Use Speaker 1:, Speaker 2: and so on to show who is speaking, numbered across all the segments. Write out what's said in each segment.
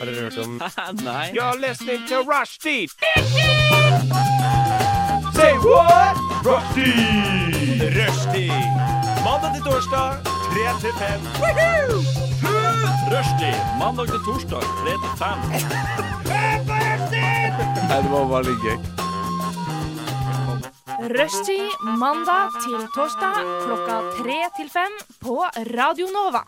Speaker 1: Har dere hørt om
Speaker 2: Nei.
Speaker 3: You're listening to Rushdie. Say what? Rushdie. Rushdie. Mandag til torsdag, 3 til 5. Rushdie. Mandag til torsdag, 3 til 5.
Speaker 2: Nei, det var bare litt gøy.
Speaker 4: Rushtid mandag til torsdag klokka tre til fem på Radio Nova.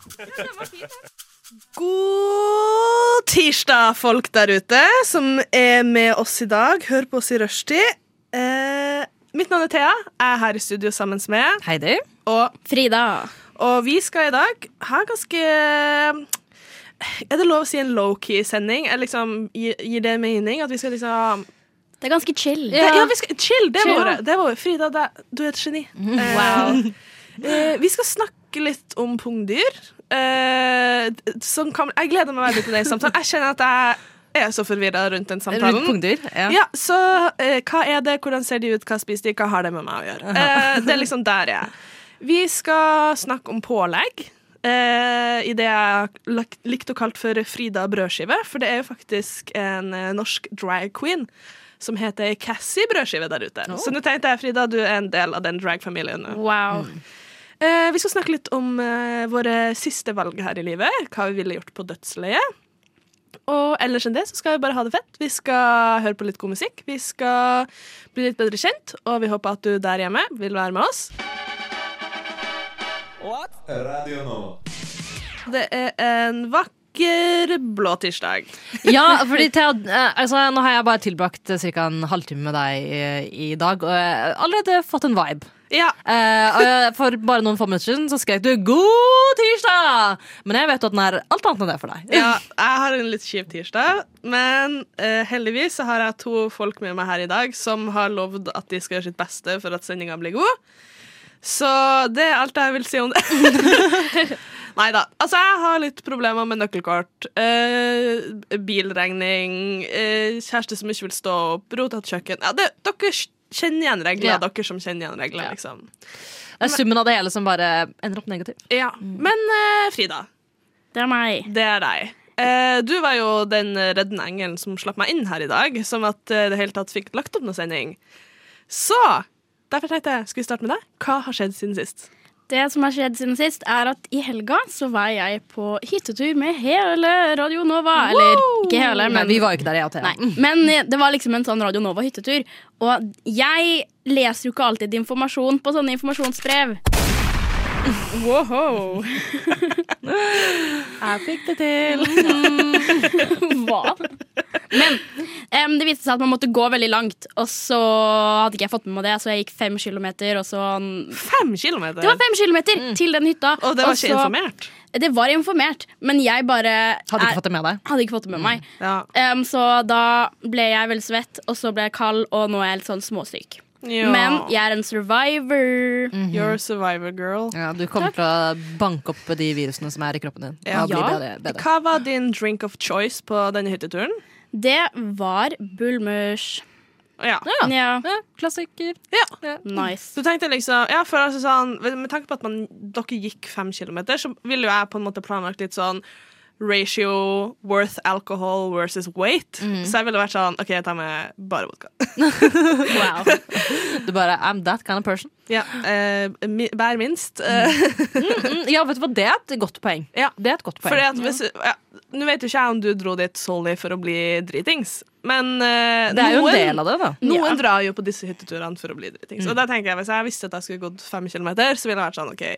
Speaker 5: God tirsdag, folk der ute som er med oss i dag. Hør på oss i rushtid. Eh, mitt navn er Thea. Jeg er her i studio sammen med
Speaker 6: Heidi.
Speaker 5: Og,
Speaker 6: Frida.
Speaker 5: og vi skal i dag ha ganske Er det lov å si en low-key-sending? Er Liksom, gir, gir det mening at vi skal liksom
Speaker 6: Det er ganske chill.
Speaker 5: ja. ja, vi skal, Chill! Det er
Speaker 6: Chill.
Speaker 5: våre. Det er våre. Frida, det, er- du er et geni. Eh, eh, vi skal snakke litt om pungdyr. Eh, som kan, jeg gleder meg veldig til den samtalen. Jeg kjenner at jeg er så forvirra rundt den
Speaker 6: Rundt
Speaker 5: samtalen.
Speaker 6: pungdyr. Ja.
Speaker 5: Ja, så eh, hva er det, hvordan ser de ut, hva spiser de, hva har det med meg å gjøre? Eh, det er liksom der jeg er. Vi skal snakke om pålegg. eh, I det jeg har lagt- likt og kalt for Frida brødskive, for det er jo faktisk en eh, norsk drag queen som heter Cassie Brødskive der ute. Så nå tenkte jeg, Frida, du er en del av den drag-familien nå.
Speaker 4: Wow.
Speaker 5: Eh, vi skal snakke litt om eh, våre siste valg her i livet. Hva vi ville gjort på dødsleiet. Og ellers enn det så skal vi bare ha det fett. Vi skal høre på litt god musikk. Vi skal bli litt bedre kjent, og vi håper at du der hjemme vil være med oss. Det er en vakker blå tirsdag.
Speaker 6: Ja, fordi Thea, eh, altså, nå har jeg bare tilbrakt eh, cirka en halvtime med deg eh, i dag, og jeg har allerede fått en vibe.
Speaker 5: Ja.
Speaker 6: Eh, og jeg- for bare noen få minutter siden så skrek du 'God tirsdag'! Men jeg vet jo at den er alt annet enn det for deg.
Speaker 5: ja, jeg har en litt kjip tirsdag, men eh, heldigvis så har jeg to folk med meg her i dag som har lovd at de skal gjøre sitt beste for at sendinga blir god. Så det er alt jeg vil si om det. Nei da. Altså, jeg har litt problemer med nøkkelkort, eh, bilregning, eh, kjæreste som ikke vil stå opp, rotete kjøkken ja, det, Dere kjenner igjen regler,
Speaker 6: Ja.
Speaker 5: dere som kjenner igjen regler, liksom.
Speaker 6: Det er summen av det hele som bare ender opp negativ.
Speaker 5: Ja. Men eh, Frida,
Speaker 7: Det er meg.
Speaker 5: Det er deg. Eh, du var jo den reddende engelen som slapp meg inn her i dag, som at eh, det hele tatt fikk lagt opp noen sending. Så derfor tenkte jeg, skal vi starte med deg? Hva har skjedd siden sist?
Speaker 7: Det som har skjedd siden sist, er at i helga så var jeg på hyttetur med hele Radio Nova. Eller ikke hele,
Speaker 6: Men
Speaker 7: men
Speaker 6: vi var jo ikke der, jeg og Thea.
Speaker 7: Nei. Men det var liksom en sånn Radio Nova-hyttetur. Og jeg leser jo ikke alltid informasjon på sånne informasjonsbrev. Wow.
Speaker 6: Jeg fikk det til.
Speaker 7: Hva? Men em, det viste seg at man måtte gå veldig langt, og så hadde ikke jeg fått med meg det, så jeg gikk fem kilometer, og så
Speaker 5: Fem kilometer?
Speaker 7: Det var fem Altså- kilometer til den hytta.
Speaker 5: Og det var ikke
Speaker 7: så-
Speaker 5: informert?
Speaker 7: Det var informert, men jeg bare
Speaker 6: Hadde ikke
Speaker 7: er-
Speaker 6: fått det med deg.
Speaker 7: hadde ikke fått det med meg.
Speaker 5: Ja.
Speaker 7: Em, så da ble jeg veldig svett, og så ble jeg kald, og nå er jeg litt sånn småsyk. Men jeg er en survivor.
Speaker 5: You're a survivor girl.
Speaker 6: Ja, du kommer til å banke opp de virusene som er i kroppen din.
Speaker 5: Ja.
Speaker 6: Og bli bedre, bedre.
Speaker 5: Hva var din drink of choice på denne hytteturen?
Speaker 7: Det var bulmers.
Speaker 5: Ja.
Speaker 6: Ja.
Speaker 7: Ja,
Speaker 6: Ja, klassiker.
Speaker 5: ja.
Speaker 7: nice.
Speaker 5: Så tenkte jeg liksom, ja, for altså sånn, Med tanke på at man, dere gikk fem kilometer, så ville jo jeg på en måte planlagt litt sånn ratio worth alcohol versus weight.
Speaker 6: Mm.
Speaker 5: Så jeg ville vært sånn OK, jeg tar med bare vodka.
Speaker 7: Wow.
Speaker 6: Du bare I'm that kind of person.
Speaker 5: ja, eh, mi, bær minst. Eh,
Speaker 6: Mm, Ja, vet du hva, det er et godt poeng.
Speaker 5: Ja.
Speaker 6: Det er et godt poeng.
Speaker 5: fordi at hvis, ja, Nå vet jo ikke jeg om du dro dit solely for å bli dritings, men eh,
Speaker 6: det er jo
Speaker 5: noen-
Speaker 6: en del av Mm. det, da.
Speaker 5: Noen drar jo på disse hytteturene for å bli dritings. Og da tenker jeg, Hvis jeg visste at jeg skulle gått fem kilometer, så ville jeg vært sånn OK,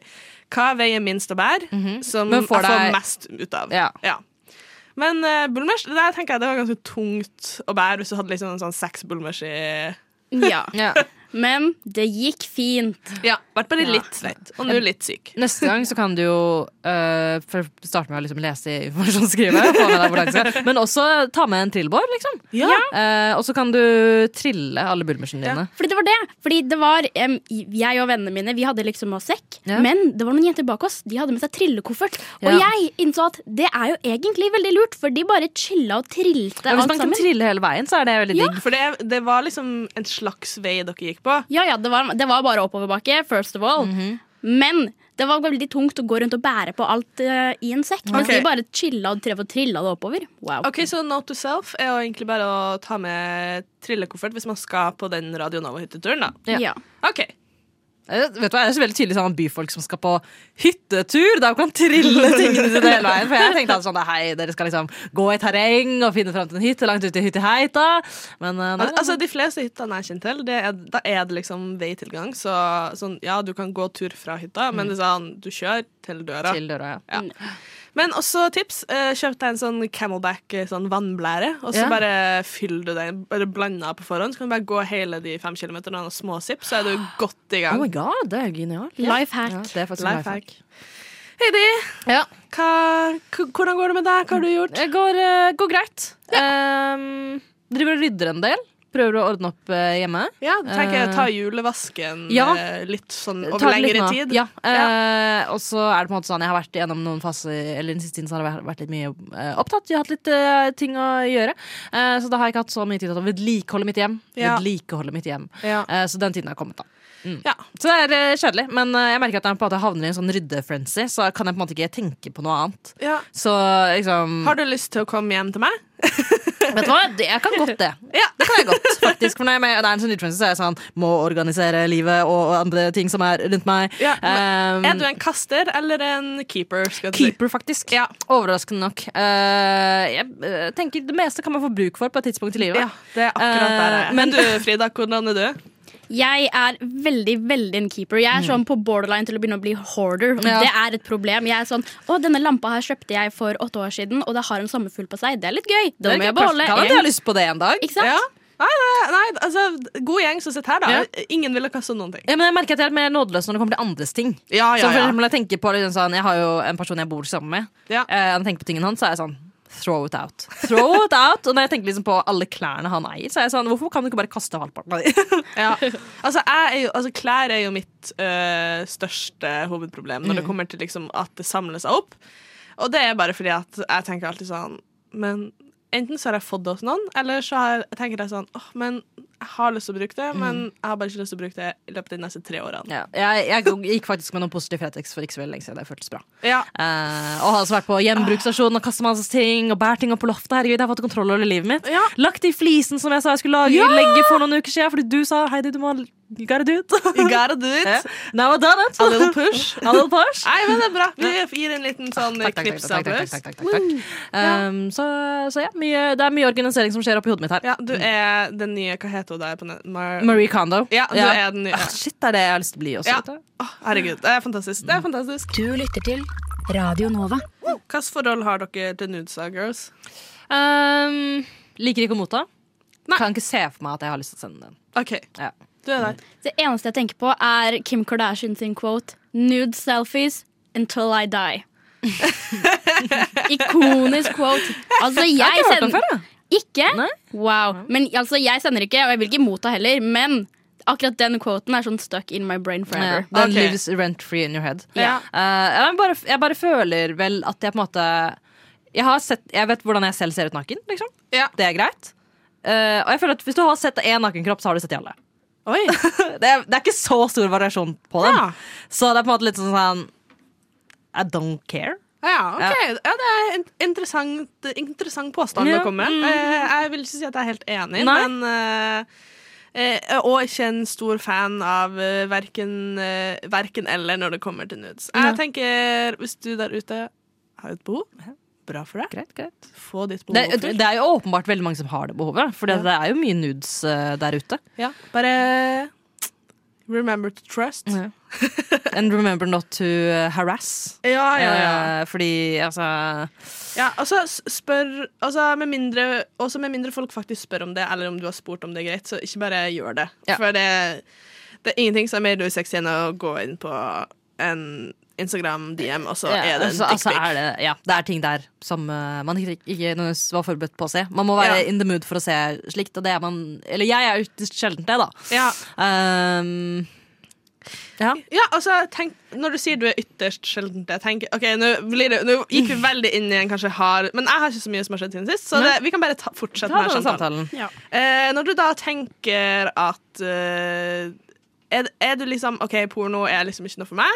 Speaker 5: hva veier minst å bære, som
Speaker 6: Mm-hmm. Men
Speaker 5: jeg får
Speaker 6: får deg-
Speaker 5: mest ut av?
Speaker 6: Ja.
Speaker 5: Men uh, bulmers det der tenker jeg det var ganske tungt å bære hvis du hadde liksom en sånn seks bulmers i
Speaker 7: Ja.
Speaker 6: Ja.
Speaker 7: Men det gikk fint.
Speaker 5: Ja, vært bare
Speaker 7: Ja.
Speaker 5: litt svett, og nå litt syk.
Speaker 6: Neste gang så kan du jo øh, for å starte med å liksom lese i informasjonsskrivet, få med deg hvor langt det skal, men også ta med en trillebår, liksom.
Speaker 5: Ja.
Speaker 6: Eh, og så kan du trille alle bulmersene dine.
Speaker 7: Fordi det var det. Fordi det var em, Jeg og vennene mine Vi hadde liksom med oss sekk.
Speaker 6: Ja.
Speaker 7: Men det var noen jenter bak oss. De hadde med seg trillekoffert. Og
Speaker 6: Ja.
Speaker 7: jeg innså at det er jo egentlig veldig lurt, for de bare chilla og trilte
Speaker 6: Ja, hvis
Speaker 7: alt
Speaker 6: man kan
Speaker 7: sammen.
Speaker 6: trille hele veien, så er det veldig digg.
Speaker 5: For det, det var liksom en slags vei dere gikk på.
Speaker 6: Mhm.
Speaker 7: Ja, ja, det var, det var bare oppoverbakke, first of all. Men det var veldig tungt å gå rundt og bære på alt eh, i en sekk. Mens
Speaker 5: Ok.
Speaker 7: de bare chilla og drev og trilla det oppover. Wow.
Speaker 5: Ok, Så note to self er jo egentlig bare å ta med trillekoffert hvis man skal på den Radio Nova-hytteturen, da.
Speaker 7: Ja.
Speaker 5: OK.
Speaker 6: Eh, Vet du hva, Det er så veldig tydelig sånn byfolk som skal på hyttetur. Der kan trille tingene sine hele veien. For jeg tenkte alltid sånn hei, dere skal liksom gå i terreng og finne fram til en hytte langt ute i hytteheita. Men eh, nei,
Speaker 5: Al altså, de fleste hyttene jeg kjenner til, det er, da er det liksom veitilgang. Så sånn, ja, du kan gå tur fra hytta, men det er sånn, du kjører til døra.
Speaker 6: til døra, ja.
Speaker 5: Ja. Men også tips. eh, Kjøp deg en sånn Camelback eh, sånn vannblære, og så
Speaker 6: Ja.
Speaker 5: bare fyll du den. Bare bland den på forhånd, så kan du bare gå hele de fem kilometerne og små sipp, så er du godt i
Speaker 6: Oh
Speaker 5: gang.
Speaker 6: my god, det er genialt.
Speaker 7: Lifehack.
Speaker 6: Ja, det er faktisk en
Speaker 5: Lifehack.
Speaker 6: life hack.
Speaker 5: Heidi,
Speaker 6: Ja.
Speaker 5: hva, k- hvordan går det med deg? Hva har du gjort?
Speaker 6: Det går, eh, går greit. Ehm, driver og rydder en del. Prøver å ordne opp eh, hjemme.
Speaker 5: Ja, tenker jeg
Speaker 6: Eh,
Speaker 5: Ta julevasken
Speaker 6: ja.
Speaker 5: eh, litt sånn
Speaker 6: Tar
Speaker 5: over
Speaker 6: det litt
Speaker 5: lengre
Speaker 6: nå.
Speaker 5: tid.
Speaker 6: Ja. eh, og så er det på en måte sånn jeg har vært gjennom noen faser Eller den siste tiden så har jeg vært- vært litt mye eh, opptatt. Jeg har hatt litt eh, ting å gjøre. Eh, så da har jeg ikke hatt så mye tid til å vedlikeholde mitt hjem.
Speaker 5: Ja.
Speaker 6: Vedlikeholde mitt hjem.
Speaker 5: Ja.
Speaker 6: Eh, så den tiden har kommet, da.
Speaker 5: Ja.
Speaker 6: Så det er eh, kjedelig. Men eh, jeg merker at jeg på en måte havner i en sånn ryddefrenzy, så kan jeg på en måte ikke tenke på noe annet.
Speaker 5: Ja.
Speaker 6: Så liksom
Speaker 5: Har du lyst til å komme hjem til meg?
Speaker 6: Vet du hva, det, jeg kan godt det.
Speaker 5: Ja.
Speaker 6: Det kan jeg godt, faktisk. For når jeg er med- det er en sånn utfordring, så er jeg sånn Må organisere livet og andre ting som er rundt meg.
Speaker 5: Ja,
Speaker 6: Ehm,
Speaker 5: Er du en kaster eller en keeper? Skal jeg til å si?
Speaker 6: Keeper, faktisk. Overraskende nok. Eh, jeg eh, tenker Det meste kan man få bruk for på et tidspunkt i livet.
Speaker 5: Ja, det er akkurat der jeg
Speaker 6: Eh,
Speaker 5: er.
Speaker 6: men-
Speaker 5: Men du, Frida, hvordan er du?
Speaker 7: Jeg er veldig, veldig en keeper. Jeg er sånn på borderline til å begynne å bli hoarder. og
Speaker 6: Mm. Ja.
Speaker 7: Det er et problem. Jeg er sånn Å, denne lampa her kjøpte jeg for åtte år siden, og det har en sommerfugl på seg. Det er litt gøy.
Speaker 6: Det
Speaker 7: Den må
Speaker 6: er
Speaker 7: jeg beholde.
Speaker 6: kanskje- Kan at jeg har lyst på det en dag.
Speaker 7: Ikke sant?
Speaker 5: Ja. Nei, nei, nei, altså, god gjeng som sitter her, da. Ingen ville kaste noen ting.
Speaker 6: Ja, men jeg merker at jeg er mer nådeløs når det kommer til andres ting.
Speaker 5: Ah, Ja,
Speaker 6: Så
Speaker 5: ja,
Speaker 6: for
Speaker 5: ja.
Speaker 6: eksempel, når jeg tenker på liksom, sånn, Jeg har jo en person jeg bor sammen med.
Speaker 5: Ja.
Speaker 6: Eh, når jeg tenker på tingene hans, så er jeg sånn Throw it out. Throw it out Og når jeg tenker liksom på alle klærne han eier, så er jeg sånn Hvorfor kan du ikke bare kaste halvparten av dem?
Speaker 5: Ja. Altså, jeg er jo, altså, klær er jo mitt øh, største hovedproblem når det kommer til liksom, at det samler seg opp. Og det er bare fordi at jeg tenker alltid sånn Men enten så har jeg fått det hos noen, eller så har, jeg tenker jeg sånn åh, men jeg har lyst til å bruke det, men jeg har bare ikke lyst til å bruke det i løpet av de neste tre årene.
Speaker 6: ja, jeg, jeg gikk faktisk med noen positive Fretex for ikke så veldig lenge siden. Det føltes bra.
Speaker 5: Ja.
Speaker 6: Eh, og har også vært på gjenbruksstasjonen og kastet masse ting og bært ting opp på loftet. Herregud, jeg har fått kontroll over livet mitt.
Speaker 5: Ja.
Speaker 6: Lagt de flisen som jeg sa jeg skulle lage, legge for noen uker siden fordi du sa Heidi, du må you gotta do it.
Speaker 5: You gotta do it.
Speaker 6: Ja. Now I've done it.
Speaker 5: A little push.
Speaker 6: A little push.
Speaker 5: Nei, men det er bra. Vi gir en liten sånn
Speaker 6: Takk, takk, takk,
Speaker 5: knips
Speaker 6: takk,
Speaker 5: av
Speaker 6: takk,
Speaker 5: applaus.
Speaker 6: takk, takk, takk, takk. Um, så, så ja, mye, det er mye organisering som skjer oppi hodet mitt her.
Speaker 5: Ja, du er den nye Hva heter hun der på nett? Mar
Speaker 6: Marie Kondo.
Speaker 5: Ja, du er den nye.
Speaker 6: Ah, shit, det er det jeg har lyst til å bli også.
Speaker 5: Ja.
Speaker 6: vet du.
Speaker 5: Åh, herregud, det er fantastisk. Det er fantastisk.
Speaker 1: Du lytter til Radio Nova.
Speaker 5: Hvilket forhold har dere til Nudesa Girls?
Speaker 6: Um, liker ikke å motta. Kan ikke se for meg at jeg har lyst til å sende den.
Speaker 5: OK,
Speaker 6: Ja.
Speaker 5: du er der.
Speaker 7: Det eneste jeg tenker på, er Kim Kardashian sin quote Nude selfies until I die. Ikonisk quote. Altså, jeg,
Speaker 6: Jeg har ikke hørt den
Speaker 7: sender
Speaker 6: før, jeg.
Speaker 7: Ikke?
Speaker 6: Nei.
Speaker 7: Wow. Men altså, jeg sender ikke, og jeg vil ikke motta heller, men akkurat den quoten er sånn stuck in my brain
Speaker 6: Ja,
Speaker 7: forever.
Speaker 6: den
Speaker 5: Ok.
Speaker 6: lives rent free in your head.
Speaker 5: Ja.
Speaker 6: Eh, jeg, bare, jeg bare føler vel at jeg på en måte Jeg, har sett, jeg vet hvordan jeg selv ser ut naken, liksom.
Speaker 5: Ja.
Speaker 6: Det er greit. Eh, og jeg føler at hvis du har sett én nakenkropp, så har du sett de alle.
Speaker 5: Oi.
Speaker 6: Det er, det er ikke så stor variasjon på dem.
Speaker 5: Ja.
Speaker 6: Så det er på en måte litt sånn sånn I don't care.
Speaker 5: Ja, ok. Ja, det er en interessant, interessant påstand
Speaker 6: Ja.
Speaker 5: å komme med. Eh, Jeg vil ikke si at jeg er helt enig,
Speaker 6: Nei.
Speaker 5: men eh, eh, Og ikke en stor fan av eh, verken, eh, verken eller når det kommer til nudes. Jeg tenker, hvis du der ute har et behov, bra for deg.
Speaker 6: Greit, greit.
Speaker 5: Få ditt behov
Speaker 6: Det,
Speaker 5: oppfylt.
Speaker 6: det er jo åpenbart veldig mange som har det behovet, for det, det er jo mye nudes eh, der ute.
Speaker 5: Ja, bare remember to trust. Ja,
Speaker 6: And remember not to eh, harass.
Speaker 5: Ah, ja, ja.
Speaker 6: Eh, fordi altså
Speaker 5: ja altså, s- spør, altså, med mindre, også med mindre folk faktisk spør om det, eller om du har spurt om det er greit, så ikke bare gjør det.
Speaker 6: Ja.
Speaker 5: For det, det er ingenting som er mer usexy enn å gå inn på en Instagram-DM, og så
Speaker 6: Ja,
Speaker 5: er det en
Speaker 6: altså, altså
Speaker 5: dickpic.
Speaker 6: er det, ja, det er ting der som eh, man ikke, ikke nødvendigvis var forberedt på å se. Man må være
Speaker 5: Ja.
Speaker 6: in the mood for å se slikt. Og det er man, eller jeg er ytterst sjelden det, da.
Speaker 5: Ja.
Speaker 6: Ehm, ja.
Speaker 5: Ja, altså, tenk, når du sier du er ytterst sjelden det, tenk, ok, nå, blir det, nå gikk vi veldig inn i en kanskje hard Men jeg har ikke så mye som har skjedd siden sist, så det, vi kan bare ta, fortsette
Speaker 6: Ta
Speaker 5: med
Speaker 6: den
Speaker 5: Eh, samtalen.
Speaker 6: samtalen.
Speaker 5: Eh, når du da tenker at eh, Er, er du liksom OK, porno er liksom ikke noe for meg?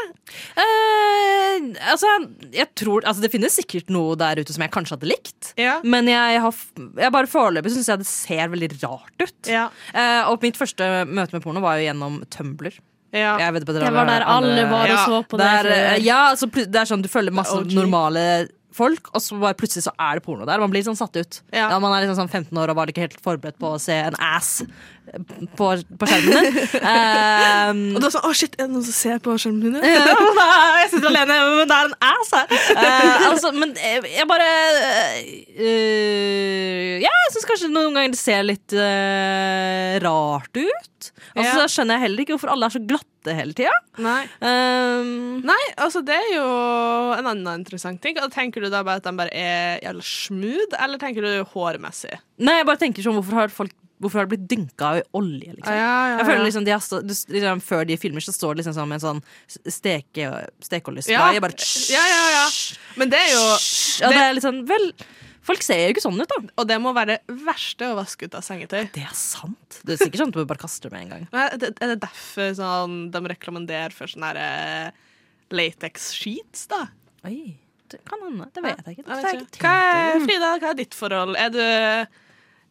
Speaker 6: Eh, altså, jeg tror, altså, det finnes sikkert noe der ute som jeg kanskje hadde likt.
Speaker 5: Ja.
Speaker 6: Men jeg har f- jeg bare foreløpig syns jeg det ser veldig rart ut.
Speaker 5: Ja.
Speaker 6: Eh, og mitt første møte med porno var jo gjennom Tumblr.
Speaker 5: Ja.
Speaker 6: Jeg vet på at dere
Speaker 7: Det var
Speaker 6: har
Speaker 7: der alle var og
Speaker 5: Ja,
Speaker 7: så på det.
Speaker 6: der, eh,
Speaker 7: for-
Speaker 6: ja, altså, pl- det er sånn, Du følger masse
Speaker 5: OG.
Speaker 6: normale folk, og så bare plutselig så er det porno der. Man blir sånn satt ut.
Speaker 5: Ja.
Speaker 6: Ja, man er liksom sånn 15 år og var ikke helt forberedt på å se en ass på, på skjermen. Eh,
Speaker 5: Og da sånn Å, shit, er det noen som ser på skjermen min?
Speaker 6: Ja, men da- jeg sitter alene hjemme, men det er en ass her. Eh, altså, men jeg, jeg bare eh, Ja, jeg syns kanskje noen ganger det ser litt eh, rart ut. Og så
Speaker 5: Ja.
Speaker 6: skjønner jeg heller ikke hvorfor alle er så glatte hele Ehm, tida.
Speaker 5: Nei. Nei, altså det er jo en annen interessant ting. Og tenker du da bare at de bare er jævla smooth, eller tenker du hårmessig?
Speaker 6: nei, jeg bare tenker sånn, hvorfor har, folk, hvorfor har det blitt dynka i olje, liksom? Jeg føler liksom, de har stå, du, liksom Før de filmer, så står det liksom sånn med en sånn steke, stekeoljesprayer.
Speaker 5: Ja.
Speaker 6: Bare
Speaker 5: Ja, ja, ja. Men det er jo
Speaker 6: Ja, det er litt sånn Vel, folk ser jo ikke sånn ut, da.
Speaker 5: Og det må være det verste å vaske ut av sengetøy.
Speaker 6: Det er sant. Det er sikkert sånn at du bare kaster det med en gang.
Speaker 5: Nei, det- Er det derfor sånn, de reklamanderer for sånn herre latex-sheets, da?
Speaker 6: Oi, det kan hende. Det vet jeg ikke.
Speaker 5: Jeg
Speaker 6: Det har jeg
Speaker 5: vet
Speaker 6: ikke
Speaker 5: ikke. Hva
Speaker 6: tenkt
Speaker 5: er,
Speaker 6: over.
Speaker 5: Frida, hva er ditt forhold? Er du,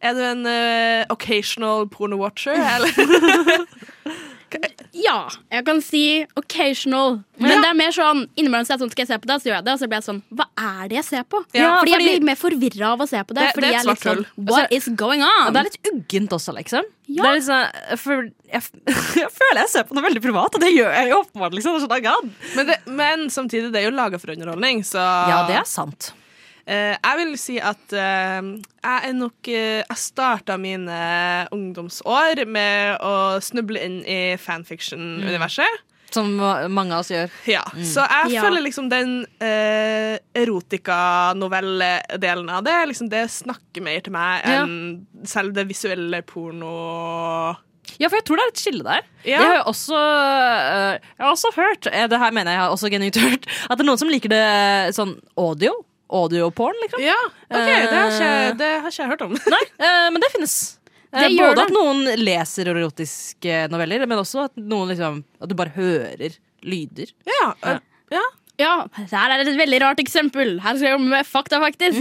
Speaker 5: er du en eh, occasional porno-watcher, eller?
Speaker 7: Ja, jeg kan si occasional. Men det er mer sånn innimellom så er jeg sånn, skal jeg se på det, så gjør jeg det. Og så blir jeg sånn, hva er det jeg ser på?
Speaker 6: Ja,
Speaker 7: fordi,
Speaker 6: fordi-
Speaker 7: jeg blir mer forvirra av å se på det.
Speaker 5: Det-
Speaker 7: fordi
Speaker 5: det er et
Speaker 7: jeg er litt
Speaker 5: svart
Speaker 7: sånn, what is going
Speaker 6: Og det
Speaker 7: on?
Speaker 6: er litt uggent også, liksom.
Speaker 7: Ja.
Speaker 6: Det er litt sånn, for jeg, jeg føler jeg ser på noe veldig privat, og det gjør jeg jo åpenbart. Liksom, sånn, oh God.
Speaker 5: Men, det, men samtidig, det er jo laga for underholdning, så
Speaker 6: Ja, det er sant.
Speaker 5: Eh, jeg vil si at eh, jeg er nok eh, Jeg starta mine eh, ungdomsår med å snuble inn i
Speaker 6: Mm.
Speaker 5: fanfiction-universet.
Speaker 6: Som mange av oss gjør.
Speaker 5: Ja. Så jeg
Speaker 7: Ja.
Speaker 5: føler liksom den eh, erotikanovelledelen av det liksom Det snakker mer til meg
Speaker 6: Ja.
Speaker 5: enn selv det visuelle porno...
Speaker 6: Ja, for jeg tror det er et skille der.
Speaker 5: Ja.
Speaker 6: Jeg har jo også, øh, jeg har også hørt, eh, det her mener jeg har også genuint hørt, at det er noen som liker det sånn audio. Audioporn, liksom.
Speaker 5: Ja, OK, det har ikke,
Speaker 6: Eh.
Speaker 5: det har ikke jeg hørt om.
Speaker 6: Nei, eh, men det finnes. Eh,
Speaker 7: Det gjør
Speaker 6: Både
Speaker 7: det.
Speaker 6: at noen leser erotiske noveller, men også at, noen liksom, at du bare hører lyder.
Speaker 5: ja, eh, ja.
Speaker 7: Ja, her er det et veldig rart eksempel. Her skal jeg jobbe med fakta, faktisk.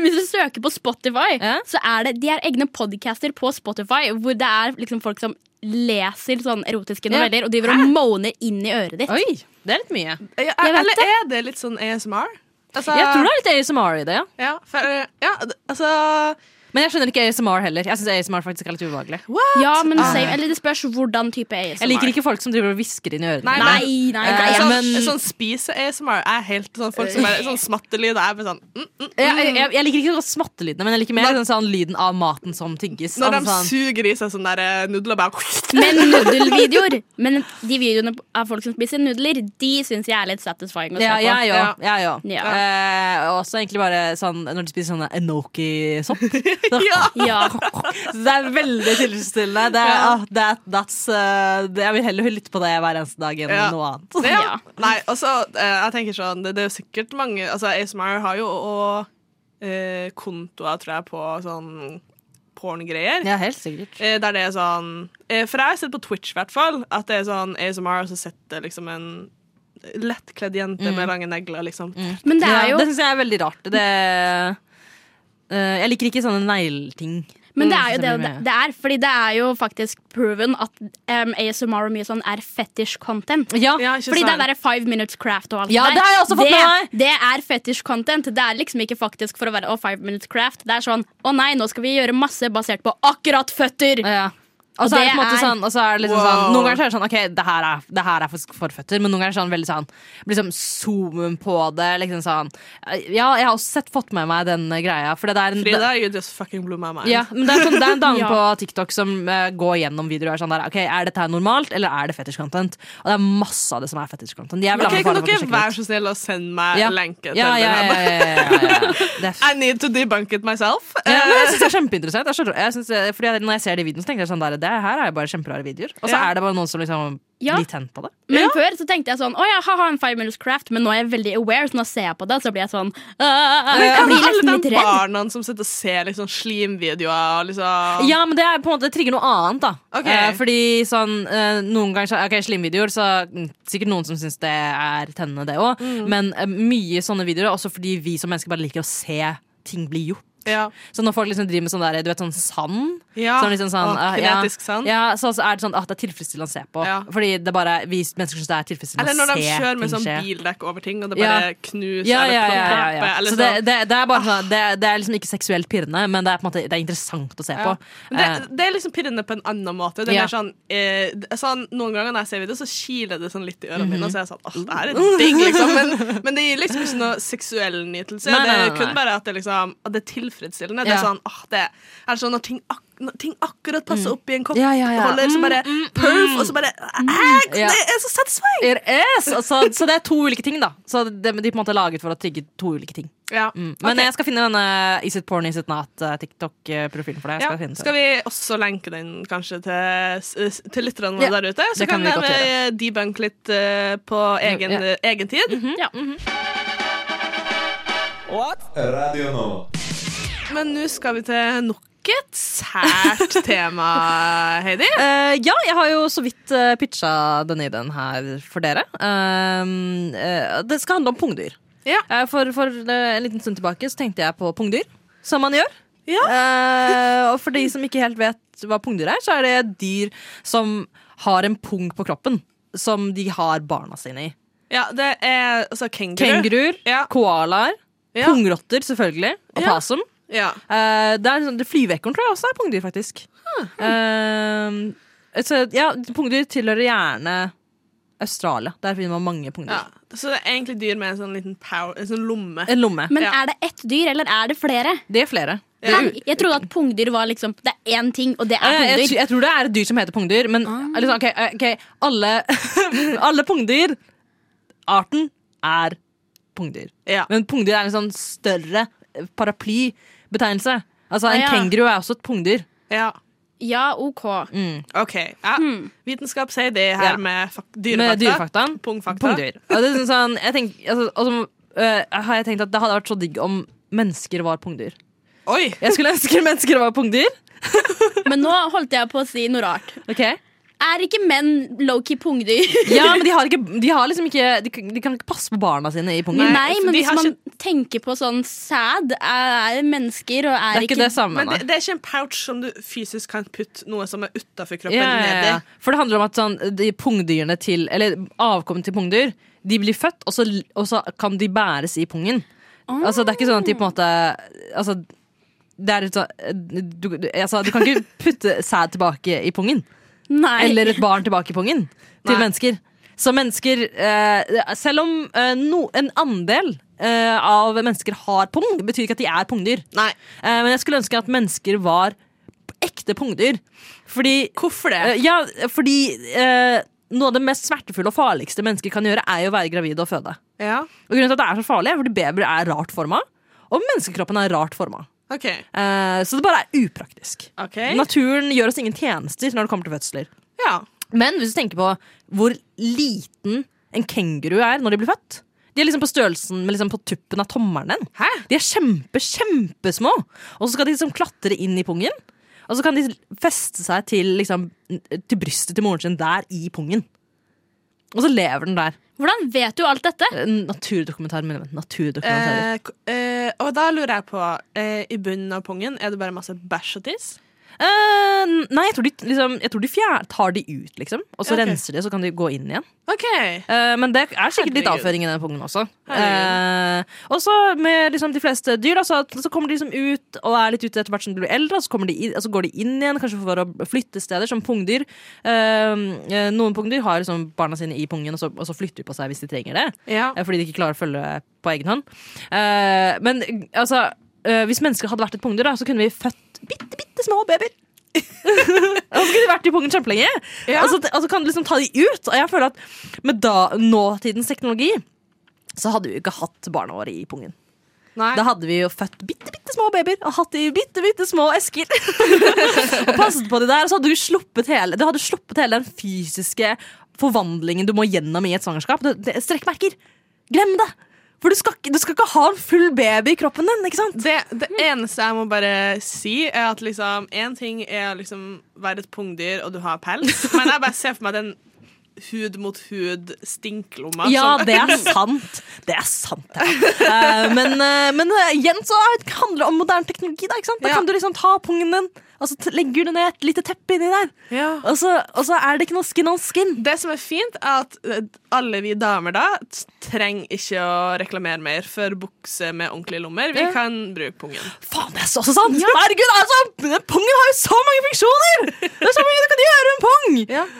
Speaker 7: Hvis du søker på Spotify,
Speaker 6: Ja.
Speaker 7: så er det de er egne podcaster på Spotify hvor det er liksom folk som leser sånn erotiske
Speaker 6: Ja.
Speaker 7: noveller og driver og moaner inn i øret ditt.
Speaker 6: Oi, det er litt mye.
Speaker 5: Ja,
Speaker 7: Jeg vet
Speaker 5: Eh, Eller
Speaker 7: det.
Speaker 5: er det litt sånn ASMR? Altså,
Speaker 6: Jeg tror det er litt ASMR i det, ja.
Speaker 5: Ja, for, eh, ja, d- altså
Speaker 6: Men jeg skjønner ikke ASMR heller. Jeg synes ASMR faktisk er litt ubehagelig.
Speaker 7: Ja, men same, eller det spørs hvordan type ASMR.
Speaker 6: Jeg liker ikke folk som driver og hvisker inn i ørene.
Speaker 5: Nei,
Speaker 7: Nei,
Speaker 6: mine.
Speaker 5: Jeg
Speaker 7: nei, nei.
Speaker 5: kan-
Speaker 6: Eh,
Speaker 5: sånn,
Speaker 6: men-
Speaker 5: sånn spise-ASMR er helt sånn folk som er sånn smattelyd. Er bare sånn, mm, mm.
Speaker 6: Jeg, jeg, jeg, jeg liker ikke så godt smattelydene, men jeg liker mer
Speaker 5: Når-
Speaker 6: den sånn lyden av maten som tygges.
Speaker 5: Når de
Speaker 6: Altså sånn-
Speaker 5: suger i seg sånne der eh, nudler bare
Speaker 7: Men nudelvideoer Men de videoene av folk som spiser nudler, de syns jeg er litt satisfying å se
Speaker 6: ja,
Speaker 7: på.
Speaker 6: jeg
Speaker 5: Ja.
Speaker 6: òg. Jeg òg.
Speaker 7: Ja.
Speaker 6: Eh, og også egentlig bare sånn når de spiser sånne enoki-sopp.
Speaker 5: Ja.
Speaker 7: Ja.
Speaker 6: Så det er veldig tilfredsstillende. Det, er,
Speaker 5: Ja.
Speaker 6: ah, that, that's, eh, det, jeg vil heller lytte på det hver eneste dag enn
Speaker 5: Ja.
Speaker 6: noe annet.
Speaker 5: Det,
Speaker 7: Ja.
Speaker 5: Nei, og så eh, Jeg tenker sånn Det, det er jo sikkert mange Altså, ASMR har jo og, eh, kontoer, tror jeg, på sånn porngreier.
Speaker 6: Ja, helt sikkert.
Speaker 5: Eh, Der det er sånn eh, For jeg har sett på Twitch, i hvert fall, at det er sånn ASMR, og så sitter liksom en lettkledd jente
Speaker 6: Mm.
Speaker 5: med lange negler, liksom.
Speaker 7: Men det er jo
Speaker 6: ja, det syns jeg er veldig rart. Det, eh, jeg liker ikke sånne negleting.
Speaker 7: Men det er jo det
Speaker 6: Mm,
Speaker 7: det er, fordi det er jo faktisk proven at em, ASMR og mye sånn er fetish content.
Speaker 6: Ja.
Speaker 5: Ja, ikke
Speaker 7: Fordi det
Speaker 5: sant?
Speaker 7: der five minutes craft og alt
Speaker 6: Ja,
Speaker 7: der,
Speaker 6: det har jeg også fått
Speaker 7: det,
Speaker 6: med meg.
Speaker 7: det er fetish content. Det er liksom ikke faktisk for å være å, five minutes craft. Det er sånn å nei, nå skal vi gjøre masse basert på akkurat føtter.
Speaker 6: Ja. Og så
Speaker 7: Og
Speaker 6: er det på
Speaker 7: det
Speaker 6: en måte
Speaker 7: er-
Speaker 6: sånn, og så er det liksom
Speaker 5: Wow.
Speaker 6: sånn Noen ganger så er det sånn OK, det her er, det her er for, for føtter, men noen ganger er det sånn veldig sånn liksom zoomen på det. Liksom sånn Ja, jeg har også sett fått med meg den eh, greia, for det er en
Speaker 5: Frida, you just fucking blew my mind.
Speaker 6: Ja, men det er, sånn, det er en dame
Speaker 7: Ja.
Speaker 6: på TikTok som eh, går gjennom videoer og er sånn der Ok, er dette her normalt, eller er det fetish content? Og det er masse av det som er fetish content. Jeg vil
Speaker 5: Ok, kan
Speaker 6: anbefale folk å
Speaker 5: dere
Speaker 6: sjekke
Speaker 5: være
Speaker 6: det ut.
Speaker 5: så snill å sende meg
Speaker 6: Ja.
Speaker 5: lenke til
Speaker 6: ja, ja,
Speaker 5: det
Speaker 6: ja,
Speaker 5: her?
Speaker 6: ja, ja, ja, ja. Det er
Speaker 5: I need to debunk it myself.
Speaker 6: Eh. ja, men jeg synes det er kjempeinteressant. Jeg skjønner- jeg synes, det- fordi jeg, når jeg ser de videoene, så tenker jeg sånn der det her er jo bare kjemperare videoer. Og så
Speaker 5: Ja.
Speaker 6: er det bare noen som liksom
Speaker 7: Ja.
Speaker 6: blir tent av det.
Speaker 7: Men før så tenkte jeg sånn Å ja, ha-ha, en five minutes craft. Men nå er jeg veldig aware, så nå ser jeg på det, så blir jeg sånn «Åh». Jeg blir
Speaker 5: Alle
Speaker 7: nesten
Speaker 5: de
Speaker 7: litt redd.
Speaker 5: barna som sitter og ser liksom, slimvideoer og liksom
Speaker 6: Ja, men det er på en måte det trigger noe annet, da.
Speaker 5: Ok.
Speaker 6: Eh, fordi sånn eh, noen ganger så- Ok, slimvideoer, så mm, sikkert noen som syns det er tennende, det òg. Men eh, mye sånne videoer, også fordi vi som mennesker bare liker å se ting bli gjort.
Speaker 5: Ja.
Speaker 6: Så når folk liksom driver med sånn der, du vet sånn sand
Speaker 5: Ja,
Speaker 6: sånn liksom sånn,
Speaker 5: og
Speaker 6: ah,
Speaker 5: kinetisk sand.
Speaker 6: Ja, så, så er det sånn at det er tilfredsstillende å se på.
Speaker 5: Ja.
Speaker 6: Fordi det bare, vi mennesker syns det er tilfredsstillende
Speaker 5: Eller når
Speaker 6: å
Speaker 5: de
Speaker 6: se
Speaker 5: kjører med
Speaker 6: ting
Speaker 5: sånn
Speaker 6: skje.
Speaker 5: bildekk over ting, og det
Speaker 6: Ja.
Speaker 5: bare knuser
Speaker 6: Ja,
Speaker 5: eller
Speaker 6: ja, ja, ja,
Speaker 5: plopper,
Speaker 6: ja.
Speaker 5: Eller Ah.
Speaker 6: Så det, det, det er bare sånn, det, det er liksom ikke seksuelt pirrende, men det er på en måte det er interessant å se på.
Speaker 5: Ja. Men
Speaker 6: Eh,
Speaker 5: Det, det er liksom pirrende på en annen måte. Det er
Speaker 6: Ja.
Speaker 5: mer sånn, eh, det- sånn, noen ganger når jeg ser video, så kiler det sånn litt i ørene
Speaker 6: Mhm.
Speaker 5: mine. Og så er jeg sånn, åh, det her er digg, liksom. Men, men det gir liksom ikke noe seksuell nytelse.
Speaker 6: Nei,
Speaker 5: det
Speaker 6: nei,
Speaker 5: er
Speaker 6: nei, nei.
Speaker 5: kun bare at det, liksom, at det er tilfredsstillende. Det er
Speaker 6: Ja.
Speaker 5: sånn, åh, det er sånn når ting, ak når ting akkurat passer opp i en kopp,
Speaker 6: Mm. Ja, ja, Mm, ja.
Speaker 5: holder, så bare perf, og så bare æ,
Speaker 6: Mm, Ja.
Speaker 5: Det er så satisfying!
Speaker 6: It is! Altså, så det er to ulike ting, da. Så det, de på en måte er laget for å trigge to ulike ting.
Speaker 5: Ja.
Speaker 6: Mm. Men jeg skal finne denne Is it porn, is it not-TikTok-profilen for deg. Jeg
Speaker 5: Ja,
Speaker 6: skal finne den.
Speaker 5: skal vi også lenke den kanskje til, s- s- til lytterne våre
Speaker 6: Ja,
Speaker 5: der ute? Så
Speaker 6: det
Speaker 5: kan,
Speaker 6: kan vi godt
Speaker 5: de eh, debunke litt eh, på egen,
Speaker 6: Ja. Mhm.
Speaker 5: egen tid.
Speaker 3: Radio Nova.
Speaker 5: Men nå skal vi til nok et sært tema, Heidi.
Speaker 6: Eh, ja, jeg har jo så vidt uh, pitcha denne ideen her for dere. Um, eh, det skal handle om pungdyr.
Speaker 5: Ja.
Speaker 6: Eh, for for eh, en liten stund tilbake så tenkte jeg på pungdyr, som man gjør.
Speaker 5: Ja.
Speaker 6: Eh, og for de som ikke helt vet hva pungdyr er, så er det dyr som har en pung på kroppen. Som de har barna sine i.
Speaker 5: Ja, det er altså kenguru.
Speaker 6: Kenguruer,
Speaker 5: Ja.
Speaker 6: koalaer,
Speaker 5: Ja.
Speaker 6: pungrotter selvfølgelig, og
Speaker 5: Ja.
Speaker 6: pasum.
Speaker 5: Ja.
Speaker 6: Eh, det er sånn, det Flyveekorn tror jeg også er pungdyr, faktisk.
Speaker 5: Ah,
Speaker 6: Eh, så, ja, pungdyr tilhører gjerne Australia. Der finner man mange pungdyr.
Speaker 5: Ja. Så det er egentlig dyr med en sånn liten power, en sånn lomme.
Speaker 6: En lomme.
Speaker 7: Men
Speaker 5: Ja.
Speaker 7: er det ett dyr, eller er det flere?
Speaker 6: Det er flere. Det
Speaker 7: Hæ?
Speaker 6: er u-
Speaker 7: Jeg trodde at pungdyr var liksom Det er én ting, og det
Speaker 6: Eh,
Speaker 7: er
Speaker 6: jeg, tr-
Speaker 7: pungdyr.
Speaker 6: jeg tror det er et dyr som heter pungdyr, men liksom, ok, eh, ok, alle, alle pungdyr Arten er pungdyr.
Speaker 5: Ja.
Speaker 6: Men pungdyr er en sånn større eh, paraplybetegnelse. Altså, en
Speaker 7: Ja.
Speaker 6: kenguru er også et pungdyr.
Speaker 5: Ja.
Speaker 7: Ja, OK.
Speaker 5: OK. Ja. Vitenskap sier det
Speaker 6: Hmm. Ja.
Speaker 5: her med fak dyrefakta.
Speaker 6: Med dyrefaktaen.
Speaker 5: Pungfakta.
Speaker 6: Pungdyr. Og det er sånn, sånn, jeg tenk, altså, altså, øh, har jeg tenkt at det hadde vært så digg om mennesker var pungdyr.
Speaker 5: Oi!
Speaker 6: Jeg skulle ønske mennesker var pungdyr.
Speaker 7: Men nå holdt jeg på å si noe rart.
Speaker 6: Ok.
Speaker 7: Er ikke menn low-key pungdyr?
Speaker 6: Ja, men de har, ikke, de har liksom ikke de, kan- de kan ikke passe på barna sine i pungdyr.
Speaker 7: Nei,
Speaker 5: for
Speaker 7: men
Speaker 5: de
Speaker 7: hvis
Speaker 5: har
Speaker 7: man tenker på sånn sæd, er, er mennesker og
Speaker 6: det
Speaker 7: er,
Speaker 6: er ikke det samme.
Speaker 5: Men
Speaker 6: Nei.
Speaker 5: det, det er ikke en pouch som du fysisk kan putte noe som er utafor kroppen,
Speaker 6: Ja, ja,
Speaker 5: ned i.
Speaker 6: ja. For det handler om at sånn, de pungdyrene til Eller avkommet til pungdyr De blir født, og så, og så kan de bæres i pungen. Altså, det er ikke sånn at de på en måte Altså, det er et sånn du, du, altså, du kan ikke putte sæd tilbake i pungen.
Speaker 7: Nei.
Speaker 6: Eller et barn tilbake i pungen. Til
Speaker 5: Nei.
Speaker 6: mennesker. Så mennesker eh, Selv om eh, no, en andel eh, av mennesker har pung, det betyr ikke at de er pungdyr.
Speaker 5: Nei.
Speaker 6: Eh, men jeg skulle ønske at mennesker var ekte pungdyr. Fordi
Speaker 5: Hvorfor det?
Speaker 6: Eh, ja, fordi eh, noe av det mest smertefulle og farligste mennesker kan gjøre, er jo å være gravid og føde.
Speaker 5: Ja,
Speaker 6: Og grunnen til at det er så farlig, er fordi babyer er rart forma, og menneskekroppen er rart forma.
Speaker 5: ok,
Speaker 6: Eh, så det bare er upraktisk.
Speaker 5: ok
Speaker 6: Naturen gjør oss ingen tjenester når det kommer til fødsler.
Speaker 5: Ja,
Speaker 6: Men hvis du tenker på hvor liten en kenguru er når de blir født De er liksom på størrelsen med liksom på tuppen av tommelen. din. De er kjempe, kjempesmå. Og så skal de liksom klatre inn i pungen. Og så kan de feste seg til, liksom, til brystet til moren sin der i pungen. Og så lever den der.
Speaker 7: Hvordan vet du alt dette?
Speaker 6: Eh, Naturdokumentar, men men naturdokumentarer.
Speaker 5: eh, k- eh, Og da lurer jeg på eh, I bunnen av pungen, er det bare masse bæsj og tiss?
Speaker 6: Eh, nei, jeg tror de, liksom, jeg tror de fjer, tar de ut, liksom. Og så
Speaker 5: Ja, ok.
Speaker 6: renser de, og så kan de gå inn igjen.
Speaker 5: Ok,
Speaker 6: Eh, men det er sikkert litt
Speaker 5: Herregud.
Speaker 6: avføring i den pungen også.
Speaker 5: Herregud.
Speaker 6: Eh, og så med liksom de fleste dyr, da, så, så kommer de liksom ut og er litt ute etter hvert som de blir eldre. Og så, kommer de inn, og så går de inn igjen, kanskje for å flytte steder, som pungdyr. Eh, eh, noen pungdyr har liksom barna sine i pungen, og så, og så flytter de på seg hvis de trenger det.
Speaker 5: ja
Speaker 6: Eh, Fordi de ikke klarer å følge på egen hånd. Eh, men altså, eh, hvis mennesker hadde vært et pungdyr, da, så kunne vi født bitte, bitte små babyer. og så kunne de vært i pungen kjempelenge.
Speaker 5: Ja.
Speaker 6: Og, så, og så kan du liksom ta de ut. Og jeg føler at med da, nåtidens teknologi så hadde vi jo ikke hatt barna våre i pungen.
Speaker 5: Nei.
Speaker 6: Da hadde vi jo født bitte, bitte små babyer og hatt de i bitte, bitte små esker. og passet på de der, og så hadde du sluppet hele, du hadde sluppet hele den fysiske forvandlingen du må gjennom i et svangerskap. Det, det, strekkmerker. Glem det! For du skal, ikke- du skal ikke ha en full baby i kroppen din, ikke sant?
Speaker 5: Det, det eneste jeg må bare si, er at liksom én ting er å liksom være et pungdyr og du har pels, men jeg bare ser for meg den hud mot hud stinklomma.
Speaker 6: Ja,
Speaker 5: som-
Speaker 6: det er sant. Det er sant, ja. Eh, men, eh, men eh, igjen så er- handler det om moderne teknologi. Da, ikke sant? da
Speaker 5: Ja.
Speaker 6: kan du liksom ta pungen din, og så t- legger du ned et lite teppe inni der.
Speaker 5: Ja.
Speaker 6: Og så, og så er det ikke noe skin on skin.
Speaker 5: Det som er fint, er at eh, alle vi damer da t- trenger ikke å reklamere mer for bukse med ordentlige lommer. Vi
Speaker 6: Ja.
Speaker 5: kan bruke pungen.
Speaker 6: Faen, det er så, så sant! Herregud, altså, den Pungen har jo så mange funksjoner! Det er så mye du kan gjøre med en pung!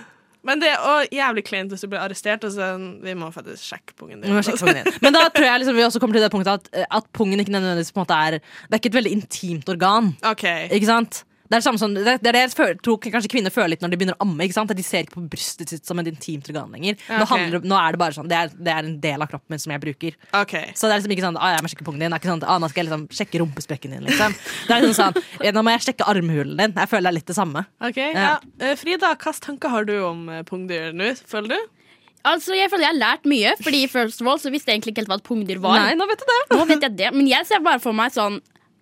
Speaker 5: Men det er også jævlig kleint hvis du blir arrestert. Og sånn, vi må faktisk sjekke pungen din.
Speaker 6: Vi må sjekke pungen din. Men da tror jeg liksom vi også kommer til det punktet at, at pungen ikke nødvendigvis på en måte er Det er ikke et veldig intimt organ.
Speaker 5: OK.
Speaker 6: Ikke sant? Det er det, samme som, det, det er det jeg føler, tror kanskje kvinner føler litt når de begynner å amme. Ikke sant? At de ser ikke på brystet sitt som et intimt organ lenger.
Speaker 5: Ja,
Speaker 6: Nå,
Speaker 5: ok.
Speaker 6: handler, det- nå er det bare sånn, det er, det er en del av kroppen min som jeg bruker.
Speaker 5: ok.
Speaker 6: Så det er liksom ikke sånn ah, jeg må sjekke pungen din. Det er ikke sånn, ah, nå skal jeg liksom sjekke rumpesprekken din. Liksom. Det er liksom sånn, ja, nå må jeg sjekke armhulen din. Jeg føler det er litt det samme.
Speaker 5: Ok, ja. Eh, Frida, hvilke tanker har du om eh, pungdyr nå, føler du?
Speaker 7: Altså, Jeg føler jeg har lært mye, Fordi first of all så visste jeg egentlig ikke helt hva et pungdyr var.
Speaker 6: Nei, nå vet du det.
Speaker 7: Nå vet jeg det, men jeg ser bare for meg sånn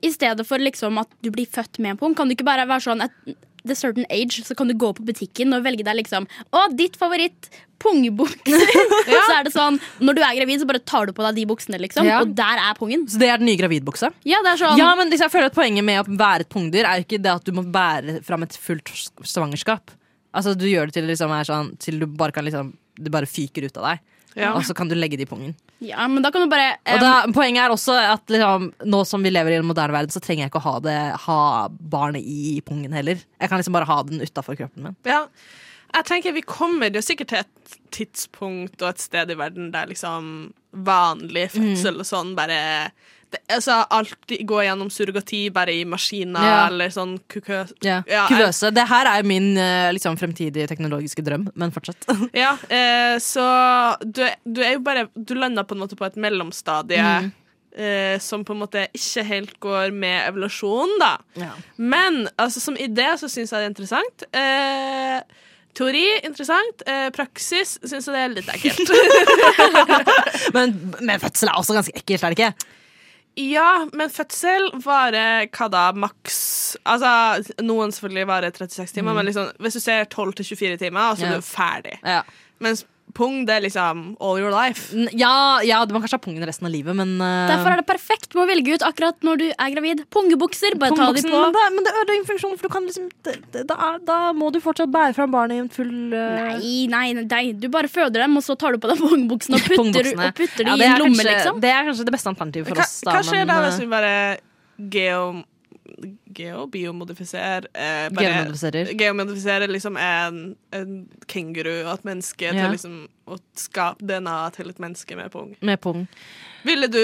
Speaker 7: I stedet for liksom at du blir født med en pung, kan du ikke bare være sånn at the certain age, så kan du gå på butikken og velge deg liksom Å, ditt favoritt pungbukser! Så er det sånn, når du er gravid, så bare tar du på deg de buksene, liksom.
Speaker 6: Ja.
Speaker 7: Og der er pungen.
Speaker 6: Så det er den nye gravidbuksa?
Speaker 7: Ja, det er sånn
Speaker 6: Ja, men liksom, jeg føler at Poenget med å være et pungdyr er jo ikke det at du må bære fram et fullt s- svangerskap. Altså Du gjør det til, det liksom, er sånn, til du bare kan liksom Det bare fyker ut av deg.
Speaker 5: Ja.
Speaker 6: Og så kan du legge det i pungen.
Speaker 7: Ja, men da kan du bare
Speaker 6: Og
Speaker 7: em,
Speaker 6: da, poenget er også at liksom, nå som vi lever i en moderne verden, så trenger jeg ikke å ha, det, ha barnet i pungen heller. Jeg kan liksom bare ha den utafor kroppen min.
Speaker 5: Ja. Jeg tenker Vi kommer jo sikkert til et tidspunkt og et sted i verden der liksom vanlig fødsel og sånn bare det, altså Alltid gå gjennom surrogati bare i maskiner
Speaker 6: Ja.
Speaker 5: eller sånn kukøs...
Speaker 6: Ja.
Speaker 5: Ja, jeg-
Speaker 6: Kuvøse. Det her er jo min eh, liksom, fremtidige teknologiske drøm, men fortsett.
Speaker 5: Ja, eh, så du, du er jo bare Du lander på en måte på et mellomstadie
Speaker 6: Mm.
Speaker 5: eh, som på en måte ikke helt går med evolusjonen, da.
Speaker 6: Ja.
Speaker 5: Men altså, som idé så syns jeg det er interessant. Eh, teori interessant. Eh, praksis syns jeg det er litt ekkelt.
Speaker 6: men, men fødsel er også ganske ekkelt, er det ikke?
Speaker 5: ja, men fødsel varer hva da? Maks Altså, noen selvfølgelig varer 36 timer, men liksom, hvis du ser 12 til 24 timer, så
Speaker 6: Ja.
Speaker 5: er du ferdig.
Speaker 6: Ja.
Speaker 5: Mens pung, det er liksom all your life.
Speaker 6: N- Ja, ja, du må kanskje ha pungen resten av livet, men eh,
Speaker 7: Derfor er det perfekt med å velge ut akkurat når du er gravid. Pungebukser. Bare ta de
Speaker 6: pungboksen,
Speaker 7: på.
Speaker 6: Men det, men det ødelegger funksjonen, for du kan liksom det, det, da, er- da må du fortsatt bære fram barnet i en full eh,
Speaker 7: Nei, nei, nei, du bare føder dem, og så tar du på deg pungbuksene og putter,
Speaker 6: pungboksene.
Speaker 7: og putter de
Speaker 6: Ja,
Speaker 7: i
Speaker 6: det
Speaker 7: en
Speaker 6: er
Speaker 7: lomme,
Speaker 6: kanskje,
Speaker 7: liksom.
Speaker 6: Det er kanskje det beste alternativet for
Speaker 5: Hva,
Speaker 6: oss. Da,
Speaker 5: hva skjer
Speaker 6: men,
Speaker 5: da
Speaker 6: eh,
Speaker 5: hvis vi bare geo... Geobiomodifiserer eh, bare-
Speaker 6: Genmodifiserer.
Speaker 5: Geomodifiserer liksom en, en kenguru og et menneske
Speaker 6: Ja.
Speaker 5: til liksom å skape DNA til et menneske med pung.
Speaker 6: med pung.
Speaker 5: Ville du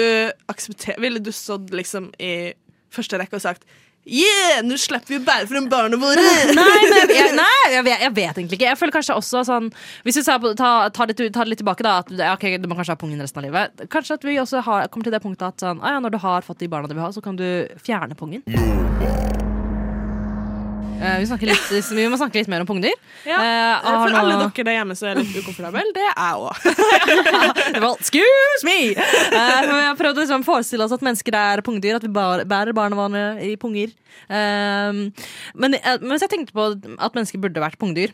Speaker 5: akseptert Ville du stått liksom i første rekke og sagt Yeah, nå slipper vi å bære frem barna våre!
Speaker 6: Nei, men jeg, jeg, nei jeg, vet, jeg vet egentlig ikke. Jeg føler kanskje også sånn Hvis vi tar, på- ta- tar, det, tar det litt tilbake, da at ja, ok, du må kanskje ha pungen resten av livet. Kanskje at vi også har, kommer til det punktet at sånn, ah, ja, når du har fått de barna du vil ha, så kan du fjerne pungen. Eh, vi, snakker litt, vi må snakke litt mer om pungdyr.
Speaker 5: Ja,
Speaker 6: Eh, har
Speaker 5: For
Speaker 6: noe-
Speaker 5: alle dere der hjemme som er litt ukomfortable, det er jeg òg.
Speaker 6: Well, excuse me! Eh, men jeg har prøvd å liksom forestille oss at mennesker er pungdyr, at vi bar, bærer barna våre i punger. Um, men, eh, men hvis jeg tenkte på at mennesker burde vært pungdyr,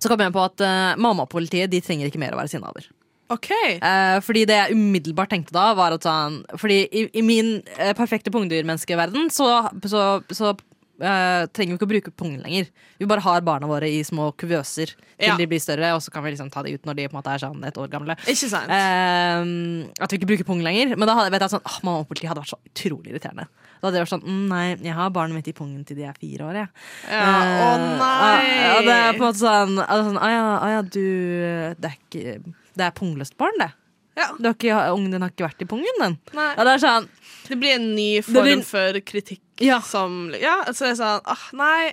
Speaker 6: så kom jeg på at eh, mammapolitiet de trenger ikke mer å være sinna over.
Speaker 5: OK.
Speaker 6: Eh, fordi det jeg umiddelbart tenkte da, var at sånn Fordi i, i min eh, perfekte pungdyrmenneskeverden, så, så, så eh, trenger vi ikke å bruke pungen lenger. Vi bare har barna våre i små kuvøser til
Speaker 5: Ja.
Speaker 6: de blir større, og så kan vi liksom ta de ut når de på en måte er sånn et år gamle.
Speaker 5: Ikke sant?
Speaker 6: Eh, at vi ikke bruker pung lenger. Men da hadde, vet jeg sånn, åh, mamma og politi hadde vært så utrolig irriterende. Da hadde jeg vært sånn mm, Nei, jeg har barnet mitt i pungen til de er fire år, jeg.
Speaker 5: Ja, å
Speaker 6: Eh,
Speaker 5: nei.
Speaker 6: og- og det er på en måte sånn Å sånn, «Å ja, å ja, du Det er ikke Det er pungløst barn, det.
Speaker 5: Ja.
Speaker 6: Du har ikke, ungen din har ikke vært i pungen, den.
Speaker 5: Nei.
Speaker 6: Ja, det er sånn
Speaker 5: Det blir en ny form
Speaker 6: blir-
Speaker 5: for kritikk
Speaker 6: Ja.
Speaker 5: som Ja, altså det er sånn ah, Nei.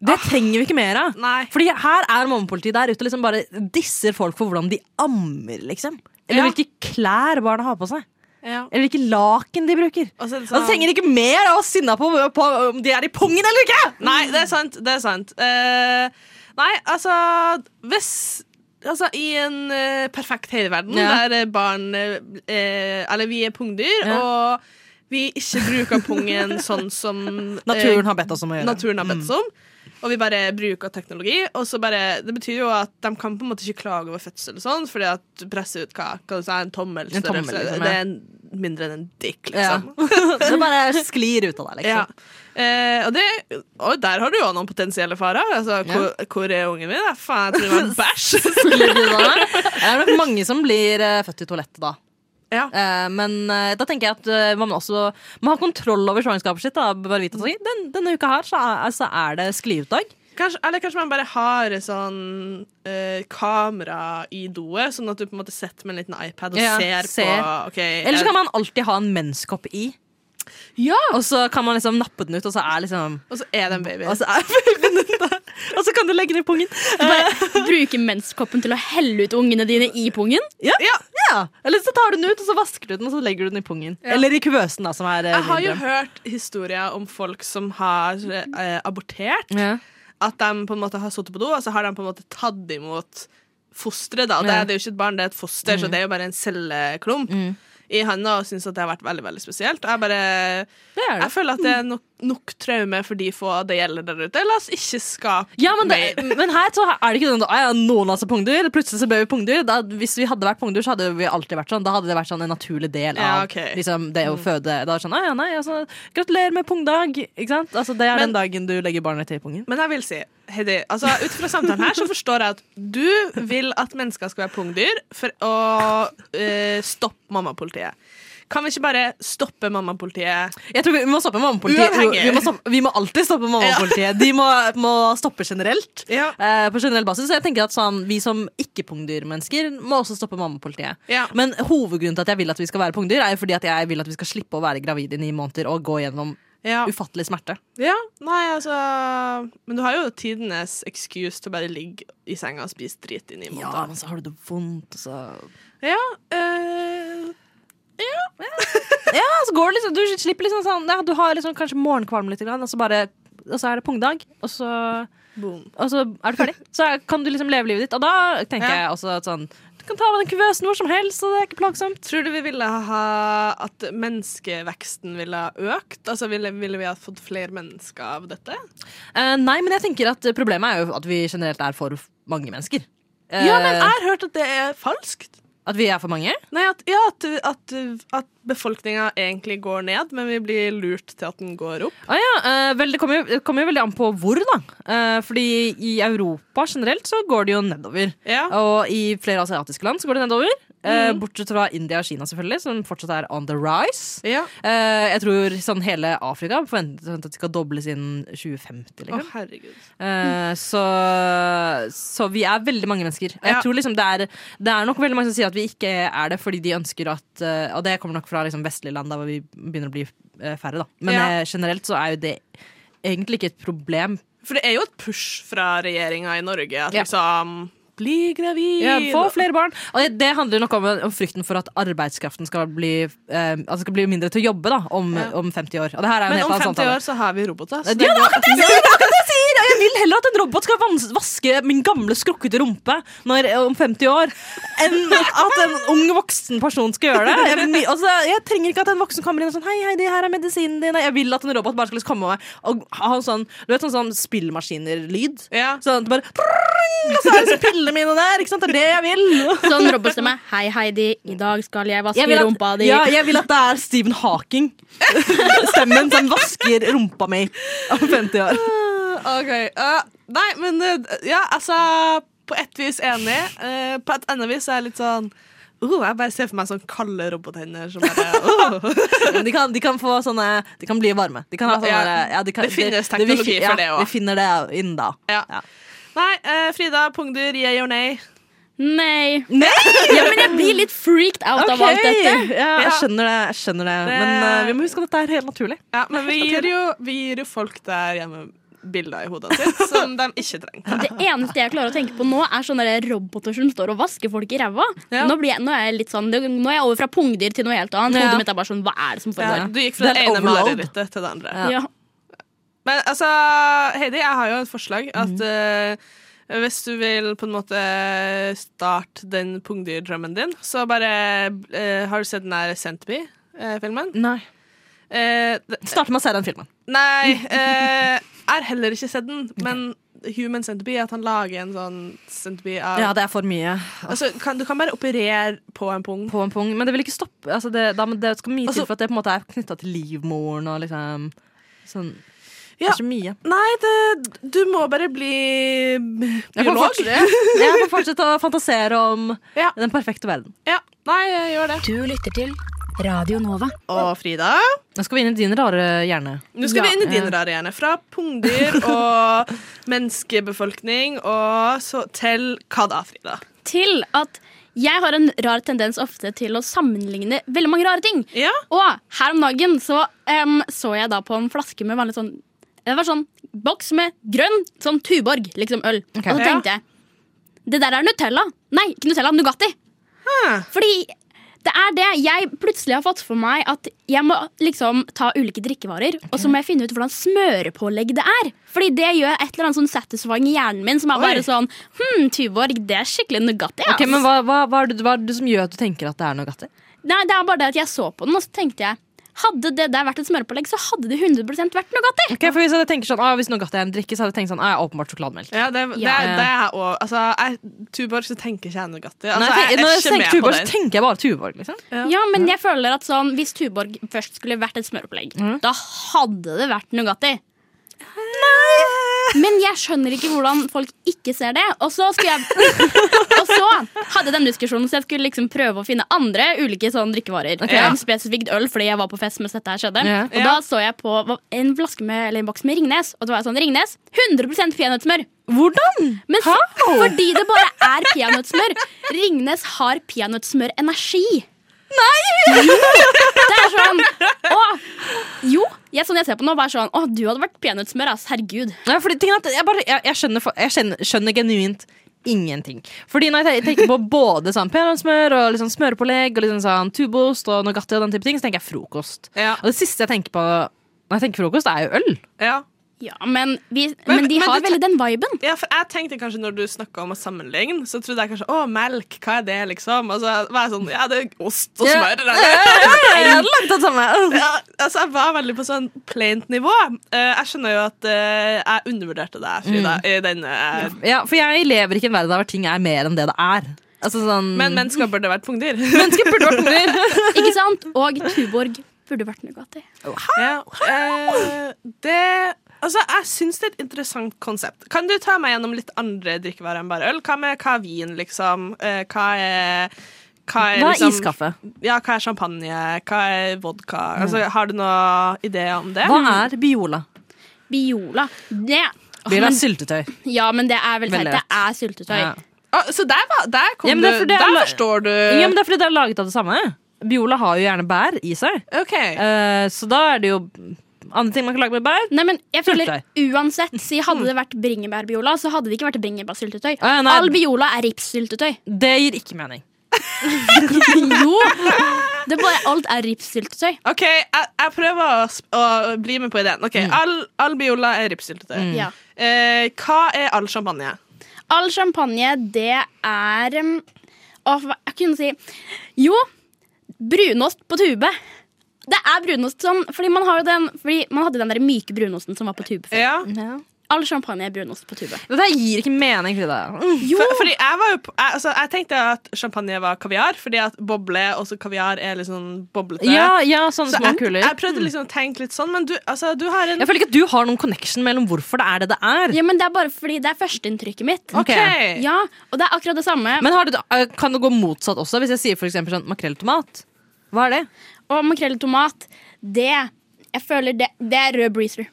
Speaker 6: Det trenger vi ikke mer av.
Speaker 5: Nei.
Speaker 6: Fordi her er mammapolitiet der ute og liksom bare disser folk for hvordan de ammer, liksom.
Speaker 5: Ja.
Speaker 6: Eller hvilke klær barna har på seg.
Speaker 5: Ja.
Speaker 6: Eller hvilke laken de bruker.
Speaker 5: Og så er det
Speaker 6: Og
Speaker 5: sånn-
Speaker 6: det trenger ikke mer av å sinne på, på om de er i pungen eller ikke!
Speaker 5: Nei, det er sant. Det er sant. Eh, nei, altså Hvis Altså, I en eh, perfekt heideverden
Speaker 6: Ja.
Speaker 5: der eh, barn eh, eh, Eller vi er pungdyr,
Speaker 6: Ja.
Speaker 5: og vi ikke bruker pungen sånn som eh,
Speaker 6: Naturen har Mm. bedt oss om å gjøre
Speaker 5: naturen har bedt oss om. Og vi bare bruker teknologi. Og så bare, det betyr jo at de kan på en måte ikke klage over fødsel, og sånn, fordi at du presser ut hva, hva du sa, en tommelstørrelse.
Speaker 6: En tommel, liksom, ja.
Speaker 5: Det er mindre enn en dick, liksom.
Speaker 6: Det bare sklir ut av deg,
Speaker 5: Ja.
Speaker 6: liksom.
Speaker 5: Eh, og, det, og der har du jo noen potensielle farer. Altså, hvor, hvor er ungen min? da? Faen, jeg tror det var en bæsj.
Speaker 6: Sklir ut av deg. Det er nok mange som blir eh, født i toalettet da.
Speaker 5: ja.
Speaker 6: Eh, men eh, da tenker jeg at eh, man må også må ha kontroll over svangerskapet sitt. Da. Bare vite at ok, den, denne uka her så er, altså, er det skliutdag.
Speaker 5: kanskje, eller kanskje man bare har et sånn eh, kamera i doet, sånn at du på en måte setter med en liten iPad og
Speaker 6: Ja,
Speaker 5: ser,
Speaker 6: ser.
Speaker 5: på ok,
Speaker 6: Eller så
Speaker 5: jeg-
Speaker 6: kan man alltid ha en menskopp i. Og så kan man liksom nappe den ut, og så er liksom
Speaker 5: Og så er det en baby.
Speaker 6: Og så, er babyen din der. og så kan du legge den i pungen. Eh,
Speaker 7: Bruke menskoppen til å helle ut ungene dine i pungen.
Speaker 6: Ja. Ja. Eller så tar du den ut, og så vasker du den, og så legger du den i pungen. Eller i kuvøsen, da, som er eh,
Speaker 5: jeg har jo
Speaker 6: mindre.
Speaker 5: hørt historier om folk som har eh, abortert.
Speaker 6: Ja.
Speaker 5: At de på en måte har sittet på do, og så har de på en måte tatt imot fosteret. da. Og Det,
Speaker 6: Ja. Mm.
Speaker 5: det er jo ikke et barn, det er et foster, så det er jo bare en celleklump i handa. Og syns at det har vært veldig veldig spesielt. Og jeg bare,
Speaker 6: Det er det.
Speaker 5: jeg føler at det er nok, nok traume for de få det gjelder der ute. La oss ikke skape
Speaker 6: Ja, men, det,
Speaker 5: mer.
Speaker 6: men her så er det ikke sånn at «Ah, ja, noen av oss er pungdyr. Plutselig så ble vi pungdyr. Da, hvis vi hadde vært pungdyr, så hadde vi alltid vært sånn. Da hadde det vært sånn en naturlig del av
Speaker 5: Ja, ok. Mm.
Speaker 6: liksom, det å føde. Da er det sånn, «Ah, ja, nei, altså, Gratulerer med pungdag! Ikke sant? Altså, det er
Speaker 5: Men-
Speaker 6: den dagen du legger barnet til pungen.
Speaker 5: Men jeg vil si, Heidi, altså ut fra samtalen her så forstår jeg at du vil at mennesker skal være pungdyr for å eh, stoppe mammapolitiet. Kan vi ikke bare stoppe mammapolitiet?
Speaker 6: Jeg tror Vi vi må stoppe mammapolitiet.
Speaker 5: Uavhengig.
Speaker 6: Vi, vi, må stoppe, vi må alltid stoppe mammapolitiet. De må, må stoppe generelt.
Speaker 5: Ja.
Speaker 6: eh, på generell basis. Så jeg tenker at sånn, Vi som ikke-pungdyrmennesker må også stoppe mammapolitiet.
Speaker 5: Ja.
Speaker 6: Men hovedgrunnen til at jeg vil at vi skal være pungdyr, er jo fordi at jeg vil at vi skal slippe å være gravid i ni måneder og gå gjennom
Speaker 5: Ja.
Speaker 6: ufattelig smerte.
Speaker 5: Ja, nei, altså Men du har jo tidenes excuse til å bare ligge i senga og spise drit i ni måneder.
Speaker 6: men så har du det vondt, og så
Speaker 5: Ja, eh,
Speaker 6: Ja, så går det liksom Du slipper liksom sånn ja, Du har liksom kanskje morgenkvalm litt, grann, og så bare og så er det pungdag, og så,
Speaker 5: boom.
Speaker 6: og så er du ferdig. Så kan du liksom leve livet ditt. Og da tenker
Speaker 5: Ja.
Speaker 6: jeg også at sånn Du kan ta med den kuvøsen hvor som helst, og det er ikke plagsomt.
Speaker 5: Tror du vi ville ha at menneskeveksten ville ha økt? Altså ville, ville vi ha fått flere mennesker av dette?
Speaker 6: Eh, nei, men jeg tenker at problemet er jo at vi generelt er for mange mennesker. Eh,
Speaker 5: Ja, men jeg har hørt at det er falskt.
Speaker 6: At vi er for mange?
Speaker 5: Nei, at, ja, at, at, at befolkninga egentlig går ned, men vi blir lurt til at den går opp.
Speaker 6: Ah, ja, eh, vel, det kommer jo, det kommer jo veldig an på hvor, da. Eh, fordi i Europa generelt så går det jo nedover.
Speaker 5: Ja. Mm.
Speaker 6: Og i flere asiatiske land så går det nedover. Eh, bortsett fra India og Kina, selvfølgelig, som fortsatt er on the rise.
Speaker 5: Ja.
Speaker 6: Eh, jeg tror sånn hele Afrika forventer at det skal dobles innen 2050.
Speaker 5: Å,
Speaker 6: Liksom.
Speaker 5: herregud.
Speaker 6: Eh, så, så vi er veldig mange mennesker. Og
Speaker 5: Ja.
Speaker 6: Jeg tror liksom det er, det er nok veldig mange som sier at vi ikke er det fordi de ønsker at eh, Og det kommer nok fra liksom vestlige land, da hvor vi begynner å bli eh, færre, da. Men
Speaker 5: Ja.
Speaker 6: eh, generelt så er jo det egentlig ikke et problem.
Speaker 5: For det er jo et push fra regjeringa i Norge at
Speaker 6: Ja.
Speaker 5: liksom Bli gravid!
Speaker 6: Ja, få flere barn. Og det, det handler nok om, om frykten for at arbeidskraften skal bli, eh, altså skal bli mindre til å jobbe da om,
Speaker 5: Ja.
Speaker 6: om 50 år. Og det her er jo en
Speaker 5: Men
Speaker 6: helt
Speaker 5: om
Speaker 6: annen
Speaker 5: 50
Speaker 6: samtale.
Speaker 5: år så har vi roboter.
Speaker 6: Ja,
Speaker 5: Så
Speaker 6: det er
Speaker 5: går-
Speaker 6: akkurat det jeg sier! Det er akkurat det jeg sier! Og jeg vil heller at en robot skal vans- vaske min gamle skrukkete rumpe når, om 50 år, enn at en ung voksen person skal gjøre det. Jeg, vil my- altså, jeg trenger ikke at en voksen kommer inn og sånn Hei, hei, det her er medisinen din. Jeg vil at en robot bare skal liksom komme med og ha en sånn Du vet sånn, sånn spillmaskiner-lyd?
Speaker 5: ja.
Speaker 6: Sånn at det bare prrrring, Og så er liksom pillene mine der! Ikke sant? Det er det jeg vil.
Speaker 7: Sånn robotstemme. Hei, Heidi. I dag skal jeg vaske
Speaker 6: Jeg vil,
Speaker 7: rumpa
Speaker 6: at,
Speaker 7: di.
Speaker 6: ja, jeg vil at det er Stephen Hawking. Stemmen som vasker rumpa mi om 50 år.
Speaker 5: OK. eh, nei, men eh, Ja, altså På ett vis enig. eh, på et annet vis er jeg litt sånn Uh, jeg bare ser for meg sånn kalde robothender som bare uh.
Speaker 6: Men de kan, de kan få sånne De kan bli varme. De kan ha sånne,
Speaker 5: Ja.
Speaker 6: ja. de kan,
Speaker 5: Det finnes teknologi
Speaker 6: vi,
Speaker 5: for det også.
Speaker 6: Vi finner det inn da.
Speaker 5: ja.
Speaker 6: Ja.
Speaker 5: Nei, eh, Frida, pungdyr, yeah or nay?
Speaker 7: Nei.
Speaker 6: Nei!
Speaker 7: Ja, men jeg blir litt freaked out
Speaker 6: Ok.
Speaker 7: av alt dette.
Speaker 6: Ja,
Speaker 5: Ja.
Speaker 6: jeg skjønner det. Jeg skjønner det. Men
Speaker 5: Det-
Speaker 6: eh, vi må huske at dette er helt naturlig.
Speaker 5: Ja, men vi gir, jo, vi gir jo folk der hjemme bilder i hodet sitt som de ikke trenger.
Speaker 7: Det eneste jeg klarer å tenke på nå, er sånne der roboter som står og vasker folk i ræva.
Speaker 5: Ja.
Speaker 7: Nå, blir jeg- nå er jeg litt sånn Nå er jeg over fra pungdyr til noe helt annet.
Speaker 6: Ja.
Speaker 7: Hodet mitt er bare sånn Hva er det som
Speaker 5: Ja,
Speaker 7: foregår?
Speaker 5: du gikk fra
Speaker 6: Det
Speaker 5: det
Speaker 6: er
Speaker 5: ene
Speaker 6: overload.
Speaker 5: marerittet til det andre.
Speaker 6: Ja.
Speaker 7: Ja.
Speaker 5: Men altså, Heidi, jeg har jo et forslag. At eh, hvis du vil på en måte starte den pungdyrdrømmen din, så bare eh, Har du sett den der Sent Me-filmen?
Speaker 6: Nei. Starte med å se den filmen.
Speaker 5: Eh, nei, eh, jeg har heller ikke sett den, men Human Centipede, at han lager en sånn centipede av
Speaker 6: Ja, det er for mye
Speaker 5: altså, kan, Du kan bare operere på en pung.
Speaker 6: på en pung, men det vil ikke stoppe. Altså, det, da, men det skal mye
Speaker 5: Altså-
Speaker 6: til for at det på en måte er knytta til livmoren og liksom sånn. Det
Speaker 5: Ja.
Speaker 6: er så mye.
Speaker 5: Nei, det, du må bare bli
Speaker 6: Jeg får,
Speaker 5: biolog.
Speaker 6: fortsette, jeg får fortsette å fantasere om
Speaker 5: Ja.
Speaker 6: den perfekte verden.
Speaker 5: Ja, nei, gjør det.
Speaker 1: Du lytter til Radio Nova.
Speaker 5: Og Frida?
Speaker 6: Nå skal vi inn i din rare hjerne.
Speaker 5: Nå skal
Speaker 7: Ja.
Speaker 5: vi inn i
Speaker 6: eh.
Speaker 5: din rare hjerne. Fra pungdyr og menneskebefolkning og så til hva da, Frida?
Speaker 7: Til at jeg har en rar tendens ofte til å sammenligne veldig mange rare ting.
Speaker 5: Ja,
Speaker 7: Og her om dagen så em, så jeg da på en flaske med vanlig sånn Det var sånn boks med grønn sånn Tuborg, liksom øl.
Speaker 6: Ok.
Speaker 7: Og så tenkte jeg Det der er Nutella. Nei, ikke Nutella, Nugatti. Fordi det er det jeg plutselig har fått for meg at jeg må liksom ta ulike drikkevarer, og så må jeg finne ut hvordan smørepålegg det er. Fordi det gjør et eller annet sånn satisfying i hjernen min som er
Speaker 5: Oi.
Speaker 7: bare sånn Hm, Tuborg, det er skikkelig Nugatti.
Speaker 6: Ok, men hva, hva, hva, er det, hva er det som gjør at du tenker at det er Nugatti?
Speaker 7: Nei, det er bare det at jeg så på den, og så tenkte jeg Hadde det der vært et smørpålegg, så hadde det 100 vært Nugatti.
Speaker 6: Ok, for Hvis jeg hadde tenkt sånn, ah, hvis Nugatti er en drikke, så hadde jeg tenkt sånn, ah, åpenbart sjokolademelk.
Speaker 5: ja det, det,
Speaker 7: Ja.
Speaker 5: det er òg altså, jeg- Tuborg, så tenker ikke jeg Nugatti. Altså,
Speaker 6: eh. Nei,
Speaker 5: jeg
Speaker 6: jeg, tenker- når jeg
Speaker 5: er ikke med
Speaker 6: tenker Tuborg,
Speaker 5: på
Speaker 6: så
Speaker 5: den.
Speaker 6: tenker jeg bare Tuborg. liksom.
Speaker 7: Ja. men jeg føler at sånn, hvis Tuborg først skulle vært et smørpålegg,
Speaker 6: Mm.
Speaker 7: da hadde det vært Nugatti. Men jeg skjønner ikke hvordan folk ikke ser det. Og så, skulle jeg, og så hadde jeg den diskusjonen, så jeg skulle liksom prøve å finne andre ulike sånn drikkevarer.
Speaker 6: Ok.
Speaker 7: Ja. Spesifikt øl, fordi jeg var på fest mens dette her skjedde.
Speaker 6: Ja.
Speaker 7: Og da så jeg på en flaske med, eller en boks med Ringnes, og det var sånn Ringnes 100 peanøttsmør.
Speaker 6: Hvordan?
Speaker 7: Men så, fordi det bare er peanøttsmør. Ringnes har peanøttsmørenergi. Nei! Jo! Det er sånn Å, jo. Jeg, sånn jeg ser på nå, bare sånn Å, du hadde vært peanøttsmør, ass. Herregud.
Speaker 6: Nei, fordi, tingen er at jeg, bare, jeg, jeg, skjønner, for- jeg skjønner, skjønner genuint ingenting. Fordi når jeg te- tenker på både sånn peanøttsmør og liksom smørpålegg og liksom sånn tubost og Nugatti og den type ting, så tenker jeg frokost.
Speaker 5: Ja,
Speaker 6: Og det siste jeg tenker på når jeg tenker frokost, er jo øl.
Speaker 5: ja.
Speaker 7: Ja, men, vi,
Speaker 5: Men-
Speaker 7: men, de
Speaker 5: men
Speaker 7: har
Speaker 5: du-
Speaker 7: veldig den viben.
Speaker 5: ja, for jeg tenkte kanskje når du snakka om å sammenligne, så trodde jeg kanskje å, melk, hva er det, liksom? Og så var jeg sånn Ja, det er ost og smør. det er det.
Speaker 6: Jeg hadde lagt det samme.
Speaker 5: Ja, altså Jeg var veldig på sånn plaint nivå. Eh, jeg skjønner jo at eh, jeg undervurderte deg, Frida, i eh, denne
Speaker 6: Mm. Ja, for jeg lever ikke i en verden der ting er mer enn det det er. Altså sånn
Speaker 5: Men mennesker burde vært pungdyr.
Speaker 6: mennesker burde vært unger.
Speaker 7: Ikke sant? Og Tuborg burde vært Nugatti.
Speaker 5: Ja, eh, det Altså, jeg syns det er et interessant konsept. Kan du ta meg gjennom litt andre drikkevarer enn bare øl? Hva med hva er vin, liksom? Eh, hva er hva er,
Speaker 6: Hva er
Speaker 5: liksom,
Speaker 6: iskaffe?
Speaker 5: Ja, hva er champagne? Hva er vodka? Altså, har du noen ideer om det? Mm.
Speaker 6: Hva er Biola?
Speaker 7: Biola. Det Åh,
Speaker 6: Biola
Speaker 7: men,
Speaker 6: er syltetøy.
Speaker 7: ja, men det er vel
Speaker 6: Veldig
Speaker 7: teit. Det er syltetøy.
Speaker 6: Ja.
Speaker 5: Å, Ah, så der, var, der kom
Speaker 6: Ja, men det er
Speaker 5: du
Speaker 6: fordi det er
Speaker 5: Der
Speaker 6: la-
Speaker 5: forstår du
Speaker 6: ja, men Det er fordi det er laget av det samme. Biola har jo gjerne bær i seg.
Speaker 5: OK.
Speaker 6: Eh, så da er det jo andre ting man kan lage med bær.
Speaker 7: Nei, men jeg føler
Speaker 6: Syltetøy.
Speaker 7: uansett, si Hadde det vært bringebærbiola, så hadde det ikke vært bringebærsyltetøy.
Speaker 6: Ah, ja, nei.
Speaker 7: All biola er ripssyltetøy.
Speaker 6: Det gir ikke mening.
Speaker 7: Jo! Det er bare alt er ripssyltetøy.
Speaker 5: Ok, jeg, jeg prøver å, sp- å bli med på ideen. Ok,
Speaker 6: Mm.
Speaker 5: all, all biola er ripssyltetøy.
Speaker 7: Ja.
Speaker 5: Eh, hva er all champagne?
Speaker 7: All champagne, det er um, Å, hva jeg kunne si Jo, brunost på tube. Det er brunost som Fordi man, har jo den, fordi man hadde den der myke brunosten som var på tube før.
Speaker 5: Ja.
Speaker 7: All champagne er brunost på tube.
Speaker 6: Dette her gir ikke mening, Frida. Mm.
Speaker 5: For, fordi jeg, var jo, på- jeg, altså, jeg tenkte at champagne var kaviar, fordi at boble og så kaviar er litt sånn boblete.
Speaker 6: Ja, ja, sånne
Speaker 5: så
Speaker 6: små
Speaker 5: jeg,
Speaker 6: kuler. Mm.
Speaker 5: jeg prøvde liksom å tenke litt sånn, men du, altså, du har en
Speaker 6: Jeg føler ikke at du har noen connection mellom hvorfor det er det det er.
Speaker 7: Ja, men Det er bare fordi det er førsteinntrykket mitt.
Speaker 6: Ok.
Speaker 5: Ok.
Speaker 7: Ja, Og det er akkurat det samme.
Speaker 6: Men har du, eh, kan det gå motsatt også, hvis jeg sier for eksempel sånn makrell i tomat? Hva er det?
Speaker 7: Og makrell i tomat, det Jeg føler det, det er rød breezer.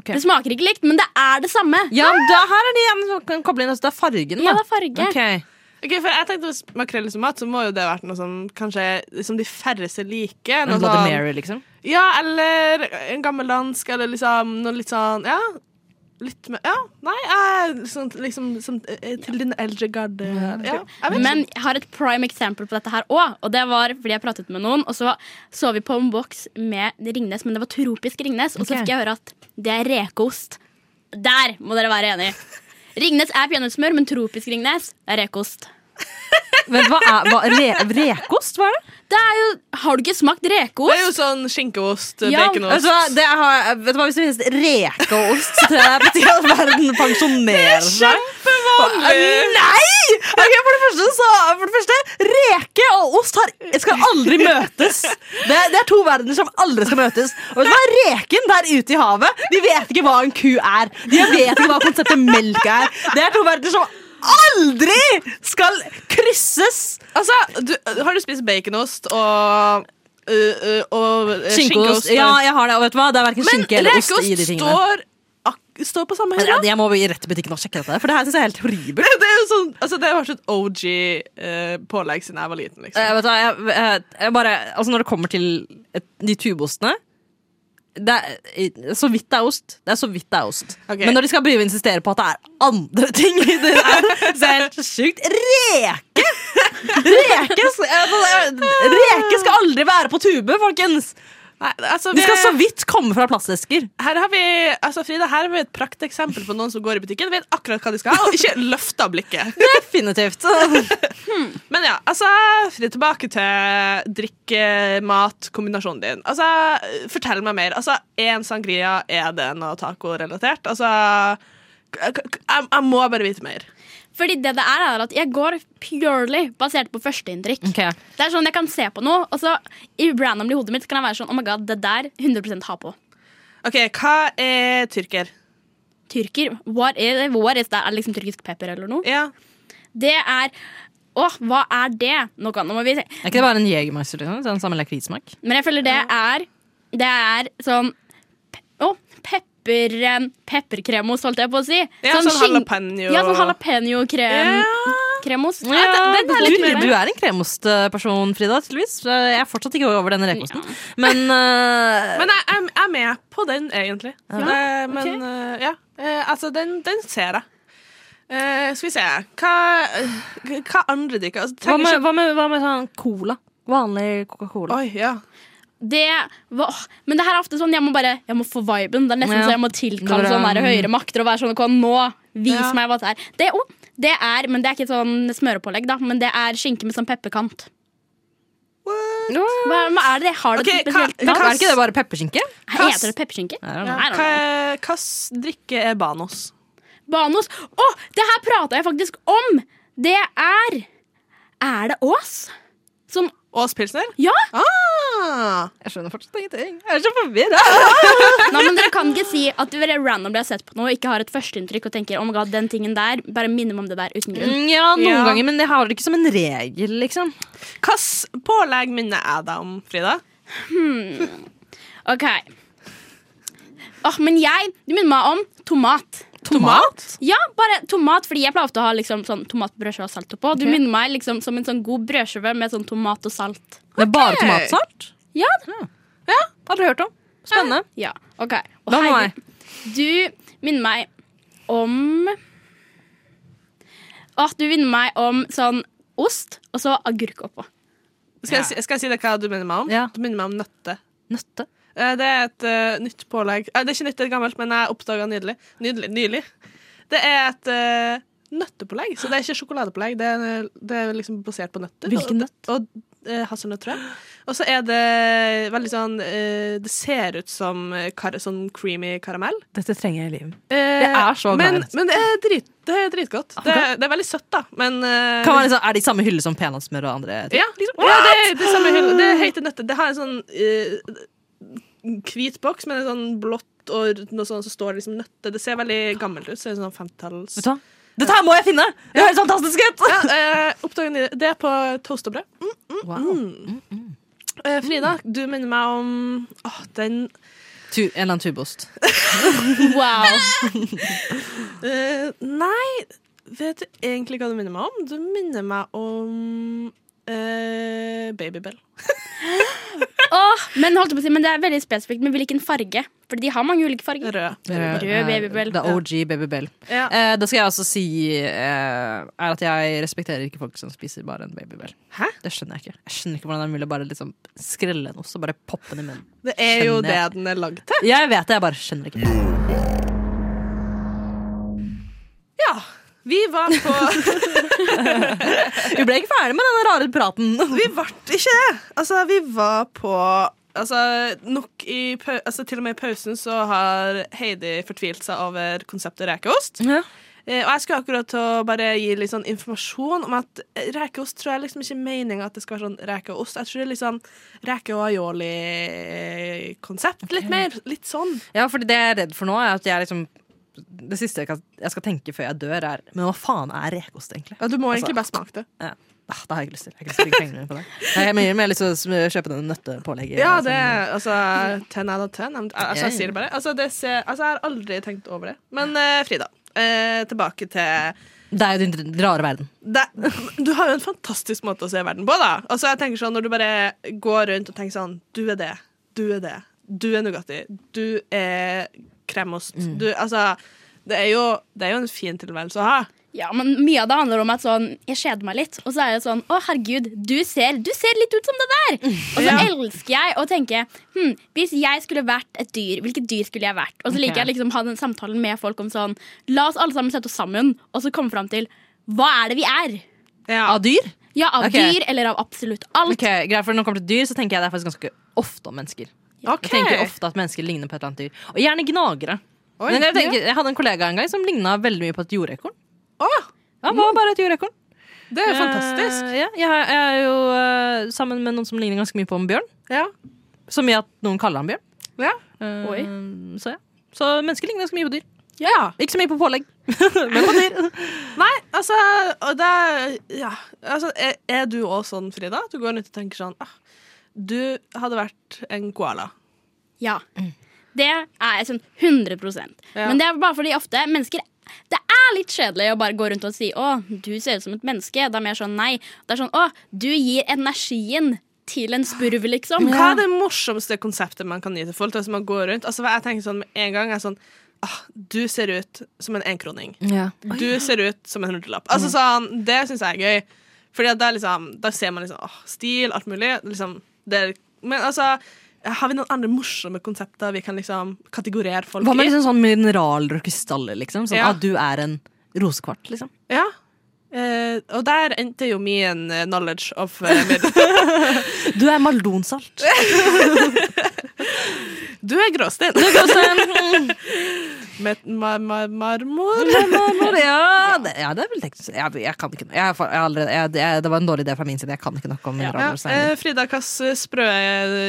Speaker 6: Ok.
Speaker 7: Det smaker ikke likt, men det er det samme.
Speaker 6: Ja, da, her er det igjen som kan koble inn, altså, det er fargen.
Speaker 7: Ja, det er farge.
Speaker 6: Ok.
Speaker 5: Ok, for jeg tenkte Hvis makrell i tomat, så må jo det vært noe som kanskje som de færreste liker.
Speaker 6: En
Speaker 5: Noe
Speaker 6: Bloody
Speaker 5: sånn-
Speaker 6: Mary, liksom.
Speaker 5: Ja, eller en gammeldansk, eller liksom noe litt sånn Ja. Litt mer Ja, nei, jeg, er sånn, liksom sånn, eh, Til din eldre garde. Ja, jeg vet
Speaker 7: Men jeg har et prime eksempel på dette her òg. Og det var fordi jeg pratet med noen, og så så vi på en boks med Ringnes, men det var tropisk Ringnes, og så
Speaker 1: Ok.
Speaker 7: fikk jeg høre at det er rekeost. Der må dere være enige. Ringnes er peanøttsmør, men tropisk Ringnes er rekeost.
Speaker 6: Men hva er hva, re, Rekost, hva er det?
Speaker 7: Det er jo Har du ikke smakt
Speaker 5: Det er jo
Speaker 7: rekeost?
Speaker 5: sånn skinkeost,
Speaker 7: Ja,
Speaker 6: Vet
Speaker 5: baconost
Speaker 6: du hva, det har, vet du hva hvis det finnes rekeost, så tror jeg det betyr at verden pensjonerer seg.
Speaker 5: Kjempevanlig!
Speaker 6: Nei! Ok, for, det første, så, for det første, reke og ost har, skal aldri møtes. Det, det er to verdener som aldri skal møtes. Og vet du hva, Reken der ute i havet De vet ikke hva en ku er. De vet ikke hva konseptet melk er. Det er to verdener som aldri skal krysses.
Speaker 5: Altså, du, har du spist baconost og uh, uh, og eh, skinkeost?
Speaker 6: Ja, jeg har det. Og vet du hva, det er verken
Speaker 5: Men
Speaker 6: skinke eller ost i de
Speaker 5: rekeost
Speaker 6: tingene.
Speaker 5: står, ak- står på samme
Speaker 6: Men
Speaker 5: hylle.
Speaker 6: Jeg må i rett butikken og sjekke dette, for det her synes jeg er helt horribelt.
Speaker 5: Det er jo sånn, altså det har vært et OG-pålegg siden jeg var liten.
Speaker 6: Eh,
Speaker 5: liksom.
Speaker 6: vet du, hva, jeg, jeg, jeg bare, altså når det kommer til et, de tubostene det er så vidt det er ost. Det er så vidt det er ost.
Speaker 5: Ok.
Speaker 6: Men når de skal begynne å insistere på at det er andre ting i det der, så er det helt sjukt. Reke! Reke, s- eh, altså, eh, reke skal aldri være på tube, folkens!
Speaker 5: Nei, altså,
Speaker 6: De
Speaker 5: vi-
Speaker 6: skal så vidt komme fra plastesker.
Speaker 5: Her har vi, altså Frida, her har vi et prakteksempel på noen som går i butikken, vet akkurat hva de skal ha, og ikke løfter blikket.
Speaker 6: Definitivt.
Speaker 5: Men ja, altså, Frida, tilbake til drikke-mat-kombinasjonen din. Altså, Fortell meg mer. Altså, Én sangria, er det noe taco-relatert? Altså, k- k- jeg, jeg må bare vite mer.
Speaker 7: Fordi det det er, er at jeg går purely basert på førsteinntrykk. Det er sånn Jeg kan se på noe, og så i randomly i hodet mitt kan jeg være sånn Oh my god, det der 100 ha på.
Speaker 5: OK, hva er tyrker?
Speaker 7: Tyrker. What is, what is that? Er det liksom tyrkisk pepper eller noe?
Speaker 5: Ja.
Speaker 7: Det er Åh, hva er det? Nå kan nå må vi se.
Speaker 6: Er ikke det bare en Jegermeister? Liksom? Sånn Samme lakrismak?
Speaker 7: Men jeg føler det er Det er sånn pe Å, pepper eh, Pepperkremos, holdt jeg på å si.
Speaker 5: Ja, sånn
Speaker 7: skinn-
Speaker 5: jalapeno.
Speaker 7: Ja, sånn jalapeño-krem. Kremos. Ja, det, det er litt
Speaker 6: du,
Speaker 7: mer.
Speaker 6: du er en kremostperson, Frida. tydeligvis Jeg er fortsatt ikke over den rekeosten. Men, eh,
Speaker 5: Men jeg, jeg, jeg er med på den, egentlig. Eh, men
Speaker 7: ok.
Speaker 5: eh, ja, Eh, altså, den, den ser jeg. Eh, skal vi se Hva, hva andre drikker altså,
Speaker 6: hva,
Speaker 5: trenger
Speaker 6: med,
Speaker 5: ikke-
Speaker 6: hva, med, hva med sånn cola? Vanlig Coca-Cola.
Speaker 5: Oi, ja.
Speaker 7: Det var, åh, men det her er ofte sånn Jeg må bare jeg må få viben. Det er nesten
Speaker 6: Ja.
Speaker 7: så jeg må
Speaker 6: Når
Speaker 7: tilkalle
Speaker 6: det er-
Speaker 7: sånne der høyere makter og være sånn «Kom, Nå, vis
Speaker 5: Ja.
Speaker 7: meg hva det er. Det, å, det er, men det er ikke sånn smørepålegg, da. Men det er skinke med sånn pepperkant. Hva, hva er det? det? Har det
Speaker 5: Ok,
Speaker 7: et spesielt
Speaker 5: hva-
Speaker 6: Ja,
Speaker 7: navn?
Speaker 6: er ikke det bare pepperskinke?
Speaker 7: Her Heter det pepperskinke?
Speaker 6: Ja,
Speaker 7: I don't
Speaker 5: Hva
Speaker 7: know.
Speaker 5: slags drikke er Banos?
Speaker 7: Banos. Å, det her prata jeg faktisk om! Det er Er det Ås? Som
Speaker 5: Ås Pilsner?
Speaker 7: Ja!
Speaker 5: Ah!
Speaker 6: Jeg skjønner fortsatt ingenting. Jeg er så forvirra.
Speaker 7: Nei, men Dere kan ikke si at du bare randomly har sett på noe og ikke har et førsteinntrykk og tenker oh my god, den tingen der, bare minner meg om det der uten grunn.
Speaker 6: Mm, Ja, noen
Speaker 5: Ja.
Speaker 6: ganger, men jeg har det ikke som en regel, liksom.
Speaker 5: Hvilket pålegg minner jeg deg om, Frida?
Speaker 7: Ok. Åh, men jeg, du minner meg om tomat.
Speaker 5: Tomat?
Speaker 7: Ja, bare tomat, fordi jeg pleier ofte å ha liksom, sånn tomat på brødskive og salt oppå. Du minner meg liksom som en sånn god brødskive med sånn tomat og salt.
Speaker 6: Det er bare tomatsalt.
Speaker 7: Ja,
Speaker 6: Aldri hørt om. Spennende.
Speaker 7: ja ok. Og
Speaker 6: Hva med
Speaker 7: herregud,
Speaker 6: meg?
Speaker 7: Du minner meg om Åh, du minner meg om sånn ost og så agurk oppå.
Speaker 5: Skal, jeg, si- skal jeg si deg hva du minner meg om?
Speaker 6: Ja.
Speaker 5: Du minner meg om nøtte.
Speaker 6: Nøtte.
Speaker 5: Eh, Det er et eh, nytt pålegg. Eh, det er ikke nytt, det er gammelt, men jeg oppdaga nydelig. Nydelig, nylig. Det er et eh, nøttepålegg, så det er ikke sjokoladepålegg. Det er, eh, det er liksom basert på nøtter.
Speaker 6: Hvilken nøtt?
Speaker 5: Og, og eh, hasselnøtt, tror jeg. Og så er det veldig sånn eh, Det ser ut som eh, kar sånn creamy karamell.
Speaker 6: Dette trenger jeg i livet.
Speaker 5: Eh,
Speaker 6: er så glad i
Speaker 5: men,
Speaker 6: nøtt.
Speaker 5: men det er, drit, det er dritgodt. Det, er- det er veldig søtt, da, men eh,
Speaker 6: Kan være liksom, er det i samme hylle som peanøttsmør og andre ting?
Speaker 5: ja, liksom, ja, det, er- det er samme hylle. Det heter nøtter. Det har en sånn eh, hvit boks med en sånn blått og noe sånt, så står det liksom nøtte. Det ser veldig gammelt ut. Ser ut som sånn femtitalls...
Speaker 6: Vet du hva? Dette her må jeg finne! Det høres fantastisk ut!
Speaker 5: Ja, eh, oppdagen i det. Det er på toast og brød.
Speaker 6: Wow.
Speaker 5: Eh, Frida, du minner meg om åh, den
Speaker 6: Tu, en eller annen tubeost.
Speaker 7: Wow.
Speaker 5: eh, Nei, vet du egentlig hva du minner meg om? Du minner meg om eh, Babybell.
Speaker 7: Åh, men, holdt jeg på å si, men det er veldig spesifikt. Men hvilken farge? Fordi de har mange ulike farger.
Speaker 5: Rød.
Speaker 7: Rød
Speaker 6: Eh,
Speaker 7: babybell.
Speaker 6: Det er OG babybell.
Speaker 5: Ja.
Speaker 6: Eh, det skal jeg også si eh, er at jeg respekterer ikke folk som spiser bare en babybell.
Speaker 5: Hæ?
Speaker 6: Det skjønner jeg ikke. Jeg skjønner ikke hvordan det er mulig å bare liksom skrelle en ost og bare poppe den i munnen.
Speaker 5: Det er jo
Speaker 6: Skjønner
Speaker 5: det
Speaker 6: jeg.
Speaker 5: den er lagd til.
Speaker 6: Jeg vet det, jeg bare skjønner ikke.
Speaker 5: Ja. Vi var på
Speaker 6: Vi ble ikke ferdig med denne rare praten.
Speaker 5: Vi ble ikke det! Altså, vi var på Altså, nok i pau altså, Til og med i pausen så har Heidi fortvilt seg over konseptet rekeost.
Speaker 6: Ja.
Speaker 5: Eh, og jeg skulle akkurat til å bare gi litt sånn informasjon om at rekeost tror jeg liksom ikke er meninga at det skal være sånn rekeost. Jeg tror det er litt sånn reke- og aioli-konsept. Litt mer. Litt sånn.
Speaker 6: Ja, fordi det jeg er redd for nå, er at jeg liksom Det siste jeg, kan, jeg skal tenke før jeg dør, er Men hva faen er rekost, egentlig?
Speaker 5: Ja, du må
Speaker 6: Altså-
Speaker 5: egentlig bare smake det.
Speaker 6: Ja. Ah, det har jeg ikke lyst til. Jeg har ikke lyst til å bruke pengene mine på det. Jeg har mye mer lyst til å sm- kjøpe denne nøttepålegget.
Speaker 5: Ja, det
Speaker 6: som-
Speaker 5: er altså ten out of ten. I'm- Altså, jeg sier det bare. Altså, det ser, altså, jeg har aldri tenkt over det. Men eh, Frida, eh, tilbake til
Speaker 6: det er jo din rare verden.
Speaker 5: det, Du har jo en fantastisk måte å se verden på, da. Altså, jeg tenker sånn, Når du bare går rundt og tenker sånn Du er det. Du er det. Du er Nugatti. Du er kremost.
Speaker 6: Mm.
Speaker 5: Du Altså, det er, jo, det er jo en fin tilværelse å ha.
Speaker 7: Ja, men Mye av det handler om at sånn, jeg kjeder meg litt. Og så er det sånn Å, herregud, du ser, du ser litt ut som det der! Og så
Speaker 5: Ja.
Speaker 7: elsker jeg å tenke hm, Hvis jeg skulle vært et dyr, hvilket dyr skulle jeg vært? Og så liker jeg liksom å ha den samtalen med folk om sånn La oss alle sammen sette oss sammen og så komme fram til Hva er det vi er?
Speaker 5: Ja.
Speaker 6: Av dyr?
Speaker 7: Ja, av
Speaker 6: Ok.
Speaker 7: dyr eller av absolutt alt.
Speaker 6: Ok, greit, for Når det kommer til dyr, så tenker jeg det er faktisk ganske ofte om mennesker.
Speaker 5: OK.
Speaker 6: Jeg tenker ofte at mennesker ligner på et eller annet dyr. Og gjerne gnagere.
Speaker 5: Oi.
Speaker 6: Men jeg, tenker, jeg hadde en kollega en gang som ligna veldig mye på et jordekorn.
Speaker 5: Å,
Speaker 6: Ja, han var bare et jordekorn.
Speaker 5: det er jo fantastisk.
Speaker 6: Eh, ja, jeg, er- jeg er jo eh, sammen med noen som ligner ganske mye på en bjørn.
Speaker 5: Ja.
Speaker 6: Så mye at noen kaller han bjørn.
Speaker 5: Ja.
Speaker 6: Eh,
Speaker 7: Oi.
Speaker 6: Så ja. Så mennesker ligner ganske mye på dyr.
Speaker 5: ja.
Speaker 6: Ikke så mye på pålegg, men på dyr.
Speaker 5: Nei, altså, og det, ja, altså er, er du også sånn, Frida? Du går rundt og tenker sånn ah, Du hadde vært en koala.
Speaker 7: Ja.
Speaker 6: Mm.
Speaker 7: Det er jeg sånn 100
Speaker 5: Ja.
Speaker 7: Men det er bare fordi ofte mennesker Det er litt kjedelig å bare gå rundt og si 'Å, du ser ut som et menneske'. Da er mer sånn nei. Det er sånn 'Å, du gir energien til en spurv', liksom.
Speaker 5: Hva er det morsomste konseptet man kan gi til folk? Altså, man går rundt, altså, jeg tenker sånn med en gang er sånn ah, Du ser ut som en enkroning. Du ser ut som en hundrelapp. Altså, sånn, det syns jeg er gøy. Fordi at det er liksom, da ser man liksom åh, stil, alt mulig. Liksom, det er, men altså har vi noen andre morsomme konsepter vi kan liksom kategorere folk
Speaker 6: Hva med
Speaker 5: i?
Speaker 6: liksom sånn mineraler og krystaller? liksom? Sånn
Speaker 5: Ja.
Speaker 6: at du er en rosekvart, liksom.
Speaker 5: Ja. Eh, og der endte jo min eh, knowledge of eh, med,
Speaker 6: Du er maldonsalt.
Speaker 5: Du er gråstein!
Speaker 6: Gråstein.
Speaker 5: med ma ma marmor.
Speaker 6: eh, ja, det, ja, det er vel teknisk Jeg, jeg kan ikke noe. Jeg, er for- jeg, har allerede- jeg, det- det var en dårlig idé fra min side. Jeg kan ikke nok om mineraler.
Speaker 5: Ja,
Speaker 6: og
Speaker 5: eh,
Speaker 6: steiner.
Speaker 5: Frida, hvilke sprø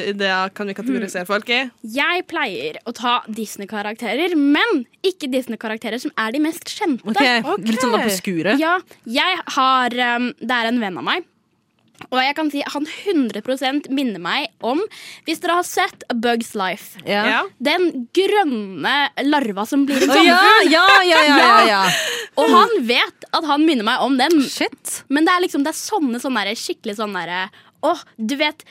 Speaker 5: ideer kan vi
Speaker 6: Mm.
Speaker 5: kategorisere folk i?
Speaker 7: Jeg pleier å ta Disney-karakterer, men ikke Disney-karakterer som er de mest kjente.
Speaker 6: Ok,
Speaker 5: ok.
Speaker 6: Litt sånn obskure.
Speaker 7: Ja, jeg har um, Det er en venn av meg. Og jeg kan si han 100 minner meg om Hvis dere har sett A Bug's Life.
Speaker 6: Ja.
Speaker 5: Ja.
Speaker 7: Den grønne larva som blir en
Speaker 6: Å, ja,
Speaker 7: sommerfugl.
Speaker 6: ja, ja, ja, ja, ja.
Speaker 7: Og han vet at han minner meg om den.
Speaker 6: Shit.
Speaker 7: Men det er liksom, det er sånne, sånne der, skikkelig sånne derre Åh, du vet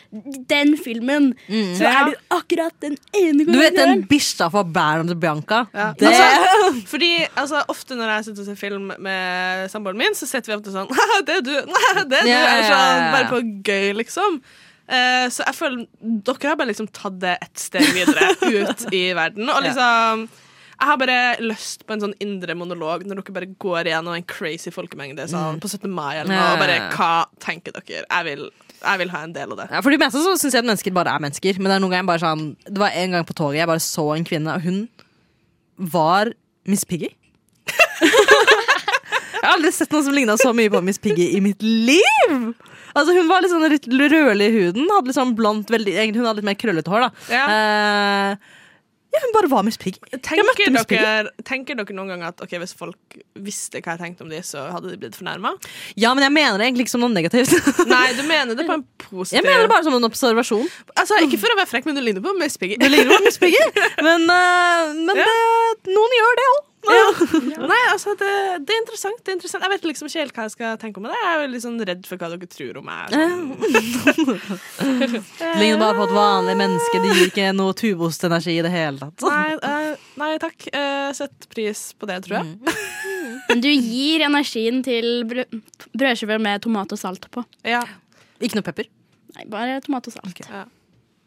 Speaker 7: den filmen. Så
Speaker 5: Ja.
Speaker 7: er du akkurat den ene
Speaker 6: Mm. Du vet den
Speaker 7: karakteren.
Speaker 6: bikkja fra Bern og Bianca?
Speaker 5: Ja.
Speaker 6: Det
Speaker 5: Altså, fordi altså, Ofte når jeg sitter og ser film med samboeren min, så sitter vi ofte sånn «Haha, Det er du! Haha, Det er du!
Speaker 6: Ja, ja, ja,
Speaker 5: Er sånn,
Speaker 6: ja.
Speaker 5: bare på gøy, liksom. Eh, så jeg føler dere har bare liksom tatt det ett steg videre ut i verden. Og liksom Jeg har bare lyst på en sånn indre monolog når dere bare går igjennom en crazy folkemengde sånn, på 17. mai eller noe,
Speaker 6: Mm. Ja, ja,
Speaker 5: og bare
Speaker 6: ja.
Speaker 5: Hva tenker dere? Jeg vil, jeg vil ha en del av det.
Speaker 6: Ja, for det meste så synes jeg at mennesker bare er mennesker. Men det er noen ganger bare sånn Det var en gang på toget jeg bare så en kvinne, og hun var Miss Piggy. jeg har aldri sett noen som ligna så mye på Miss Piggy i mitt liv! Altså Hun var litt sånn litt rødlig i huden. Hadde litt sånn blondt, veldig, egentlig hun hadde litt mer krøllete hår. da
Speaker 5: Ja.
Speaker 6: Eh, ja, Hun bare var Miss Piggy. Jeg møtte
Speaker 5: Tenker
Speaker 6: Miss Piggy.
Speaker 5: dere, tenker dere noen gang at ok, hvis folk visste hva jeg tenkte om dem, så hadde de blitt fornærma?
Speaker 6: Ja, men jeg mener det egentlig ikke som noe negativt.
Speaker 5: Nei, du mener det på en positiv
Speaker 6: Jeg mener det bare som en observasjon.
Speaker 5: altså, Ikke for å være frekk, men du ligner på Miss Piggy.
Speaker 6: Det ligner på Miss Piggy, men, eh, men
Speaker 5: Ja.
Speaker 6: det, noen gjør det òg.
Speaker 5: Nei, altså, det, det er interessant. det er interessant Jeg vet liksom ikke helt hva jeg skal tenke om det. Jeg er jo litt sånn redd for hva dere tror om meg. Eh, Sånn.
Speaker 6: Det ligner bare på et vanlig menneske. Det gir ikke noe tubostenergi i det hele tatt.
Speaker 5: Nei, eh, nei takk. Eh, Sett pris på det, tror jeg.
Speaker 7: Men du gir energien til brø brødskiver med tomat og salt på.
Speaker 5: Ja.
Speaker 6: Ikke noe pepper.
Speaker 7: Nei, bare tomat og salt.
Speaker 5: ja.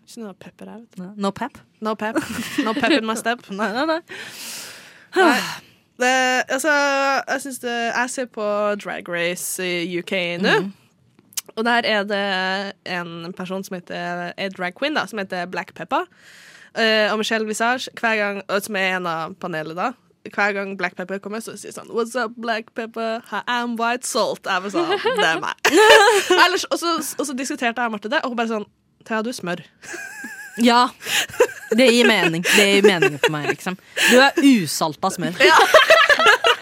Speaker 5: Ikke noe pepper her. vet du.
Speaker 6: No pep.
Speaker 5: No pep. No pep in my step.
Speaker 6: Nei, nei, nei.
Speaker 5: Det, altså, jeg, synes det, jeg ser på Drag Race i UK nå. Og der er det en person som heter er drag queen, da, som heter Black Peppa. Eh, og Michelle Visage, hver gang, og som er en av panelet, da. Hver gang Black Pepper kommer, så sier sånn What's up, Black Pepper? I am white salt. Jeg bare sånn, Det er meg. Ellers, og, så, og så diskuterte jeg og Marte det, og hun bare sånn Thea, du er smør.
Speaker 6: Ja. Det gir mening. Det gir mening for meg, liksom. Du er usalta smør.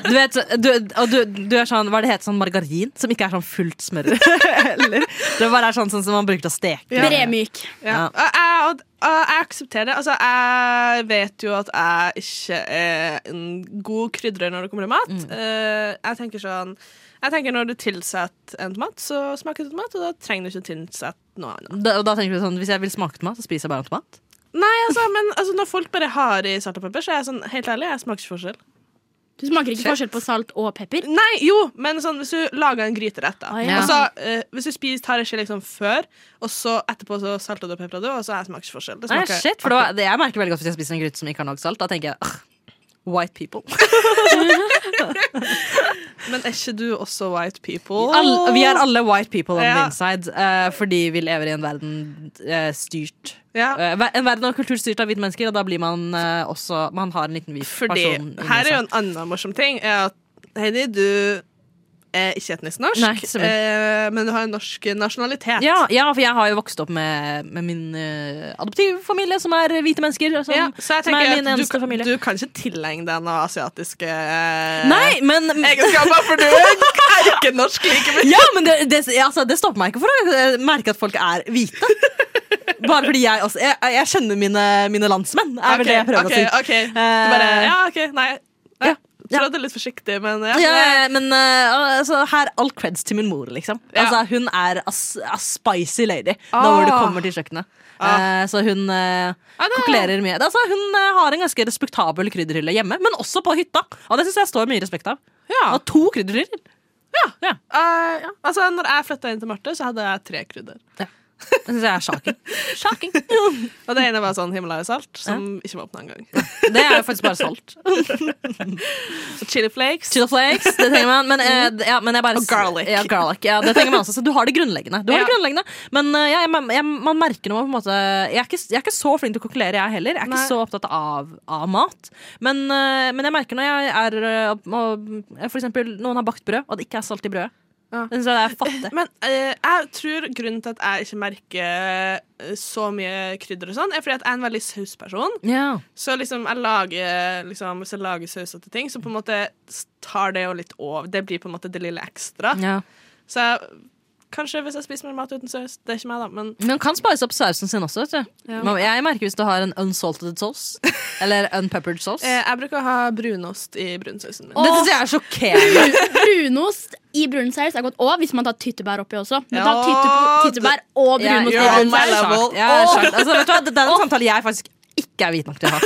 Speaker 6: Du vet, du, og du, du er sånn, hva er det heter, sånn margarin som ikke er sånn fullt smør? Eller, det bare er sånn, sånn som man bruker til å steke.
Speaker 7: Bremyk.
Speaker 5: Ja. Og Jeg, og- og jeg aksepterer det. Altså, jeg vet jo at jeg ikke er en god krydrer når det kommer til mat.
Speaker 6: Mm.
Speaker 5: Eh, jeg tenker sånn Jeg tenker Når du tilsetter en tomat, så smaker det tomat, og da trenger du ikke tilsette noe annet.
Speaker 6: Da, og da tenker du sånn, Hvis jeg vil smake tomat, så spiser jeg bare en tomat.
Speaker 5: Nei, altså, men altså, Når folk bare har i salt og pepper, så er jeg sånn, helt ærlig, jeg smaker ikke forskjell.
Speaker 7: Du smaker ikke forskjell på salt og pepper.
Speaker 5: Nei, jo, men sånn, hvis du lager en gryterett, da.
Speaker 7: Ah, ja.
Speaker 5: Og så, eh, hvis du spiser tar ikke liksom før, og så etterpå så salter du og peprer du, og så jeg smaker ikke forskjell. Det
Speaker 6: Nei,
Speaker 5: smaker
Speaker 6: shit, for det var, det, Jeg merker veldig godt hvis jeg spiser en gryte som ikke har nok salt. Da tenker jeg «Ugh, white people.
Speaker 5: Men er ikke du også white people?
Speaker 6: Alle- vi er alle white people on the
Speaker 5: Ja.
Speaker 6: inside eh, fordi vi lever i en verden eh, styrt
Speaker 5: Ja.
Speaker 6: Eh, ver- En verden og kultur styrt av hvite mennesker, og da blir man eh, også Man har en liten hvit
Speaker 5: Fordi
Speaker 6: person. inni
Speaker 5: her er jo
Speaker 6: seg.
Speaker 5: en annen morsom ting. Er at, Heidi, du er ikke etnisk norsk,
Speaker 6: Nei, stemmer.
Speaker 5: eh, men du har en norsk nasjonalitet.
Speaker 6: ja, ja, for jeg har jo vokst opp med, med min eh, adoptivfamilie, som er hvite mennesker. Som,
Speaker 5: Ja, så jeg
Speaker 6: som er
Speaker 5: tenker
Speaker 6: min
Speaker 5: at du,
Speaker 6: eneste
Speaker 5: kan-
Speaker 6: familie.
Speaker 5: du kan ikke tilegne deg noen asiatiske eh,
Speaker 6: Nei, men
Speaker 5: egenskaper, for du er ikke norsk like mye.
Speaker 6: Ja, men det, det, altså, det stopper meg ikke for å eh, merke at folk er hvite. Bare fordi jeg også Jeg, jeg kjenner mine, mine landsmenn, er vel det jeg prøver å si. Eh,
Speaker 5: Du bare, ja, ok, nei.
Speaker 6: Ja,
Speaker 5: Jeg
Speaker 6: ja.
Speaker 5: trodde litt forsiktig, men ja.
Speaker 6: Ja, ja, men eh, altså, her all creds til min mor, liksom.
Speaker 5: Ja.
Speaker 6: Altså, hun er a, s- a spicy lady da
Speaker 5: Ah.
Speaker 6: hvor det kommer til kjøkkenet. Eh, så hun eh, kokulerer mye. Altså, hun eh, har en ganske respektabel krydderhylle hjemme, men også på hytta. Og det syns jeg står mye respekt av.
Speaker 5: Ja.
Speaker 6: Hun har to krydderhyller.
Speaker 5: Eh, ja. Altså, når jeg flytta inn til Marte, så hadde jeg tre krydder.
Speaker 6: Det syns jeg er sjaking. sjaking.
Speaker 5: Og det ene var sånn Himalaya salt, som ikke var åpna engang.
Speaker 6: Det er jo faktisk bare salt.
Speaker 5: Så Chili flakes.
Speaker 6: Chili flakes, det trenger man. Men, eh, d- ja, men jeg bare,
Speaker 5: Mm. Og garlic.
Speaker 6: Ja, garlic ja, det trenger man også. Så du har det grunnleggende. Du har
Speaker 5: Ja.
Speaker 6: det grunnleggende men eh, ja, jeg, jeg, man merker når man på en måte jeg er, ikke, jeg er ikke så flink til å kokkelere, jeg heller. Jeg er
Speaker 5: Nei.
Speaker 6: ikke så opptatt av, av mat. Men, eh, men jeg merker når jeg er eh, opp- og, eh, For eksempel noen har bakt brød, og det ikke er salt i brødet.
Speaker 5: Ja.
Speaker 6: Det synes jeg er fattig.
Speaker 5: Men eh, jeg tror grunnen til at jeg ikke merker eh, så mye krydder, og sånn er fordi at jeg er en veldig sausperson.
Speaker 6: Ja.
Speaker 5: Så liksom jeg lager liksom, Hvis jeg lager sauser til ting, så på en måte tar det jo litt over. Det blir på en måte det lille ekstra.
Speaker 6: Ja.
Speaker 5: Så jeg, kanskje hvis jeg spiser mer mat uten saus Det er ikke meg, da, men
Speaker 6: Men man kan spice opp sausen sin også. Vet du. Men Jeg merker hvis du har en unsalted sauce. Eller unpeppered sauce.
Speaker 5: eh, jeg bruker å ha brunost i brunsausen min.
Speaker 6: Det syns jeg er sjokkerende.
Speaker 7: Brunost i brunsaus er godt. Og hvis man tar tyttebær oppi også. Men ta
Speaker 5: Ja,
Speaker 7: tytte- tyttebær og
Speaker 6: Ja,
Speaker 7: brunost
Speaker 5: you're
Speaker 7: i
Speaker 5: on my
Speaker 7: brunsaus.
Speaker 5: level.
Speaker 6: Ja, skjønt. altså, vet du hva? Det er en samtale jeg faktisk ikke er hvit nok til å ha.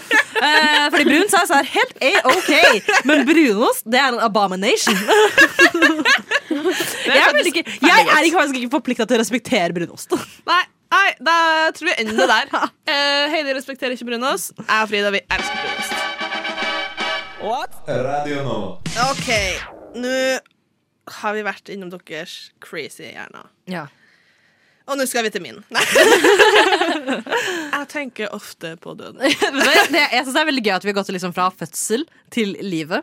Speaker 6: Eh, fordi brun saus er helt A-OK, men brunost det er en abomination.
Speaker 5: Det er
Speaker 6: Jeg er,
Speaker 5: faktisk
Speaker 6: ikke,
Speaker 5: veldig
Speaker 6: jeg
Speaker 5: godt.
Speaker 6: er ikke faktisk ikke forplikta til å respektere brunost.
Speaker 5: Nei, nei, da tror vi ender der. Eh, Heidi respekterer ikke brunost. Jeg og Frida, vi elsker brunost.
Speaker 3: Radio Nova.
Speaker 5: OK, nå har vi vært innom deres crazy hjerner.
Speaker 6: Ja.
Speaker 5: Og nå skal vi til min. Nei. jeg tenker ofte på døden.
Speaker 6: Men det, det, jeg synes det er veldig gøy at vi har gått liksom fra fødsel til livet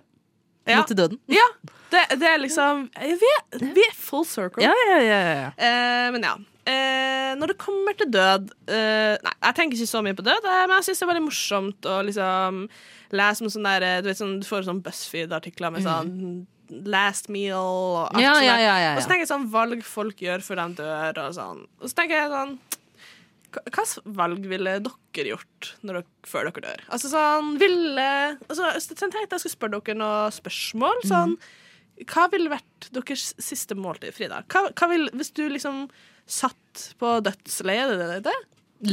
Speaker 5: Ja.
Speaker 6: og til døden.
Speaker 5: Ja, det, det er liksom vi er, vi er full circle.
Speaker 6: ja, ja, ja.
Speaker 5: Eh, men ja. Eh, når det kommer til død eh, Nei, jeg tenker ikke så mye på død, eh, men jeg syns det er veldig morsomt å liksom lese om sånn der eh, Du vet sånn, du får sånn BuzzFeed-artikler med sånn Last meal og alt
Speaker 6: Mm. Ja,
Speaker 5: sånt.
Speaker 6: ja,
Speaker 5: der.
Speaker 6: ja, ja, ja.
Speaker 5: Og så tenker jeg sånn valg folk gjør før de dør, og sånn. Og så tenker jeg sånn Hvilke valg ville dere gjort når dere, før dere dør? Altså sånn, ville altså, jeg tenkte jeg skulle spørre dere noen spørsmål. Sånn, Hva ville vært deres siste måltid, Frida? Hva, hva vil, hvis du liksom satt på dødsleiet, er det det det heter?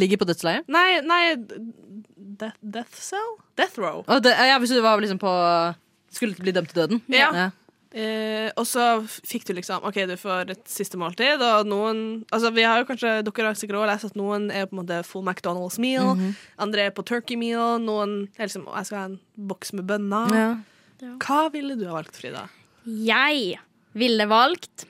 Speaker 6: Ligger på dødsleiet.
Speaker 5: Nei, nei death, death cell? Death row.
Speaker 6: Og det, ja, hvis du var liksom på Skulle bli dømt til døden.
Speaker 5: Ja. Eh, og så fikk du liksom OK, du får et siste måltid, og noen Altså, vi har jo kanskje Dere har sikkert også lest at noen er på en måte full McDonald's meal, andre er på turkey meal, noen er liksom Jeg skal ha en boks med bønner.
Speaker 6: Ja.
Speaker 5: Hva ville du ha valgt, Frida?
Speaker 7: Jeg ville valgt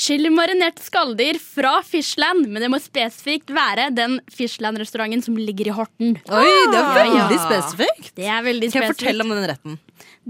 Speaker 7: chili marinerte skalldyr fra Fishland, men det må spesifikt være den Fishland-restauranten som ligger i Horten.
Speaker 6: Oi, det er veldig
Speaker 5: Ja.
Speaker 6: spesifikt.
Speaker 7: Det er veldig
Speaker 6: Kan jeg
Speaker 7: spesifikt.
Speaker 6: fortelle om den retten?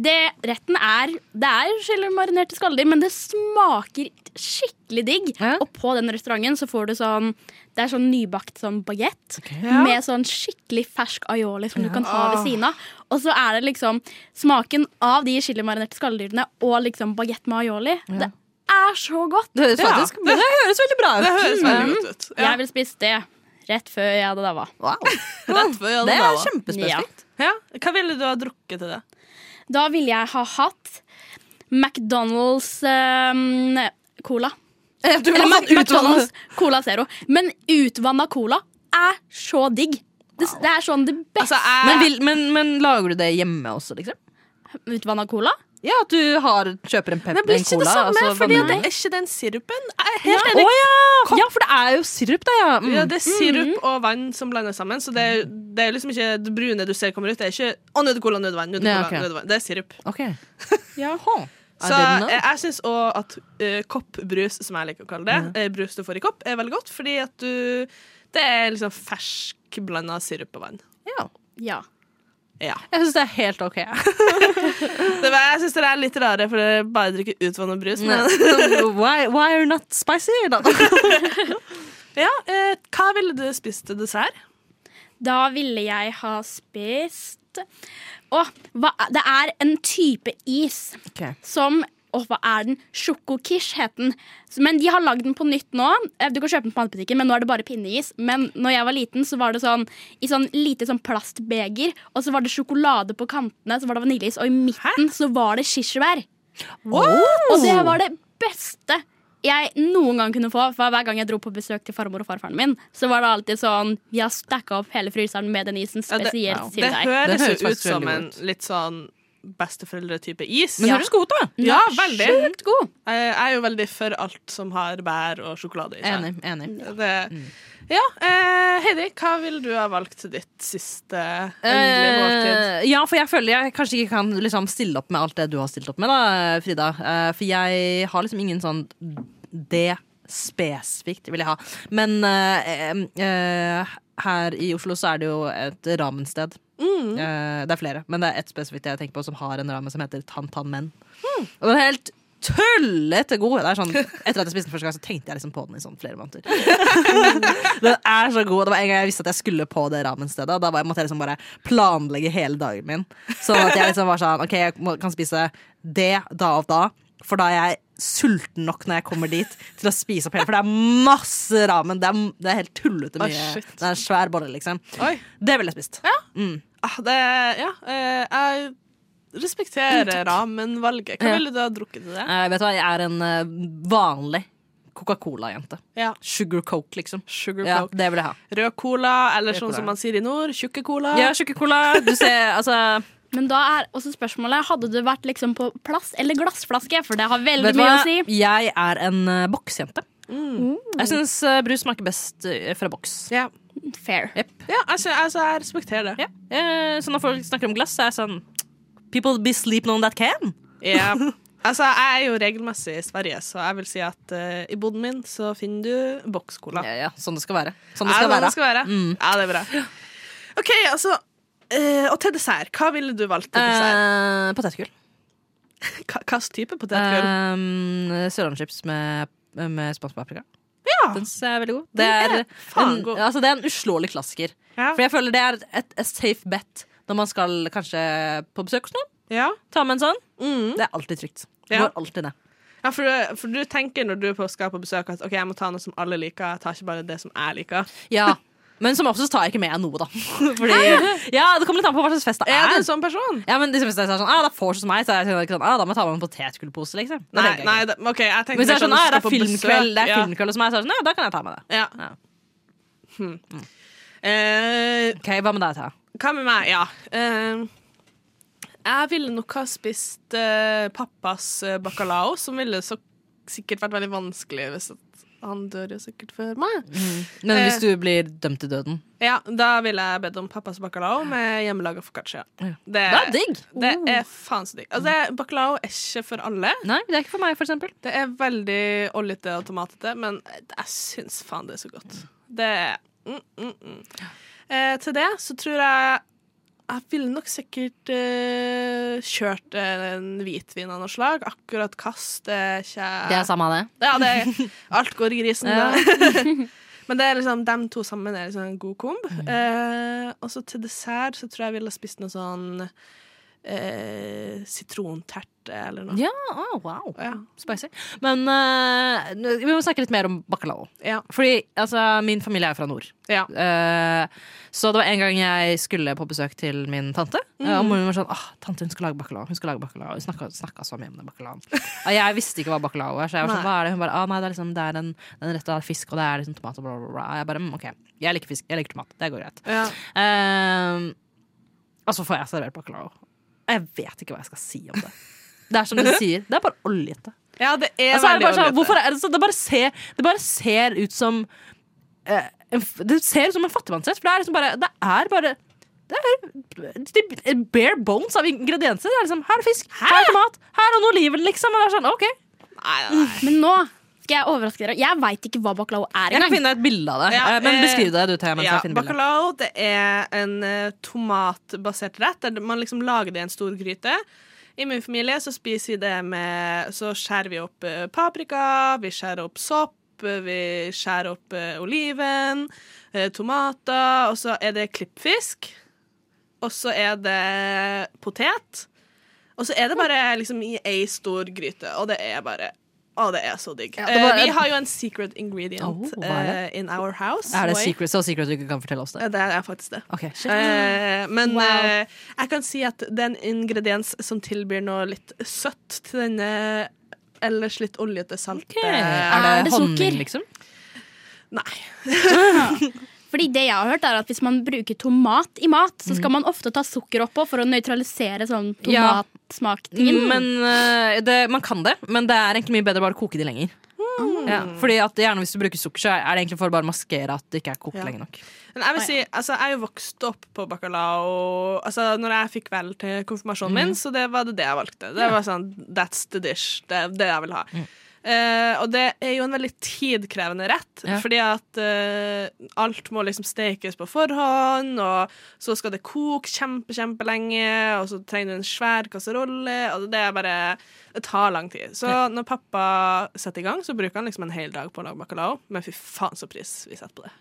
Speaker 7: Det, retten er Det er chili marinerte skalldyr, men det smaker skikkelig digg.
Speaker 6: Ja.
Speaker 7: Og på den restauranten så får du sånn Det er sånn nybakt sånn bagett
Speaker 5: Ja.
Speaker 7: med sånn skikkelig fersk aioli som du kan ha ved siden av. Og så er det liksom smaken av de chilimarinerte skalldyrene og liksom bagett med aioli. Det er så godt!
Speaker 6: Det høres,
Speaker 5: Ja.
Speaker 6: faktisk, det høres veldig bra ut. Mm.
Speaker 5: Det høres veldig godt ut. Ja.
Speaker 7: Jeg vil spise det rett før jeg hadde daua.
Speaker 6: Wow.
Speaker 5: Rett før jeg hadde
Speaker 6: Det
Speaker 5: daua.
Speaker 6: er kjempespesifikt.
Speaker 5: ja. Hva ville du ha drukket til det?
Speaker 7: Da ville jeg ha hatt McDonald's eh, cola.
Speaker 6: Du vil
Speaker 7: Eller
Speaker 6: ha
Speaker 7: Mac
Speaker 6: sånn utvannet-
Speaker 7: McDonald's Cola Zero. Men utvanna cola er så digg. Det, det er sånn det beste
Speaker 5: Altså, jeg,
Speaker 6: men, vil, men, men lager du det hjemme også, liksom?
Speaker 7: utvanna cola.
Speaker 6: Ja, at du har, kjøper en
Speaker 5: det
Speaker 6: pepper,
Speaker 5: blir
Speaker 6: en
Speaker 5: ikke
Speaker 6: cola
Speaker 5: det samme,
Speaker 6: og så
Speaker 5: fordi
Speaker 6: vanner
Speaker 5: det
Speaker 6: du.
Speaker 5: er ikke den sirupen. Jeg er
Speaker 6: ja.
Speaker 5: helt enig.
Speaker 6: Å ja! ja, for det er jo sirup, da. Ja. Mm.
Speaker 5: Ja, det er sirup og vann som blander sammen, så det er, det er liksom ikke det brune du ser kommer ut. Det er ikke 'Å, nå er det cola, nå er det vann'. Nå er det, cola,
Speaker 6: Ja, ok.
Speaker 5: nå er det, vann. det er sirup.
Speaker 6: Ok.
Speaker 7: Ja.
Speaker 6: Huh. I
Speaker 5: Så
Speaker 6: didn't know.
Speaker 5: jeg, jeg syns òg at eh, koppbrus, som jeg liker å kalle det, eh, brus du får i kopp, er veldig godt, fordi at du Det er liksom ferskblanda sirup og vann.
Speaker 6: ja.
Speaker 7: Ja.
Speaker 5: Ja.
Speaker 6: Jeg syns det er helt ok.
Speaker 5: Det, var- jeg syns dere er litt rare, for dere bare drikker utvanna brus. Men,
Speaker 6: why, why are not spicy? Da?
Speaker 5: ja, eh, hva ville du spist til dessert?
Speaker 7: Da ville jeg ha spist Å, hva, det er en type is som Åh, hva er den? Sjokokish het den. Så- Men de har lagd den på nytt nå. Eh, Du kan kjøpe den på matbutikken, men nå er det bare pinneis. Men når jeg var liten, så var det sånn i sånn lite sånn plastbeger, og så var det sjokolade på kantene, så var det vaniljeis, og i midten så var det kirsebær. Og det var det beste jeg noen gang kunne få. For hver gang jeg dro på besøk til farmor og farfaren min, så var det alltid sånn Vi har stacka opp hele fryseren med den isen
Speaker 5: Ja, det,
Speaker 7: spesielt til
Speaker 5: det
Speaker 7: deg.
Speaker 5: høres
Speaker 6: Det høres
Speaker 5: jo ut
Speaker 6: faktisk
Speaker 5: som
Speaker 6: veldig
Speaker 5: en
Speaker 6: godt.
Speaker 5: litt sånn besteforeldretype is.
Speaker 6: Men høres god ut, da.
Speaker 5: Ja, veldig.
Speaker 7: Sjukt god.
Speaker 5: Jeg er jo veldig for alt som har bær og sjokolade i seg.
Speaker 6: Enig. enig.
Speaker 5: Det, ja, eh, Heidi, hva ville du ha valgt til ditt siste endelige måltid?
Speaker 6: Eh, ja, for jeg føler jeg kanskje ikke kan liksom, stille opp med alt det du har stilt opp med, da, Frida. Eh, for jeg har liksom ingen sånn Det spesifikt vil jeg ha. Men eh, eh, her i Oslo så er det jo et ramensted. Eh, det er flere, men det er ett spesifikt jeg tenker på som har en ramen som heter Tan Tan Men. Og den er helt tøllete god. Det er sånn, etter at jeg spiste den første gang, så tenkte jeg liksom på den i sånn flere måneder. Den er så god. Det var en gang jeg visste at jeg skulle på det ramenstedet. og Da var jeg, måtte jeg liksom bare planlegge hele dagen min. Sånn at jeg liksom var sånn OK, jeg må- kan spise det da og da. For da er jeg sulten nok når jeg kommer dit til å spise opp hele. For det er masse ramen. Det er, det er helt tullete
Speaker 5: Ah,
Speaker 6: mye.
Speaker 5: shit.
Speaker 6: det er en svær bolle, liksom.
Speaker 5: Oi.
Speaker 6: Det ville jeg spist.
Speaker 5: Ah, det, ja, eh, jeg respekterer ramenvalget. Hva
Speaker 6: Ja.
Speaker 5: ville du ha drukket til det?
Speaker 6: Eh, vet du hva, jeg er en eh, vanlig Coca-Cola-jente.
Speaker 5: Ja.
Speaker 6: Sugar Coke, liksom.
Speaker 5: Sugar
Speaker 6: Ja,
Speaker 5: coke.
Speaker 6: det vil jeg ha.
Speaker 5: Rød cola, eller
Speaker 6: Rød
Speaker 5: sånn
Speaker 6: cola.
Speaker 5: som man sier i nord, tjukke cola.
Speaker 6: Ja, sugar cola. Du ser, altså
Speaker 7: Men da er også spørsmålet Hadde det vært liksom på plast eller glassflaske, for det har veldig
Speaker 6: Vet du
Speaker 7: mye
Speaker 6: hva?
Speaker 7: å si.
Speaker 6: Jeg er en eh, boksjente. Jeg syns eh, brus smaker best eh, fra boks.
Speaker 5: Ja.
Speaker 7: Fair.
Speaker 5: Ja, altså, altså, jeg respekterer det.
Speaker 6: Ja. Eh, så når folk snakker om glass, så er jeg sånn People be sleeping on that can.
Speaker 5: Ja. Altså, jeg er jo regelmessig i Sverige, så jeg vil si at eh, i boden min så finner du bokscola.
Speaker 6: Ja, ja, sånn det skal være. Sånn det
Speaker 5: Ja,
Speaker 6: skal
Speaker 5: sånn
Speaker 6: være.
Speaker 5: det skal være. Ja, det er bra. OK, altså eh, Og til dessert. Hva ville du valgt til dessert?
Speaker 6: Eh, Potetgull. Eh.
Speaker 5: Hva slags type potetgull?
Speaker 6: Uh, Sørlandschips med, med spansk paprika.
Speaker 5: Ja.
Speaker 6: Den synes jeg er veldig god. Det
Speaker 5: Den
Speaker 6: er,
Speaker 5: er faen
Speaker 6: en,
Speaker 5: god.
Speaker 6: altså, det er en uslåelig klassiker.
Speaker 5: Ja.
Speaker 6: For jeg føler det er et, et safe bet når man skal kanskje på besøk hos noen.
Speaker 5: Ja.
Speaker 6: Ta med en sånn.
Speaker 5: Mm.
Speaker 6: Det er alltid trygt.
Speaker 5: Ja.
Speaker 6: Går alltid ned.
Speaker 5: Ja, for, du- for du tenker når du er på, skal på besøk at OK, jeg må ta noe som alle liker, jeg tar ikke bare det som jeg liker.
Speaker 6: Ja. Men som oftest tar jeg ikke med noe, da. Fordi, ja, Det kommer litt an på hva slags fest det
Speaker 5: Er du
Speaker 6: er.
Speaker 5: en sånn person?
Speaker 6: Ja, men de som er sånn, ah, det er vors hos meg, så er jeg ikke sånn, ah, da må jeg ta med en potetgullpose. Liksom. Det
Speaker 5: Nei,
Speaker 6: tenker jeg
Speaker 5: nei
Speaker 6: ikke.
Speaker 5: det, OK, jeg tenkte
Speaker 6: Hvis det er
Speaker 5: mer
Speaker 6: sånn, ah,
Speaker 5: hvis du
Speaker 6: det er
Speaker 5: skal på
Speaker 6: filmkveld, det er
Speaker 5: besøk. Ja.
Speaker 6: filmkveld hos meg, så er det sånn, ja, da kan jeg ta med det.
Speaker 5: Ja.
Speaker 6: Ja. Mm.
Speaker 5: Hmm. Eh,
Speaker 6: Ok, Hva med deg, Thea?
Speaker 5: hva med meg? Ja. Eh, jeg ville nok ha spist eh, pappas eh, bacalao, som ville så sikkert vært veldig vanskelig hvis at han dør jo sikkert før meg.
Speaker 6: Men
Speaker 5: Eh.
Speaker 6: hvis du blir dømt til døden?
Speaker 5: Ja, Da ville jeg bedt om pappas bacalao med hjemmelaga foccaccia.
Speaker 6: Ja.
Speaker 5: Det,
Speaker 6: Det er digg!
Speaker 5: det er faen så digg. Altså, det- bacalao er ikke for alle.
Speaker 6: Nei, det er ikke for meg, for eksempel.
Speaker 5: Det er veldig oljete og tomatete, men jeg syns faen det er så godt. Det er mm, mm, mm. Eh, Til det så tror jeg jeg ville nok sikkert eh, kjørt eh, en hvitvin av noe slag. Akkurat kast det er ikke
Speaker 6: Det er samme av det.
Speaker 5: Ja, det er, alt går i grisen
Speaker 6: Ja.
Speaker 5: da. Men det er liksom, dem to sammen er liksom en god komb. Eh, og så til dessert så tror jeg jeg ville spist noe sånn eh, sitronterte eller noe.
Speaker 6: Ja, ah, wow.
Speaker 5: Ja.
Speaker 6: Spicy. Men eh, nå- vi må snakke litt mer om bacalao.
Speaker 5: Ja.
Speaker 6: Fordi altså, min familie er fra nord.
Speaker 5: ja.
Speaker 6: Eh, så det var en gang jeg skulle på besøk til min tante. eh, Og moren min var sånn ah, tante hun skal lage bacalao. Hun skal lage bacalao Hun snakka, snakka så mye om det bacalaoen. Og jeg visste ikke hva bacalao var, så jeg var sånn,
Speaker 5: Nei.
Speaker 6: hva er det? Hun bare ah, nei, det er, liksom, det er en, en rett av fisk, og det er liksom tomat og bla, bla, bla. Jeg bare mm, OK, jeg liker fisk. Jeg liker tomat. Det går greit.
Speaker 5: ja.
Speaker 6: Eh, og så får jeg servert bacalao. Og jeg vet ikke hva jeg skal si om det. Det er som du sier, det er bare oljete.
Speaker 5: Ja, det er
Speaker 6: Altså, er det,
Speaker 5: veldig
Speaker 6: bare sånn,
Speaker 5: ålreit.
Speaker 6: hvorfor er det, så det, bare ser, det bare ser ut som eh, en, f- Det ser ut som en fattigmannsrett. For det er liksom bare Det er bare det er de- bare bones av ingredienser. Det er liksom, her er det fisk, her er det tomat, her er noen oliven, liksom. Og det er sånn, ok
Speaker 5: Nei, nei, nei.
Speaker 7: Men nå skal jeg overraske dere. Jeg veit ikke hva baklao er
Speaker 6: Jeg kan
Speaker 7: engang.
Speaker 6: finne et bilde av det.
Speaker 5: Ja,
Speaker 6: Eh, men
Speaker 5: eh,
Speaker 6: beskriv det, du, Thea. Mens
Speaker 5: Ja,
Speaker 6: jeg finner bildet.
Speaker 5: bacalao det er en eh, tomatbasert rett. Der man liksom lager det i en stor gryte. I min familie så spiser vi det med Så skjærer vi opp eh, paprika, vi skjærer opp sopp, eh, vi skjærer opp eh, oliven, eh, tomater, og så er det klippfisk. Og så er det potet. Og så er det bare liksom i ei stor gryte, og det er bare Å, det er så digg.
Speaker 6: det var-
Speaker 5: Eh, vi har jo en secret ingredient
Speaker 6: Oh, hva er det?
Speaker 5: eh, in our house.
Speaker 6: Er det Ah,
Speaker 5: Oi.
Speaker 6: secret, så secret du ikke kan fortelle oss det?
Speaker 5: Ja, Det er faktisk det.
Speaker 6: Ok, shit.
Speaker 5: Eh, men eh, jeg kan si at det er en ingrediens som tilbyr noe litt søtt til denne ellers litt oljete, salte
Speaker 6: Er det,
Speaker 7: Er det
Speaker 6: honning,
Speaker 7: sukker?
Speaker 6: liksom?
Speaker 5: Nei.
Speaker 7: Fordi det jeg har hørt er at Hvis man bruker tomat i mat, så skal man ofte ta sukker oppå for å nøytralisere sånn
Speaker 6: Mm. Ja.
Speaker 5: Mm.
Speaker 7: tomatsmaktingen.
Speaker 6: Men eh, det, man kan det, men det er egentlig mye bedre bare å koke de lenger.
Speaker 5: Mm.
Speaker 6: Ja, fordi at gjerne Hvis du bruker sukker, så er det egentlig for å bare maskere at det ikke er kokt
Speaker 5: Ja.
Speaker 6: lenge nok.
Speaker 5: Men jeg vil si, altså, jeg er jo vokst opp på bacalao altså, Når jeg fikk vel til konfirmasjonen
Speaker 6: Mm.
Speaker 5: min, så det var det, det jeg valgte. Det var sånn, That's the dish. Det er det jeg vil ha.
Speaker 6: Mm.
Speaker 5: Eh, og det er jo en veldig tidkrevende rett,
Speaker 6: Ja.
Speaker 5: fordi at eh, alt må liksom stekes på forhånd, og så skal det koke kjempe, kjempelenge, og så trenger du en svær kasserolle, og det er bare Det tar lang tid. Så når pappa setter i gang, så bruker han liksom en hel dag på å lage bacalao, men fy faen så pris vi setter på det.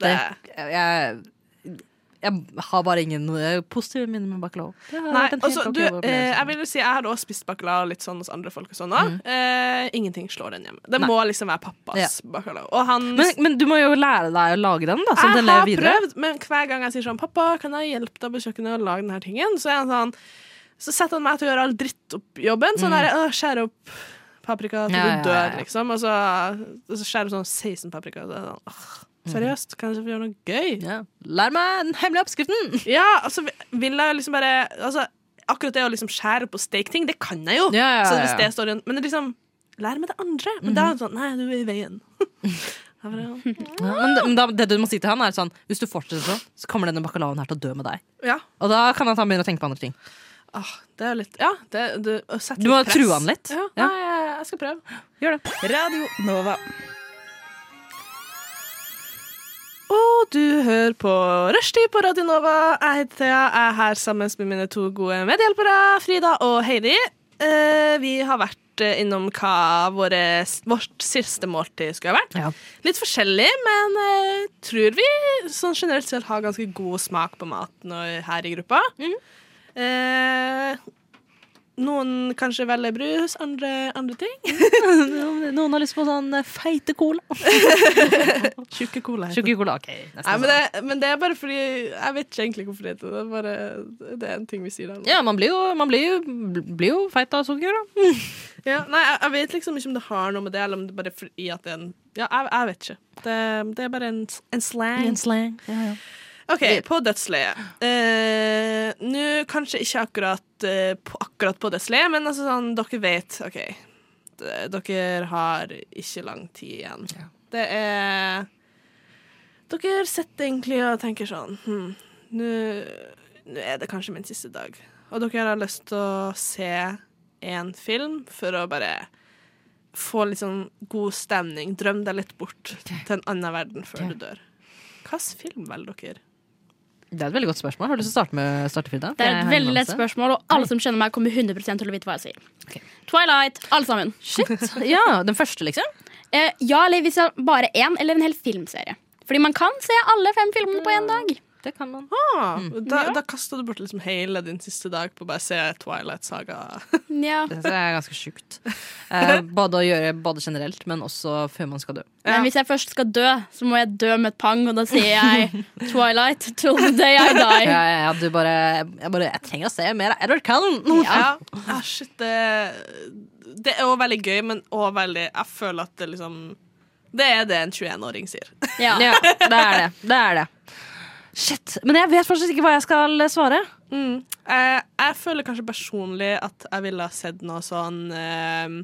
Speaker 6: Det, jeg, jeg har bare ingen eh, positive minner med bacalao. Det har vært
Speaker 5: Nei,
Speaker 6: en helt
Speaker 5: altså,
Speaker 6: ok
Speaker 5: du, eh,
Speaker 6: opplevelse. Mm.
Speaker 5: jeg vil jo si Jeg hadde også spist bacalao litt sånn hos andre folk. og sånn også. eh, Ingenting slår den hjemme. Det må liksom være pappas bacalao. Og han
Speaker 6: men, men du må jo lære deg å lage den, da. Så
Speaker 5: Jeg
Speaker 6: den lever
Speaker 5: har
Speaker 6: videre.
Speaker 5: prøvd, men hver gang jeg sier sånn 'Pappa, kan jeg hjelpe deg på kjøkkenet å lage denne tingen?' Så er han sånn Så setter han meg til å gjøre all drittoppjobben. Sånn der, «Å, skjære opp paprika til
Speaker 6: Ja,
Speaker 5: du
Speaker 6: Mm. ja, ja,
Speaker 5: dør,
Speaker 6: ja.
Speaker 5: liksom. Og så, og så skjærer du sånn 16 paprika. Og så er det sånn, «Åh, seriøst, kan jeg ikke få gjøre noe gøy?
Speaker 6: Mm. Ja. Lær meg den hemmelige oppskriften!
Speaker 5: Ja, altså vil jeg liksom bare altså, Akkurat det å liksom skjære opp og steke ting, det kan jeg jo.
Speaker 6: Ja, ja, ja,
Speaker 5: Så hvis
Speaker 6: ja.
Speaker 5: det står i en Men det er liksom Lær meg det andre. Men da er det sånn Nei, du er i veien. Jeg bare,
Speaker 6: Ja, men det- men da, det du må si til han, er sånn Hvis du fortsetter sånn, så kommer denne bacalaoen her til å dø med deg.
Speaker 5: ja.
Speaker 6: Og da kan han ta- begynne å tenke på andre ting.
Speaker 5: Åh, det er jo litt Ja, det, du, å sette
Speaker 6: Du må
Speaker 5: litt press.
Speaker 6: true han litt.
Speaker 5: Ja,
Speaker 6: Ja.
Speaker 5: Nei, jeg, jeg skal prøve.
Speaker 6: Gjør det.
Speaker 2: Radio Nova.
Speaker 5: Og du hører på Rushtid på Radio Nova. Jeg heter Thea. Jeg er her sammen med mine to gode medhjelpere, Frida og Heidi. Eh, vi har vært eh, innom hva våre, vårt siste måltid skulle ha vært.
Speaker 6: Ja.
Speaker 5: Litt forskjellig, men eh, tror vi sånn generelt selv har ganske Mm. god smak på maten og, her i gruppa. Eh, Noen kanskje velger brus, andre, andre ting.
Speaker 6: Noen har lyst på sånn eh, feite cola.
Speaker 5: Tjukke cola. heter det.
Speaker 6: Tjukk cola, OK. Nesten
Speaker 5: Nei, men
Speaker 6: sånn.
Speaker 5: det, men det er bare fordi Jeg vet ikke egentlig hvorfor det heter det. Det er Bare, det er en ting vi sier der nå.
Speaker 6: Ja, man blir jo, man blir jo, blir jo feit av sukker, da.
Speaker 5: Ja, nei, jeg, jeg vet liksom ikke om det har noe med det, eller om det bare er fordi at det er en Ja, jeg, jeg vet ikke. Det, det er bare en, s- en slang.
Speaker 6: slang.
Speaker 5: OK, på dødsleiet. Eh, Nå kanskje ikke akkurat, eh, på, akkurat på dødsleiet, men altså sånn Dere vet, OK D- Dere har ikke lang tid igjen. Det er Dere sitter egentlig og tenker sånn hm, Nå nå er det kanskje min siste dag. Og dere har lyst til å se en film for å bare få litt sånn god stemning. Drøm deg litt bort til en annen verden før du dør. Hvilken film velger dere?
Speaker 6: Det er et veldig godt spørsmål. Har du lyst til å starte med starte Frida?
Speaker 7: Det er
Speaker 6: Jeg
Speaker 7: et
Speaker 6: har
Speaker 7: veldig
Speaker 6: en
Speaker 7: lett
Speaker 6: anelse.
Speaker 7: spørsmål, og alle som kjenner meg, kommer 100 til å vite hva jeg sier.
Speaker 6: Ok.
Speaker 7: Twilight, alle sammen.
Speaker 6: Shit. Ja, den første, liksom?
Speaker 7: Eh, ja, eller hvis jeg bare én, eller en hel filmserie. Fordi man kan se alle fem filmene på én dag.
Speaker 6: Det kan man.
Speaker 5: Ah, Da, da kasta du bort liksom hele din siste dag på å bare se Twilight Saga.
Speaker 7: Ja.
Speaker 6: Det synes jeg er ganske sjukt. Eh, både å gjøre både generelt, men også før man skal dø.
Speaker 7: Men hvis jeg først skal dø, så må jeg dø med et pang, og da sier jeg Twilight till the day I die.
Speaker 6: Ja, ja, ja, du bare, jeg bare Jeg trenger å se mer av Edward Cullen!
Speaker 5: Ja. Ah, shit, det, det er òg veldig gøy, men òg veldig Jeg føler at det liksom Det er det en 21-åring sier.
Speaker 7: Ja.
Speaker 6: Ja, det er det. det er det. Shit. Men jeg vet fortsatt ikke hva jeg skal svare.
Speaker 5: Mm. Eh, jeg føler kanskje personlig at jeg ville ha sett noe sånn eh,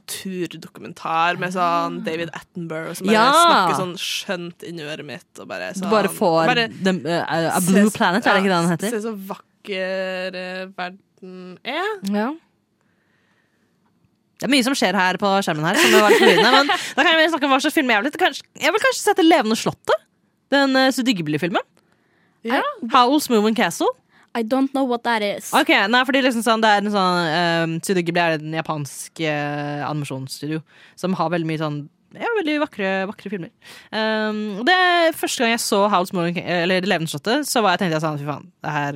Speaker 5: naturdokumentar med sånn David Attenborough som bare
Speaker 6: Ah. Ja.
Speaker 5: snakker sånn skjønt inn i øret mitt og bare
Speaker 6: Du
Speaker 5: sånn
Speaker 6: bare får
Speaker 5: bare
Speaker 6: dem, eh, A
Speaker 5: se
Speaker 6: Blue
Speaker 5: så-
Speaker 6: Planet, er det ikke det den
Speaker 5: ja,
Speaker 6: heter?
Speaker 5: Se så vakker eh, verden er.
Speaker 6: Ja. Det er mye som skjer her på skjermen her, som var litt forvirrende. Men da kan jeg snakke om hva slags film jeg har blitt. Kanskje- Jeg vil kanskje sette Levende slottet. Den uh, Sudigbli-filmen.
Speaker 5: Ja.
Speaker 6: Howl's Moving Castle.
Speaker 7: I don't know what that is.
Speaker 6: Ok, nei, fordi liksom sånn, Det er en sånn um, Studio Ghibli er en japansk eh, animasjonsstudio som har veldig mye sånn ja, veldig vakre, vakre filmer. Um, og det er Første gang jeg så Howl's Moving Eller Det levende slottet, så var jeg, tenkte jeg sånn Fy faen, det her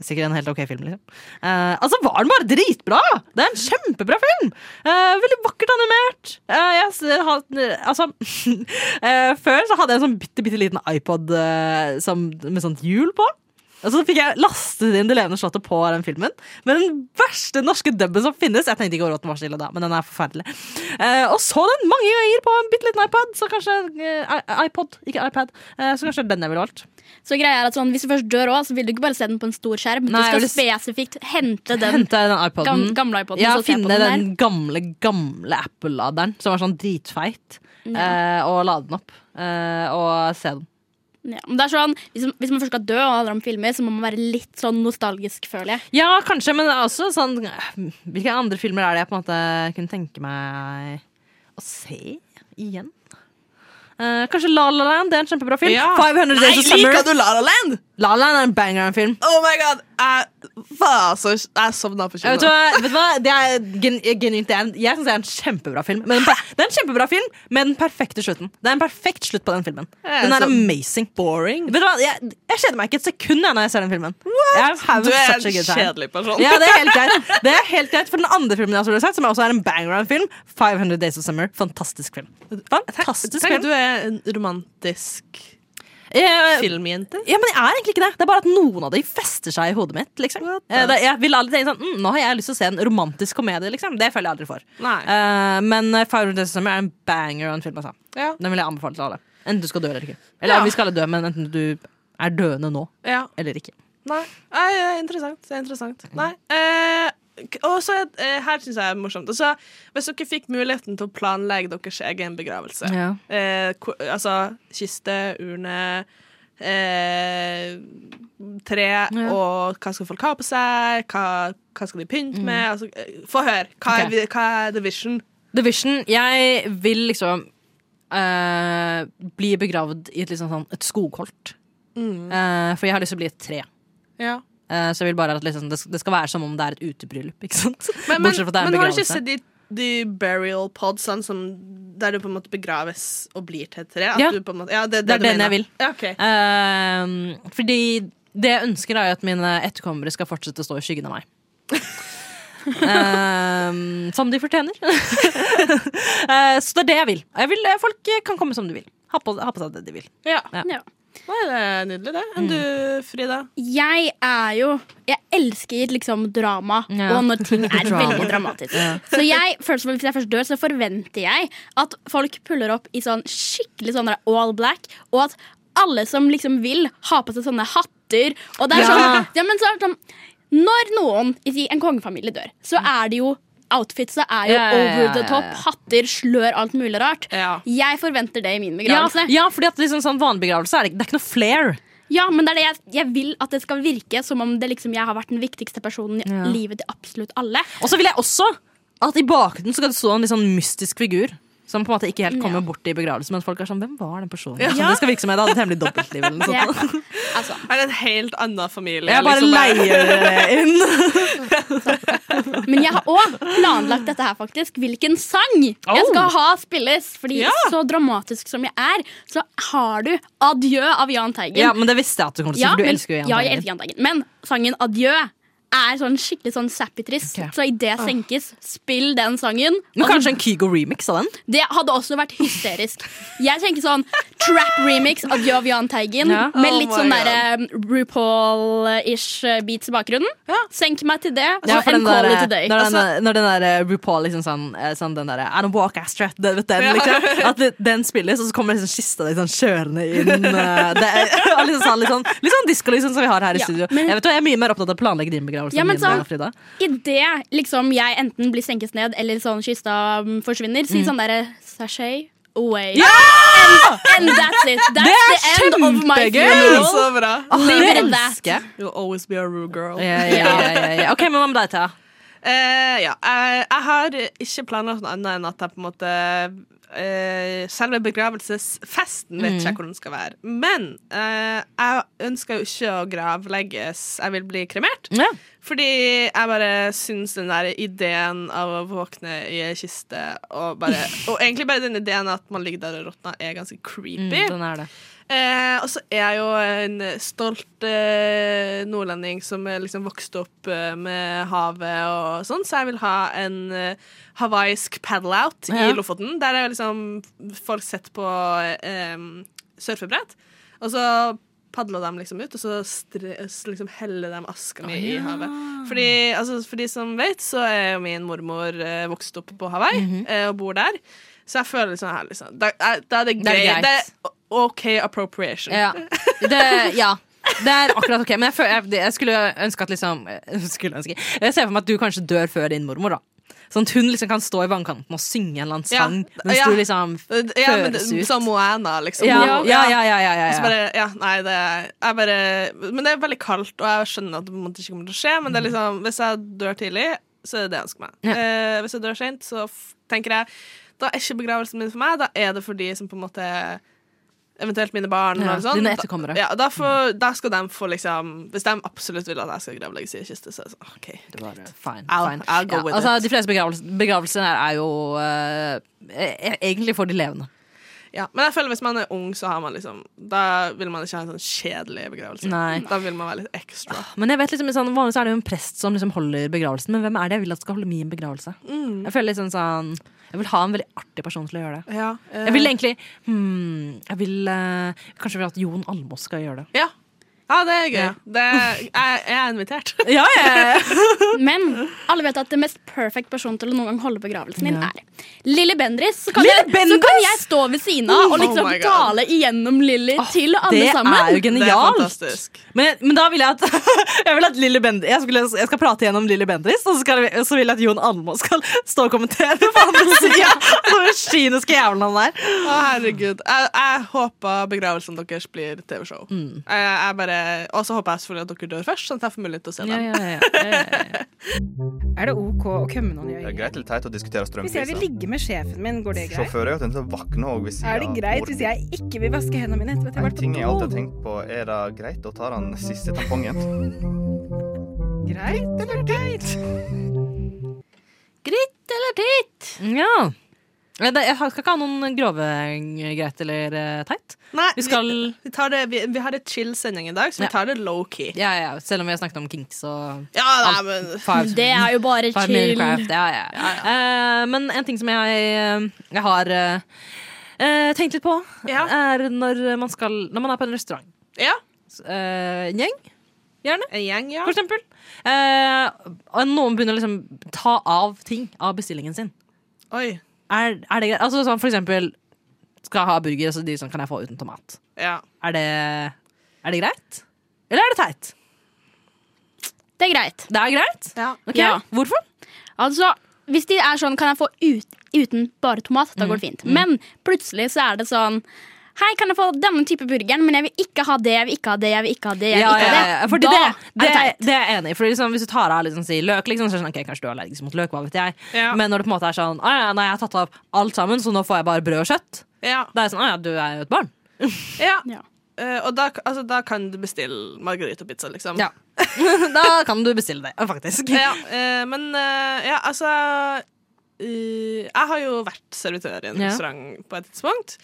Speaker 6: er sikkert en helt ok film, liksom. Eh, altså var den bare dritbra! Det er en kjempebra film! Eh, veldig vakkert animert. Eh, jeg, s- ha, altså eh, Før så hadde jeg en sånn bitte, bitte liten iPod eh, som, med sånt hjul på. Og så fikk jeg lastet inn Det levende slottet på den filmen. Men den verste norske dubben som finnes Jeg tenkte ikke over at den var så ille da, men den er forferdelig. Eh, og så den mange ganger på en bitte liten iPad, så kanskje eh, i- iPod, ikke iPad. Eh, så kanskje den jeg ville valgt.
Speaker 7: Så greia er at sånn, Hvis du først dør òg, så vil du ikke bare se den på en stor skjerm.
Speaker 6: Nei, jeg
Speaker 7: du skal
Speaker 6: vil
Speaker 7: spesifikt hente den
Speaker 6: Hente den iPoden.
Speaker 7: gam gamle iPoden.
Speaker 6: Ja,
Speaker 7: og så se på
Speaker 6: finne
Speaker 7: her.
Speaker 6: den gamle, gamle Apple-laderen som var sånn dritfeit, eh, og lade den opp. eh, og se den.
Speaker 7: Ja, men det er sånn, hvis, hvis man først skal dø og det handler om filmer, så må man være litt sånn nostalgisk, føler jeg.
Speaker 6: Ja, kanskje, men det er også sånn eh, Hvilke andre filmer er det jeg på en måte kunne tenke meg å se igjen? Eh, kanskje La La Land det er en kjempebra film.
Speaker 5: Ja.
Speaker 6: 500 Days of Summer.
Speaker 5: liker du La La Land?
Speaker 6: La La Land er en banger av en film.
Speaker 5: Oh my god! Jeg var så Jeg sovna på
Speaker 6: Jeg vet,
Speaker 5: kino.
Speaker 6: du hva, vet du hva? Det er gen, genuint det er en, Jeg syns det er en kjempebra film. Men den, per- det er en kjempebra film med den perfekte slutten. Det er en perfekt slutt på den filmen.
Speaker 5: Ja,
Speaker 6: Den er
Speaker 5: så-
Speaker 6: amazing.
Speaker 5: Boring.
Speaker 6: Vet du hva? Jeg, jeg kjeder meg ikke et sekund jeg, når jeg ser den filmen. Jeg har
Speaker 5: Du er en
Speaker 6: such a good time.
Speaker 5: kjedelig person.
Speaker 6: Ja, det er helt greit. Det er helt greit For den andre filmen jeg også har sett, som også er en banger-film, 500 Days of Summer. Fantastisk film. Fantastisk
Speaker 5: Tenk at
Speaker 6: film.
Speaker 5: du er en romantisk
Speaker 6: Eh,
Speaker 5: filmjente.
Speaker 6: Ja, men jeg er egentlig ikke det. Det er bare at noen av de fester seg i hodet mitt. Liksom. Eh, det- Jeg vil aldri tenke sånn mm, Nå har jeg lyst til å se en romantisk komedie, liksom. Det føler jeg aldri for.
Speaker 5: Nei.
Speaker 6: Eh, men eh, 500 Days of Summer er en banger av en film, altså.
Speaker 5: Ja.
Speaker 6: Den vil jeg anbefale til alle. Enten du skal dø eller ikke. Eller
Speaker 5: Ja.
Speaker 6: vi skal alle dø, men enten du er døende nå
Speaker 5: Ja.
Speaker 6: eller ikke.
Speaker 5: Nei. Nei, det er interessant. Det er interessant. Nei. Eh, k- og så er- eh, her syns jeg er morsomt. Altså, hvis dere fikk muligheten til å planlegge deres egen begravelse
Speaker 6: Ja.
Speaker 5: eh, ko- Altså kiste, urne eh, Tre og hva skal folk ha på seg? Hva, hå skal de pynte med? Altså, eh, få høre. Hva, er
Speaker 6: Mm. Ok.
Speaker 5: vi- hva er the vision?
Speaker 6: The Vision, jeg vil liksom eh, bli begravd i et, liksom sånn, et skogholt.
Speaker 5: Mm.
Speaker 6: Eh, for jeg har lyst til å bli et tre.
Speaker 5: Ja.
Speaker 6: Eh, så jeg vil bare at liksom, det, sk- det skal være som om det er et utebryllup. Ikke sant?
Speaker 5: Men, men,
Speaker 6: Bortsett fra at det er en
Speaker 5: men har du ikke
Speaker 6: begravelse.
Speaker 5: sett de, de burial podsene som, der du på en måte begraves og blir til et tre? At
Speaker 6: Ja.
Speaker 5: du på en måte, ja, det,
Speaker 6: Det er
Speaker 5: du
Speaker 6: den
Speaker 5: mener.
Speaker 6: jeg vil.
Speaker 5: Ja, ok.
Speaker 6: Eh, fordi det jeg ønsker, er jo at mine etterkommere skal fortsette å stå i skyggen av meg. Ehm, som de fortjener. Eh, så det er det jeg vil. jeg vil. eh, Folk kan komme som de vil. Ha på, ha på seg det de vil.
Speaker 5: Ja.
Speaker 6: Ja.
Speaker 7: Ja.
Speaker 5: Nei, det er nydelig, det.
Speaker 6: Mm.
Speaker 5: Enn du, Frida?
Speaker 7: Jeg er jo Jeg elsker liksom drama
Speaker 6: Ja.
Speaker 7: og når ting er
Speaker 6: Drama.
Speaker 7: veldig dramatisk. Så jeg, først og fremst, Hvis jeg først dør, så forventer jeg at folk puller opp i sånn skikkelig sånn der all black, og at alle som liksom vil, har på seg sånne hatter. Og det er
Speaker 6: Ja.
Speaker 7: sånn, ja, men så er det sånn Når noen i si, en kongefamilie dør, så er det jo Outfitsa er jo
Speaker 6: Ja, ja, ja,
Speaker 7: over the
Speaker 6: ja,
Speaker 7: top.
Speaker 6: ja.
Speaker 7: Hatter, slør, alt mulig rart.
Speaker 5: Ja.
Speaker 7: Jeg forventer det i min
Speaker 6: Ja,
Speaker 7: begravelse.
Speaker 6: ja fordi at liksom, sånn vanlig begravelse er det, det er ikke noe flair.
Speaker 7: Ja, men det er det jeg, jeg vil at det skal virke som om det liksom jeg har vært den viktigste personen i
Speaker 6: Ja.
Speaker 7: livet til absolutt alle.
Speaker 6: Og så vil jeg også at i bakgrunnen så kan det stå en litt sånn mystisk figur. Som på en måte ikke helt kommer bort i begravelsen, men folk er sånn Hvem var den personen? Så det skal virke som jeg hadde et hemmelig dobbeltliv. Eller noe
Speaker 7: Det,
Speaker 6: sånt.
Speaker 7: altså,
Speaker 5: Er det en helt annen familie?
Speaker 6: Jeg bare
Speaker 5: liksom,
Speaker 6: leier det inn.
Speaker 7: men jeg har òg planlagt dette her, faktisk. Hvilken sang jeg skal
Speaker 6: Oh.
Speaker 7: ha spilles. Fordi
Speaker 5: Ja.
Speaker 7: så dramatisk som jeg er, så har du 'Adjø' av Jahn Teigen.
Speaker 6: Ja, men det visste jeg at du kommer til å si, for du
Speaker 7: men,
Speaker 6: elsker jo
Speaker 7: ja, jeg
Speaker 6: Jahn Teigen.
Speaker 7: elsker Jahn Teigen. Men sangen 'Adjø' er sånn skikkelig sånn sappy-trist.
Speaker 6: Ok. Ah.
Speaker 7: Så idet det senkes, spill den sangen.
Speaker 6: Men kanskje en
Speaker 7: Altså-
Speaker 6: Kygo remix av den?
Speaker 7: Det hadde også vært hysterisk. Jeg tenker sånn trap remix av Jov Jahn Teigen.
Speaker 6: Ja.
Speaker 7: Med
Speaker 5: Oh
Speaker 7: litt
Speaker 5: my
Speaker 7: sånn derre RuPaul-ish uh, beats i bakgrunnen. Senk meg til det, og
Speaker 6: Ja,
Speaker 7: Altså,
Speaker 6: for
Speaker 7: en
Speaker 6: den
Speaker 7: call
Speaker 6: der, eh,
Speaker 7: it a day.
Speaker 6: når, den,
Speaker 7: Altså,
Speaker 6: når den der eh, RuPaul liksom sånn, eh, sånn den der, I don't walk, I strut, det, vet den, liksom, At det- den spilles, og så kommer liksom kista liksom kjørende inn. eh, Det er, og liksom sånn, litt sånn, litt sånn diskolysen som vi har her i
Speaker 7: Ja,
Speaker 6: studio.
Speaker 7: men-
Speaker 6: jeg, vet, hva, jeg er mye mer opptatt av å planlegge din begravelse
Speaker 7: Ja,
Speaker 6: enn
Speaker 7: men
Speaker 6: min,
Speaker 7: sånn-
Speaker 6: eh, Frida.
Speaker 7: Idet liksom jeg enten blir senket ned, eller sånn kista mm, forsvinner, si sånn derre sashay away. And, and that's it. That's the end of my
Speaker 6: kjempegøy!
Speaker 5: Ja,
Speaker 7: funeral.
Speaker 5: så bra.
Speaker 6: Ah,
Speaker 7: Leave
Speaker 6: det
Speaker 7: it at that.
Speaker 6: elsker jeg.
Speaker 5: You'll always be a Rue girl.
Speaker 6: Ja, ja, ja, ja. Ok, men hva med deg, Thea?
Speaker 5: Eh, ja. Jeg, jeg har ikke planlagt noe annet enn at jeg på en måte eh, Selve begravelsesfesten vet ikke jeg hvordan den skal være. Men eh, jeg ønsker jo ikke å gravlegges. Jeg vil bli kremert.
Speaker 6: Ja.
Speaker 5: Fordi jeg bare syns den der ideen av å våkne i ei kiste, og, bare, og egentlig bare den ideen at man ligger der og råtner, er ganske creepy.
Speaker 6: Mm, Den er det.
Speaker 5: Eh, og så er jeg jo en stolt eh, nordlending som eh, liksom vokste opp eh, med havet og sånn, så jeg vil ha en eh, hawaiisk paddle-out
Speaker 6: Ja.
Speaker 5: i Lofoten, der er liksom folk sett på eh, surfebrett, og så padler de liksom ut, og så stre, s- liksom heller de aska mi i havet. Fordi, altså, for de som vet, så er jo min mormor eh, vokst opp på Hawaii
Speaker 6: Mhm.
Speaker 5: eh, og bor der, så jeg føler liksom her, liksom, da, er- da er det
Speaker 6: Det er
Speaker 5: greit.
Speaker 6: greit.
Speaker 5: Det er OK appropriation.
Speaker 6: Ja. Det, ja. det er akkurat ok. Men jeg, føler, jeg, jeg skulle ønske at liksom jeg skulle ønske, Jeg ser for meg at du kanskje dør før din mormor. da Sånn at hun liksom kan stå i vannkanten og synge en eller annen
Speaker 5: Ja.
Speaker 6: sang mens
Speaker 5: Ja.
Speaker 6: du liksom
Speaker 5: Ja, men
Speaker 6: Føres ut.
Speaker 5: Som Moana, liksom.
Speaker 6: Ja, ja,
Speaker 5: Hun-
Speaker 6: ja. ja, ja, ja,
Speaker 5: Og så
Speaker 6: ja.
Speaker 5: bare, ja, nei, det er jeg bare Men det er veldig kaldt, og jeg skjønner at det på en måte ikke kommer til å skje, men det er liksom, hvis jeg dør tidlig, så er det det jeg ønsker meg.
Speaker 6: Mhm. Ja.
Speaker 5: Eh, hvis jeg dør sent, så f tenker jeg Da er ikke begravelsen min for meg, da er det for de som på en måte Eventuelt mine barn.
Speaker 6: Ja,
Speaker 5: og sånn.
Speaker 6: dine etterkommere.
Speaker 5: Ja, da, får, da skal de få liksom Hvis de absolutt vil at jeg skal gravlegges i kiste, så er det sånn OK.
Speaker 6: Det var, eh, Fine,
Speaker 5: I'll-
Speaker 6: fine.
Speaker 5: I'll go
Speaker 6: Ja,
Speaker 5: with
Speaker 6: altså,
Speaker 5: it.
Speaker 6: de fleste begravelser, begravelser her er jo eh, eh, egentlig for de levende.
Speaker 5: Ja, men jeg føler hvis man er ung, så har man liksom Da vil man ikke ha en sånn kjedelig begravelse.
Speaker 6: Nei.
Speaker 5: Da vil man være litt ekstra.
Speaker 6: Men jeg vet liksom, sånn, Vanligvis er det jo en prest som liksom holder begravelsen, men hvem er det jeg vil at skal holde min begravelse?
Speaker 5: Mm.
Speaker 6: Jeg føler liksom sånn Jeg vil ha en veldig artig person til å gjøre det.
Speaker 5: Ja, eh,
Speaker 6: Jeg vil egentlig hmm, jeg vil, eh, Kanskje jeg vil at Jon Almås skal gjøre det.
Speaker 5: ja. ja, det er gøy. Det er, jeg, jeg er invitert.
Speaker 6: Ja,
Speaker 7: Men alle vet at det mest perfect personen til å noen gang holde begravelsen din
Speaker 6: Ja.
Speaker 7: er Lilly Bendris. Så kan,
Speaker 6: Lilly
Speaker 7: Jeg, så kan
Speaker 6: Bendriss?
Speaker 7: jeg stå ved siden av
Speaker 5: Oh
Speaker 7: og liksom
Speaker 5: my God.
Speaker 7: gale igjennom Lilly til alle
Speaker 6: Det er jo
Speaker 7: sammen.
Speaker 5: Det er
Speaker 6: genialt!
Speaker 5: fantastisk.
Speaker 6: Men, men da vil jeg at Jeg, vil at Lille Bend- jeg, skulle, jeg skal prate gjennom Lilly Bendriss, og så, skal, jeg- så vil jeg at Jon Almås skal stå og kommentere på andre sida! Den kyniske jævelen han er.
Speaker 5: Å, herregud. Jeg, jeg håper begravelsen deres blir TV-show.
Speaker 6: Mm.
Speaker 5: Jeg, jeg bare Og så håper jeg selvfølgelig at dere dør først, sånn at jeg får mulighet til å se dem.
Speaker 6: Eh,
Speaker 2: Er det ok å kømme noen i
Speaker 8: Det er
Speaker 2: øyet?
Speaker 8: greit liksom. eller teit å diskutere
Speaker 2: Hvis jeg vil
Speaker 8: strømpriser.
Speaker 2: ligge med sjefen min, går det greit?
Speaker 8: Sjåfører er jo tenkt å våkne òg hvis
Speaker 2: Er det greit hvis jeg ikke vil vaske hendene mine etter at jeg
Speaker 8: En
Speaker 2: har vært
Speaker 8: ting jeg alltid har
Speaker 2: på do?
Speaker 8: tenkt på, er det greit å ta den siste tampongen?
Speaker 2: Greit eller greit?
Speaker 6: Ja. Nei, det- Jeg skal ikke ha noen grove eh, greit eller eh, teit.
Speaker 5: Nei,
Speaker 6: Vi skal
Speaker 5: vi, tar det, vi, vi har et chill sending i dag, så
Speaker 6: Ja.
Speaker 5: vi tar det low-key.
Speaker 6: ja, ja, Selv om vi har snakket om kinks og
Speaker 5: Ja, nei, men
Speaker 6: fives.
Speaker 7: Det er jo bare
Speaker 6: Bare
Speaker 7: chill.
Speaker 6: Minecraft, ja, ja. Eh, men en ting som jeg, eh, jeg har eh, eh, tenkt litt på,
Speaker 5: Ja.
Speaker 6: er når man, skal, når man er på en restaurant.
Speaker 5: Ja.
Speaker 6: Eh, en gjeng, gjerne,
Speaker 5: En gjeng, ja.
Speaker 6: for eksempel. Eh, og noen begynner å liksom ta av ting av bestillingen sin.
Speaker 5: Oi.
Speaker 6: Er, er det greit? Altså, sånn, for eksempel skal jeg ha burger, så de sånn, kan jeg få uten tomat.
Speaker 5: Ja.
Speaker 6: Er det, er det greit? Eller er det teit?
Speaker 7: Det er greit.
Speaker 6: Det er greit.
Speaker 5: ja.
Speaker 6: Ok,
Speaker 7: Ja.
Speaker 6: Hvorfor?
Speaker 7: Altså, hvis de er sånn, kan jeg få ut, uten bare tomat, da
Speaker 6: Mm,
Speaker 7: går det fint. Men plutselig så er det sånn Hei, kan jeg få denne type burgeren, men jeg vil ikke ha det, jeg vil ikke ha det, jeg vil ikke ha det. jeg vil
Speaker 6: Ja,
Speaker 7: ikke
Speaker 6: ja,
Speaker 7: ha
Speaker 6: ja, ja. Fordi
Speaker 7: Da
Speaker 6: det,
Speaker 7: er
Speaker 6: det,
Speaker 7: det teit.
Speaker 6: det er jeg enig i. Fordi liksom, hvis du tar av liksom, sier løk, liksom, så er det sånn, ok, kanskje du er allergisk mot løk. hva vet jeg
Speaker 5: Ja.
Speaker 6: Men når det på en måte er sånn «Å ja, nei, jeg har tatt av alt sammen, så nå får jeg bare brød og kjøtt.
Speaker 5: Ja.
Speaker 6: Da er jeg sånn, «Å ja, du er jo et barn.
Speaker 5: ja.
Speaker 7: Ja.
Speaker 5: Eh, og da, altså, da kan du bestille margaritapizza, liksom.
Speaker 6: Ja. da kan du bestille det, faktisk.
Speaker 5: Ja, eh, men eh, ja, altså eh, Jeg har jo vært servitør i en
Speaker 6: Ja.
Speaker 5: restaurant på et tidspunkt.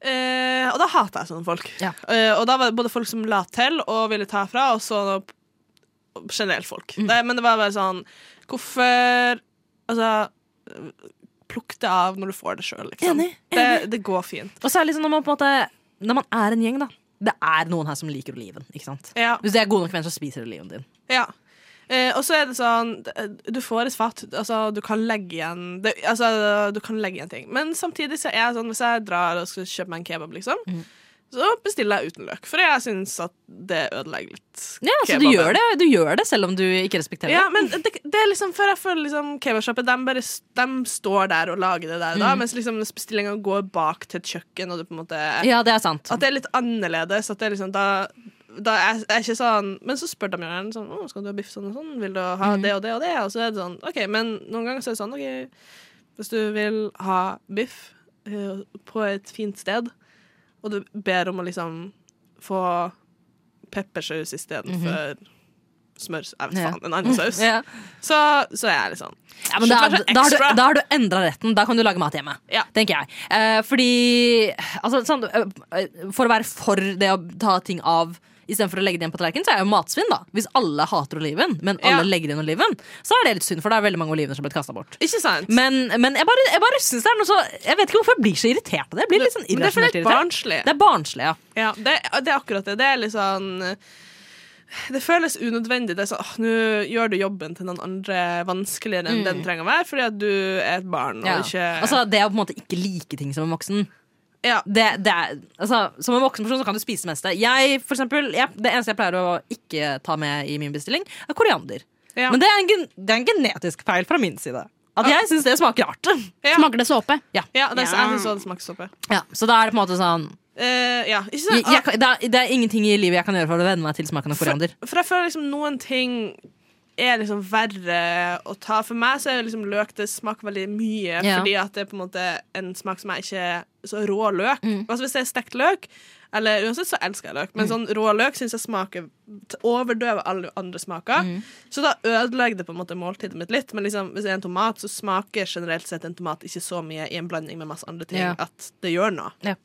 Speaker 5: Eh, og da hata jeg sånne folk.
Speaker 6: Ja.
Speaker 5: Eh, og da var det både folk som la til og ville ta fra, og så generelt folk.
Speaker 6: Mm.
Speaker 5: Det, men det var bare sånn Hvorfor Altså, plukk det av når du får det sjøl, liksom.
Speaker 6: Enig,
Speaker 5: Det, det går fint.
Speaker 6: Og særlig sånn når man på en måte Når man er en gjeng, da. Det er noen her som liker oliven. ikke sant?
Speaker 5: Ja.
Speaker 6: Hvis de er gode nok venner, så spiser de oliven din.
Speaker 5: Ja. Eh, og så er det sånn Du får et fat. Altså, du kan legge igjen det, altså, du kan legge igjen ting. Men samtidig så er jeg sånn hvis jeg drar og skal kjøpe meg en kebab, liksom,
Speaker 6: Mm.
Speaker 5: så bestiller jeg uten løk. For jeg syns at det ødelegger litt.
Speaker 6: Ja, så du
Speaker 5: kebaben.
Speaker 6: gjør, det, du gjør det selv om du ikke respekterer
Speaker 5: Ja,
Speaker 6: det.
Speaker 5: men det, det er liksom Før jeg føler liksom kebabsjappet de, bare s- de står der og lager det der, da,
Speaker 6: Mm.
Speaker 5: mens liksom hvis bestillinga går bak til et kjøkken, og du på en måte
Speaker 6: Ja, det er sant.
Speaker 5: At det er litt annerledes. At det er liksom da da er jeg ikke sånn Men så spør de jo gjerne sånn «Å, 'Skal du ha biff sånn og sånn? Vil du ha det og det og det?' Og så er det sånn OK, men noen ganger så er det sånn OK, hvis du vil ha biff eh, på et fint sted, og du ber om å liksom få peppersaus istedenfor smør Jeg vet
Speaker 6: Ja.
Speaker 5: faen, en annen saus.
Speaker 6: Ja.
Speaker 5: Så, så er jeg litt sånn
Speaker 6: Ja, men da,
Speaker 5: Kjøp kanskje
Speaker 6: da har du,
Speaker 5: ekstra.
Speaker 6: da har du endra retten. Da kan du lage mat hjemme.
Speaker 5: Ja.
Speaker 6: Tenker jeg. Eh, fordi altså, sånn, eh, For å være for det å ta ting av istedenfor å legge det igjen på tallerkenen, så er jo matsvinn, da. Hvis alle hater oliven, men alle
Speaker 5: Ja.
Speaker 6: legger igjen oliven, så er det litt synd, for det er veldig mange olivener som har blitt kasta bort.
Speaker 5: Ikke sant?
Speaker 6: Men, men jeg bare, jeg bare synes det er noe så Jeg vet ikke hvorfor jeg blir så irritert av det. Jeg blir litt sånn
Speaker 5: men det er for
Speaker 6: irrasjonelt
Speaker 5: litt
Speaker 6: irritert.
Speaker 5: barnslig.
Speaker 6: Det er barnslig, ja.
Speaker 5: Ja, det, det er akkurat det. Det er litt sånn Det føles unødvendig. Det er sånn, «Åh, Nå gjør du jobben til noen andre vanskeligere enn den trenger å være, fordi at du er et barn og
Speaker 6: ja.
Speaker 5: ikke
Speaker 6: Altså, det å på en måte ikke like ting som en voksen
Speaker 5: ja,
Speaker 6: det, det er, altså, som en voksen person så kan du spise det meste. Jeg, for eksempel, jeg, det eneste jeg pleier å ikke ta med i min bestilling, er koriander.
Speaker 5: ja.
Speaker 6: Men det er, en, gen- det er en genetisk feil fra min side. At jeg syns det smaker rart.
Speaker 5: ja.
Speaker 7: Smaker det såpe?
Speaker 5: Ja, det, er- Jeg syns også det smaker såpe.
Speaker 6: Ja, så da er det på en måte sånn
Speaker 5: Eh, ja, ikke
Speaker 6: jeg,
Speaker 5: sant?
Speaker 6: jeg, kan- det, er, det er ingenting i livet jeg kan gjøre for å venne meg til smaken av koriander.
Speaker 5: For jeg føler liksom noen ting er liksom verre å ta. For meg så er det liksom løk det smaker veldig mye,
Speaker 6: Ja.
Speaker 5: fordi at det er på en måte en smak som jeg ikke Så rå løk.
Speaker 6: Mm.
Speaker 5: Altså Hvis det er stekt løk, eller uansett, så elsker jeg løk, men sånn rå løk syns jeg smaker t- overdøver alle andre smaker.
Speaker 6: Mm.
Speaker 5: Så da ødelegger det på en måte måltidet mitt litt. Men liksom, hvis det er en tomat, så smaker generelt sett en tomat ikke så mye i en blanding med masse andre ting
Speaker 6: Ja.
Speaker 5: at det gjør noe.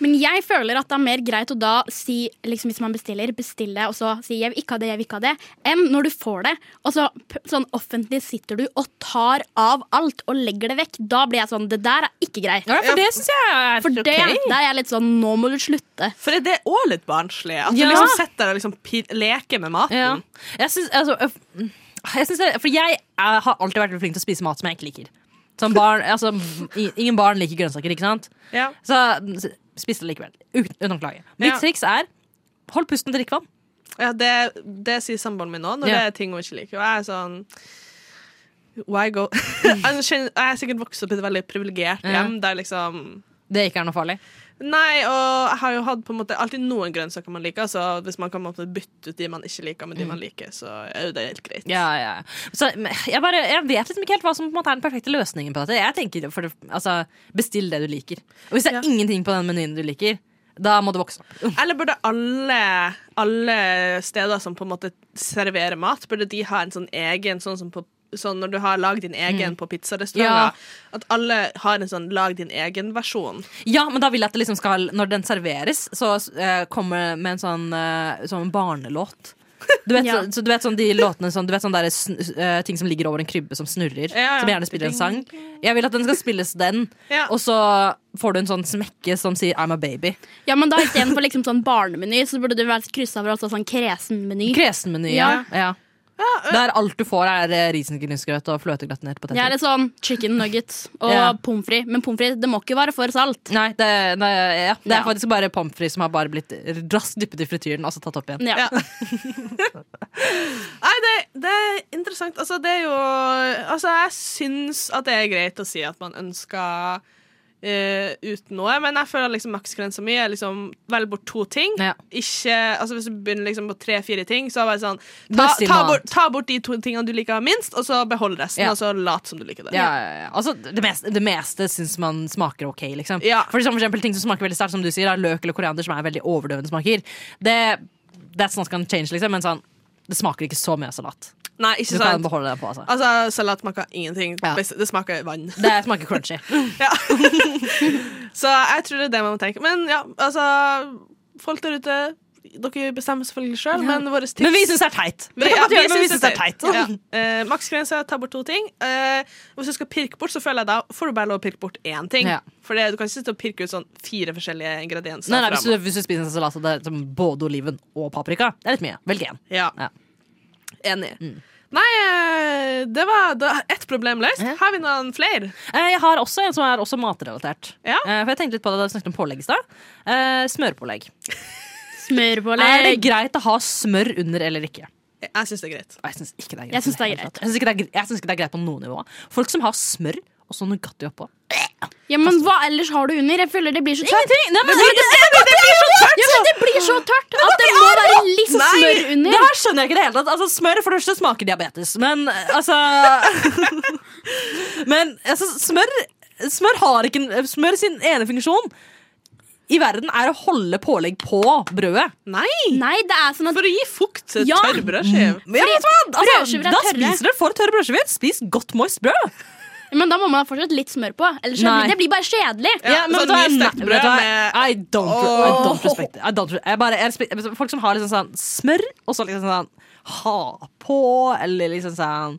Speaker 7: Men jeg føler at det er mer greit å da si, liksom hvis man bestiller, bestille, og så si 'jeg vil ikke ha det, jeg vil ikke ha det', enn når du får det, og så p- sånn offentlig sitter du og tar av alt og legger det vekk. Da blir jeg sånn 'det der er ikke greit'.
Speaker 6: Ja, for det syns jeg er
Speaker 7: For det, der er jeg litt sånn 'nå må du slutte'.
Speaker 5: For det er òg litt barnslig. At
Speaker 6: Ja.
Speaker 5: du liksom sitter der og liksom pir- leker med maten.
Speaker 6: Ja. Jeg syns altså, øff, jeg syns det, For jeg er, har alltid vært veldig flink til å spise mat som jeg ikke liker. Som barn, altså, i- ingen barn liker grønnsaker, ikke sant?
Speaker 5: Ja.
Speaker 6: Så s- spiste det likevel. Uten, uten å klage. Mitt
Speaker 5: Ja.
Speaker 6: triks er hold pusten og drikk vann.
Speaker 5: Ja, det, det sier samboeren min nå, når
Speaker 6: Ja.
Speaker 5: det er ting hun ikke liker. Og jeg er sånn Why go? jeg kjenner- jeg er sikkert vokst opp i et veldig privilegert
Speaker 6: Ja.
Speaker 5: hjem der liksom
Speaker 6: Det ikke er noe farlig.
Speaker 5: Nei, og jeg har jo hatt på en måte alltid noen grønnsaker man liker, så hvis man kan på en måte bytte ut de man ikke liker, med
Speaker 6: Mm.
Speaker 5: de man liker, så er jo det helt greit.
Speaker 6: Så, men jeg, bare, jeg vet liksom ikke helt hva som på en måte er den perfekte løsningen på dette. Jeg tenker for det, altså, Bestill det du liker. Og hvis det er
Speaker 5: Ja.
Speaker 6: ingenting på den menyen du liker, da må du vokse opp.
Speaker 5: Eller burde alle, alle steder som på en måte serverer mat, burde de ha en sånn egen, sånn som på sånn når du har lag din
Speaker 6: Mm.
Speaker 5: egen på pizzarestauranter, at alle har en sånn lag din egen-versjon.
Speaker 6: Ja, men da vil jeg at det liksom skal Når den serveres, så eh, kommer det med en sånn, eh, sånn barnelåt. Du vet,
Speaker 7: Ja.
Speaker 6: så, så du vet sånn de låtene sånn, Du vet sånn der, sn eh, ting som ligger over en krybbe som snurrer?
Speaker 5: Ja, ja.
Speaker 6: Som gjerne spiller en sang? Jeg vil at den skal spilles den,
Speaker 5: Ja.
Speaker 6: og så får du en sånn smekke som sier 'I'm a baby'.
Speaker 7: Ja, men da Istedenfor liksom sånn barnemeny så burde det være kryssa over altså sånn kresenmeny.
Speaker 6: Kresenmeny, ja. ja. Der alt du får, er eh, risengrynsgrøt og fløtegratinert poteter.
Speaker 7: Ja, eller sånn chicken nuggets og
Speaker 6: Ja.
Speaker 7: pommes frites. Men pommes frites det må ikke være for salt.
Speaker 6: Nei, det, det, ja. det er
Speaker 7: Ja.
Speaker 6: faktisk bare pommes frites som har bare blitt raskt dyppet i frityren og så tatt opp igjen.
Speaker 7: Ja.
Speaker 5: Ja. Nei, det, det er interessant. Altså, det er jo Altså, jeg syns at det er greit å si at man ønsker eh, uten noe, men jeg føler liksom maksgrensa mi er liksom velg bort to ting.
Speaker 6: Ja.
Speaker 5: Ikke, altså Hvis du begynner liksom på tre-fire ting, så er det bare sånn ta,
Speaker 6: Bestill
Speaker 5: ta,
Speaker 6: noe
Speaker 5: bort,
Speaker 6: annet.
Speaker 5: ta bort de to tingene du liker minst, og så behold resten.
Speaker 6: Ja.
Speaker 5: Og så lat som du liker det.
Speaker 6: Ja, ja, ja. Altså, det meste, det meste syns man smaker ok, liksom.
Speaker 5: Ja.
Speaker 6: For, eksempel, for eksempel ting som smaker veldig sterkt, som du sier, er løk eller koriander, som er veldig overdøvende smaker. Det, that's not gonna change, liksom, men sånn, det smaker ikke så mye salat.
Speaker 5: Nei,
Speaker 6: Du
Speaker 5: ikke
Speaker 6: kan
Speaker 5: sant.
Speaker 6: beholde det på, altså.
Speaker 5: Altså, Salat smaker ingenting.
Speaker 6: Ja.
Speaker 5: Best- Det smaker vann.
Speaker 6: Det smaker crunchy.
Speaker 5: Ja. så jeg tror det er det man må tenke. Men ja, altså Folk der ute, dere bestemmer selvfølgelig sjøl, men våre tips
Speaker 6: Men vi syns det er teit!
Speaker 5: Vi-
Speaker 6: Dere kan
Speaker 5: ja,
Speaker 6: godt gjøre det, men vi
Speaker 5: synes
Speaker 6: syns det er teit.
Speaker 5: Ja. Eh, Maksgrense, ta bort to ting. Eh, hvis du skal pirke bort, så føler jeg da får du bare lov å pirke bort én ting.
Speaker 6: Ja.
Speaker 5: For det, du kan ikke sitte og pirke ut sånn fire forskjellige ingredienser.
Speaker 6: Nei, nei, hvis,
Speaker 5: framover.
Speaker 6: du, hvis du spiser en salat så det er som både oliven og paprika, det er litt mye. Velg én.
Speaker 5: Ja.
Speaker 6: Ja. Mm.
Speaker 5: Enig. Nei, eh, det var da ett problem løst. Har vi noen flere?
Speaker 6: Eh, Jeg har også en som er også matrelatert.
Speaker 5: Ja.
Speaker 6: Eh, For jeg tenkte litt på det da vi snakket om pålegg i stad. Eh, Smørpålegg. Er det
Speaker 7: Smørpålegg.
Speaker 6: greit å ha smør under eller ikke?
Speaker 5: Jeg, jeg syns det er greit.
Speaker 6: Og Jeg syns ikke det er greit.
Speaker 7: Jeg synes det er
Speaker 6: i hele tatt. Jeg syns ikke, det er gre- jeg synes ikke det er greit på noe nivå. Folk som har smør og så Nugatti oppå.
Speaker 7: Ja, men hva ellers har du under? Jeg føler det blir så tørt.
Speaker 6: Nei, men, det, blir så tørt!
Speaker 7: Ja, men det blir så tørt at det må være litt sånn smør
Speaker 6: Det
Speaker 7: under.
Speaker 6: her skjønner jeg ikke i det hele tatt. Altså, smør for det første smaker diabetes, men eh, altså Men altså, smør, smør har ikke en- Smør sin ene funksjon i verden er å holde pålegg på brødet.
Speaker 5: Nei!
Speaker 7: Nei, det er sånn at
Speaker 5: For å gi fukt til
Speaker 7: Ja.
Speaker 5: tørr brødskive.
Speaker 6: Men, ja, vet du hva? altså,
Speaker 7: brødskiver er
Speaker 6: da
Speaker 7: tørre.
Speaker 6: spiser dere for tørre brødskiver. Spis godt moist brød.
Speaker 7: Men da må man ha fortsatt litt smør på. Ellers så
Speaker 6: Nei.
Speaker 7: blir- det blir bare kjedelig.
Speaker 5: Ja,
Speaker 6: men
Speaker 5: sånn
Speaker 6: da er-
Speaker 5: mye stekt
Speaker 6: nei,
Speaker 5: brød
Speaker 6: vet du hva?
Speaker 5: med-
Speaker 6: I don't, I don't respect it. I don't, jeg bare, jeg respek- folk som har liksom sånn smør, og så liksom sånn ha på, eller liksom sånn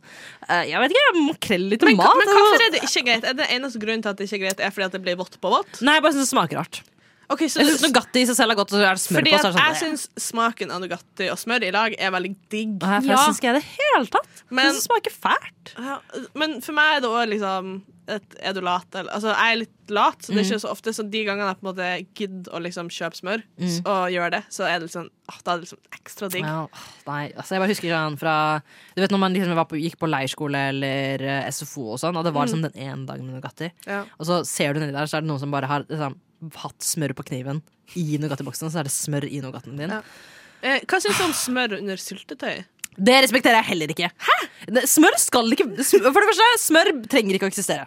Speaker 6: eh, Jeg vet ikke, makrell i
Speaker 5: Men,
Speaker 6: tomat.
Speaker 5: men
Speaker 6: eller noe.
Speaker 5: hvorfor er det ikke greit? Er det eneste grunnen til at det ikke er greit, er fordi at det blir vått på vått?
Speaker 6: Nei, jeg bare syns det smaker rart.
Speaker 5: Ok, så
Speaker 6: Jeg synes Nugatti i seg selv er godt, og så er det smør
Speaker 5: fordi
Speaker 6: på.
Speaker 5: at
Speaker 6: Så er det
Speaker 5: jeg
Speaker 6: sånn,
Speaker 5: syns smaken av Nugatti og smør i lag er veldig digg.
Speaker 6: Nei, for
Speaker 7: Ja.
Speaker 6: Jeg syns ikke jeg i det hele tatt.
Speaker 5: Men-
Speaker 6: Men, det smaker fælt.
Speaker 5: Ja, Men for meg er det òg liksom et, Er du lat? Eller, altså, jeg er litt lat, så det er ikke så ofte. Så de gangene jeg på en måte gidder å liksom kjøpe smør s- og gjøre det, så er det liksom åh, Da er det liksom ekstra digg.
Speaker 6: Ja, åh, nei, altså jeg bare husker sånn fra Du vet når man liksom var på, gikk på leirskole eller eh, SFO og sånn, og det var liksom den ene dagen med Nugatti,
Speaker 5: Mm. Ja.
Speaker 6: og så ser du nedi der, så er det noen som bare har liksom, hatt smør på kniven i Nugatti-boksen, og så er det smør i Nugatten din.
Speaker 5: Ja. Eh, hva syns du om smør under syltetøy?
Speaker 6: Det respekterer jeg heller ikke. Det, smør skal ikke sm- For det første, smør trenger ikke å eksistere.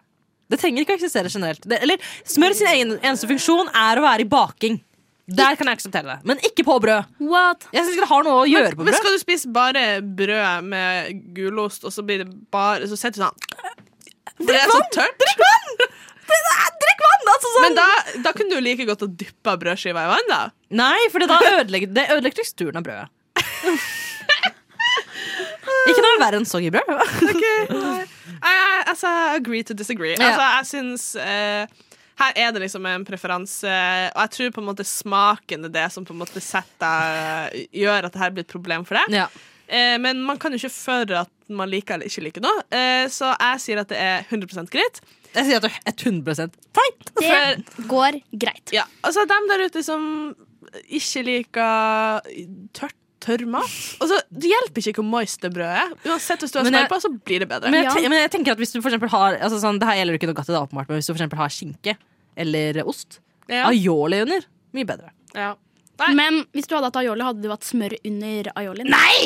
Speaker 6: Det trenger ikke å eksistere generelt. Det, eller, smør sin egen, eneste funksjon er å være i baking. Der kan jeg akseptere det. Men ikke på brød.
Speaker 7: What?
Speaker 6: Jeg syns ikke det har noe å gjøre på
Speaker 5: Men
Speaker 6: brød.
Speaker 5: skal du spise bare brød med gulost, og så blir det bare Så sitter du sånn Det er så tørt.
Speaker 6: Drikk vann! Altså, sånn.
Speaker 5: Men da, da kunne du like godt ha dyppa brødskiva i vann, da.
Speaker 6: Nei, for det da ødelegger det ødelegger teksturen av brødet. ikke noe verre enn soggybrød.
Speaker 5: Jeg, jeg, altså, agree to disagree. Altså, jeg syns eh, Her er det liksom en preferanse, og jeg tror på en måte smaken er det som på en måte setter, eh, gjør at det her blir et problem for deg.
Speaker 6: ja.
Speaker 5: Eh, men man kan jo ikke føre at man liker eller ikke liker noe, eh, så jeg sier at det er 100 greit.
Speaker 6: Jeg sier at det er 100 feil.
Speaker 7: Det går greit.
Speaker 5: Ja, altså dem der ute som ikke liker tørt Tørr mat. Altså, det hjelper ikke hvor moist det brødet er. Uansett hvis du har
Speaker 6: Men
Speaker 5: smør
Speaker 6: jeg-
Speaker 5: på, så blir det bedre.
Speaker 6: Men jeg,
Speaker 7: Ja.
Speaker 6: te- men jeg tenker at hvis du for eksempel har altså sånn, Det her gjelder jo ikke Nugatti, da, åpenbart, men hvis du for eksempel har skinke eller ost
Speaker 5: Ja.
Speaker 6: Aioli under. Mye bedre.
Speaker 5: Ja.
Speaker 7: Men hvis du hadde hatt aioli, hadde du hatt smør under aiolien?
Speaker 5: Nei,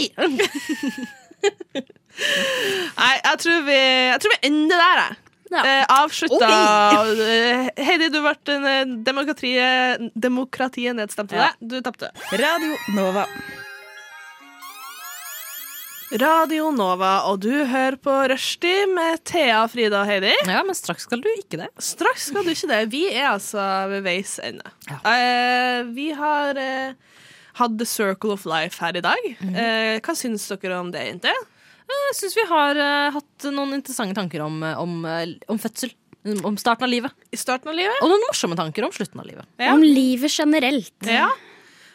Speaker 5: jeg tror vi, jeg tror vi ender der, jeg.
Speaker 7: Ja.
Speaker 5: Eh, avslutta eh, Heidi, du ble eh, demokratiet, demokratiet nedstemte
Speaker 6: Ja.
Speaker 5: deg. Du tapte.
Speaker 2: Radio Nova.
Speaker 5: Radio Nova, og du hører på Rushdie med Thea, Frida og Heidi.
Speaker 6: Ja, men straks skal du ikke det.
Speaker 5: Straks skal du ikke det. Vi er altså ved veis ende.
Speaker 6: Ja.
Speaker 5: Eh, vi har eh, hatt The Circle of Life her i dag. Eh, hva syns dere om det, jenter?
Speaker 6: Jeg syns vi har eh, hatt noen interessante tanker om, eh, om, eh, om fødsel. Mm, Om starten av livet.
Speaker 5: I starten av livet?
Speaker 6: Og noen morsomme tanker om slutten av livet.
Speaker 5: Ja.
Speaker 7: Om livet generelt.
Speaker 5: Ja.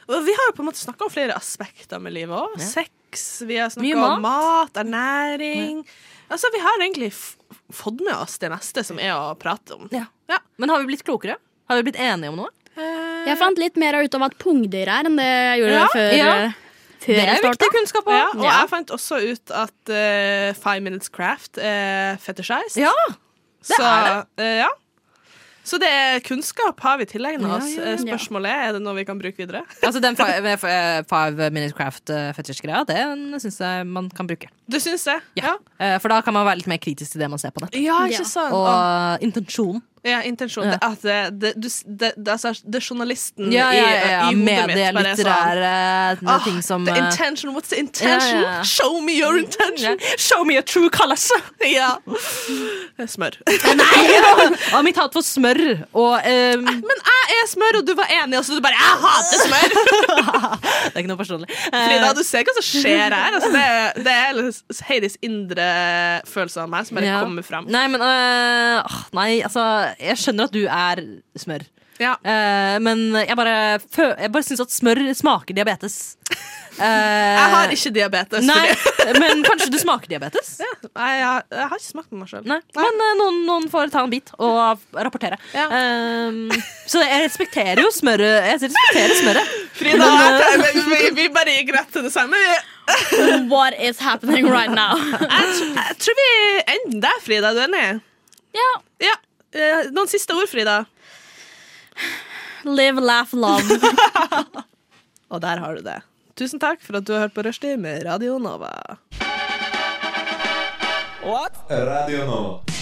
Speaker 5: Og vi har jo på en måte snakka om flere aspekter med livet òg.
Speaker 6: Ja.
Speaker 5: Sex, vi har
Speaker 6: Mye
Speaker 5: snakka om mat, ernæring. Altså, vi har egentlig f fått med oss det meste som er å prate om.
Speaker 6: Ja.
Speaker 5: Ja.
Speaker 6: Men har vi blitt klokere? Har vi blitt enige om noe?
Speaker 5: Eh,
Speaker 7: Jeg fant litt mer ut av hva et pungdyr er, enn det jeg gjorde
Speaker 6: Ja,
Speaker 7: før.
Speaker 6: ja.
Speaker 7: eh, før
Speaker 6: Det er
Speaker 7: jeg starta.
Speaker 6: viktig kunnskap
Speaker 5: ja,
Speaker 6: òg.
Speaker 5: og jeg fant også ut at eh, Five Minutes Craft er fetisjized.
Speaker 6: Ja.
Speaker 5: så,
Speaker 6: er
Speaker 5: eh, ja. Så det er kunnskap har vi tilegna
Speaker 6: Ja,
Speaker 5: oss.
Speaker 6: ja,
Speaker 5: Eh, Spørsmålet er er det noe vi kan bruke videre.
Speaker 6: Altså den five, med f- eh, five minute craft eh, fetish-greia, den syns jeg man kan bruke.
Speaker 5: Du syns det?
Speaker 6: Ja. Eh, For da kan man være litt mer kritisk til det man ser på det.
Speaker 5: Ja,
Speaker 7: Ja.
Speaker 5: ikke sant?
Speaker 6: Og eh,
Speaker 5: Å,
Speaker 6: intensjonen.
Speaker 5: ja, intensjon.
Speaker 6: Ja.
Speaker 5: Det, at det, det, du, s- det, det, altså, det er journalisten
Speaker 6: Ja, ja, ja,
Speaker 5: i, i hodet mitt.
Speaker 6: Medie,
Speaker 5: bare er sånn,
Speaker 6: eh, litterære
Speaker 5: «Ah,
Speaker 6: ting som
Speaker 5: The
Speaker 6: eh,
Speaker 5: intention, what's the intention?
Speaker 6: Ja, ja.
Speaker 5: Show me your intention!
Speaker 6: Show me your true colors!
Speaker 5: Ja. Det er Smør.
Speaker 6: Og mitt hat for smør og eh,
Speaker 5: Men jeg er smør, og du var enig, og så du bare 'jeg hater smør'!
Speaker 6: Det er ikke noe personlig. Eh,
Speaker 5: Frida, du ser hva som skjer her. Altså, det, er- det er liksom Heidis indre følelse av meg som bare
Speaker 6: Ja.
Speaker 5: kommer fram.
Speaker 6: Nei, men eh, ah, Nei, altså, jeg skjønner at du er smør.
Speaker 5: Ja.
Speaker 6: Eh, men jeg bare, fø- jeg bare syns at smør smaker diabetes. Eh,
Speaker 5: Jeg har ikke diabetes.
Speaker 6: Nei,
Speaker 5: fordi-
Speaker 6: men kanskje du smaker diabetes?
Speaker 5: Nei, jeg, har, jeg har ikke smakt på meg sjøl.
Speaker 6: Nei. Men eh, noen, noen får ta en bit og rapportere.
Speaker 5: Ja.
Speaker 6: Ehm, så jeg respekterer jo smøret. Jeg respekterer smøret.
Speaker 5: Frida, jeg tenker- vi, vi bare gikk rett til det samme. Jeg,
Speaker 7: What is happening right now?
Speaker 5: tr- jeg tror vi ender der, Frida. Er du enig?
Speaker 7: Ja.
Speaker 5: Ja. Eh, Noen siste ord, Frida?
Speaker 7: Live, laugh, love.
Speaker 5: Og der har du det. Tusen takk for at du har hørt på Rushdie med Radio Nova.
Speaker 3: Radio Nova.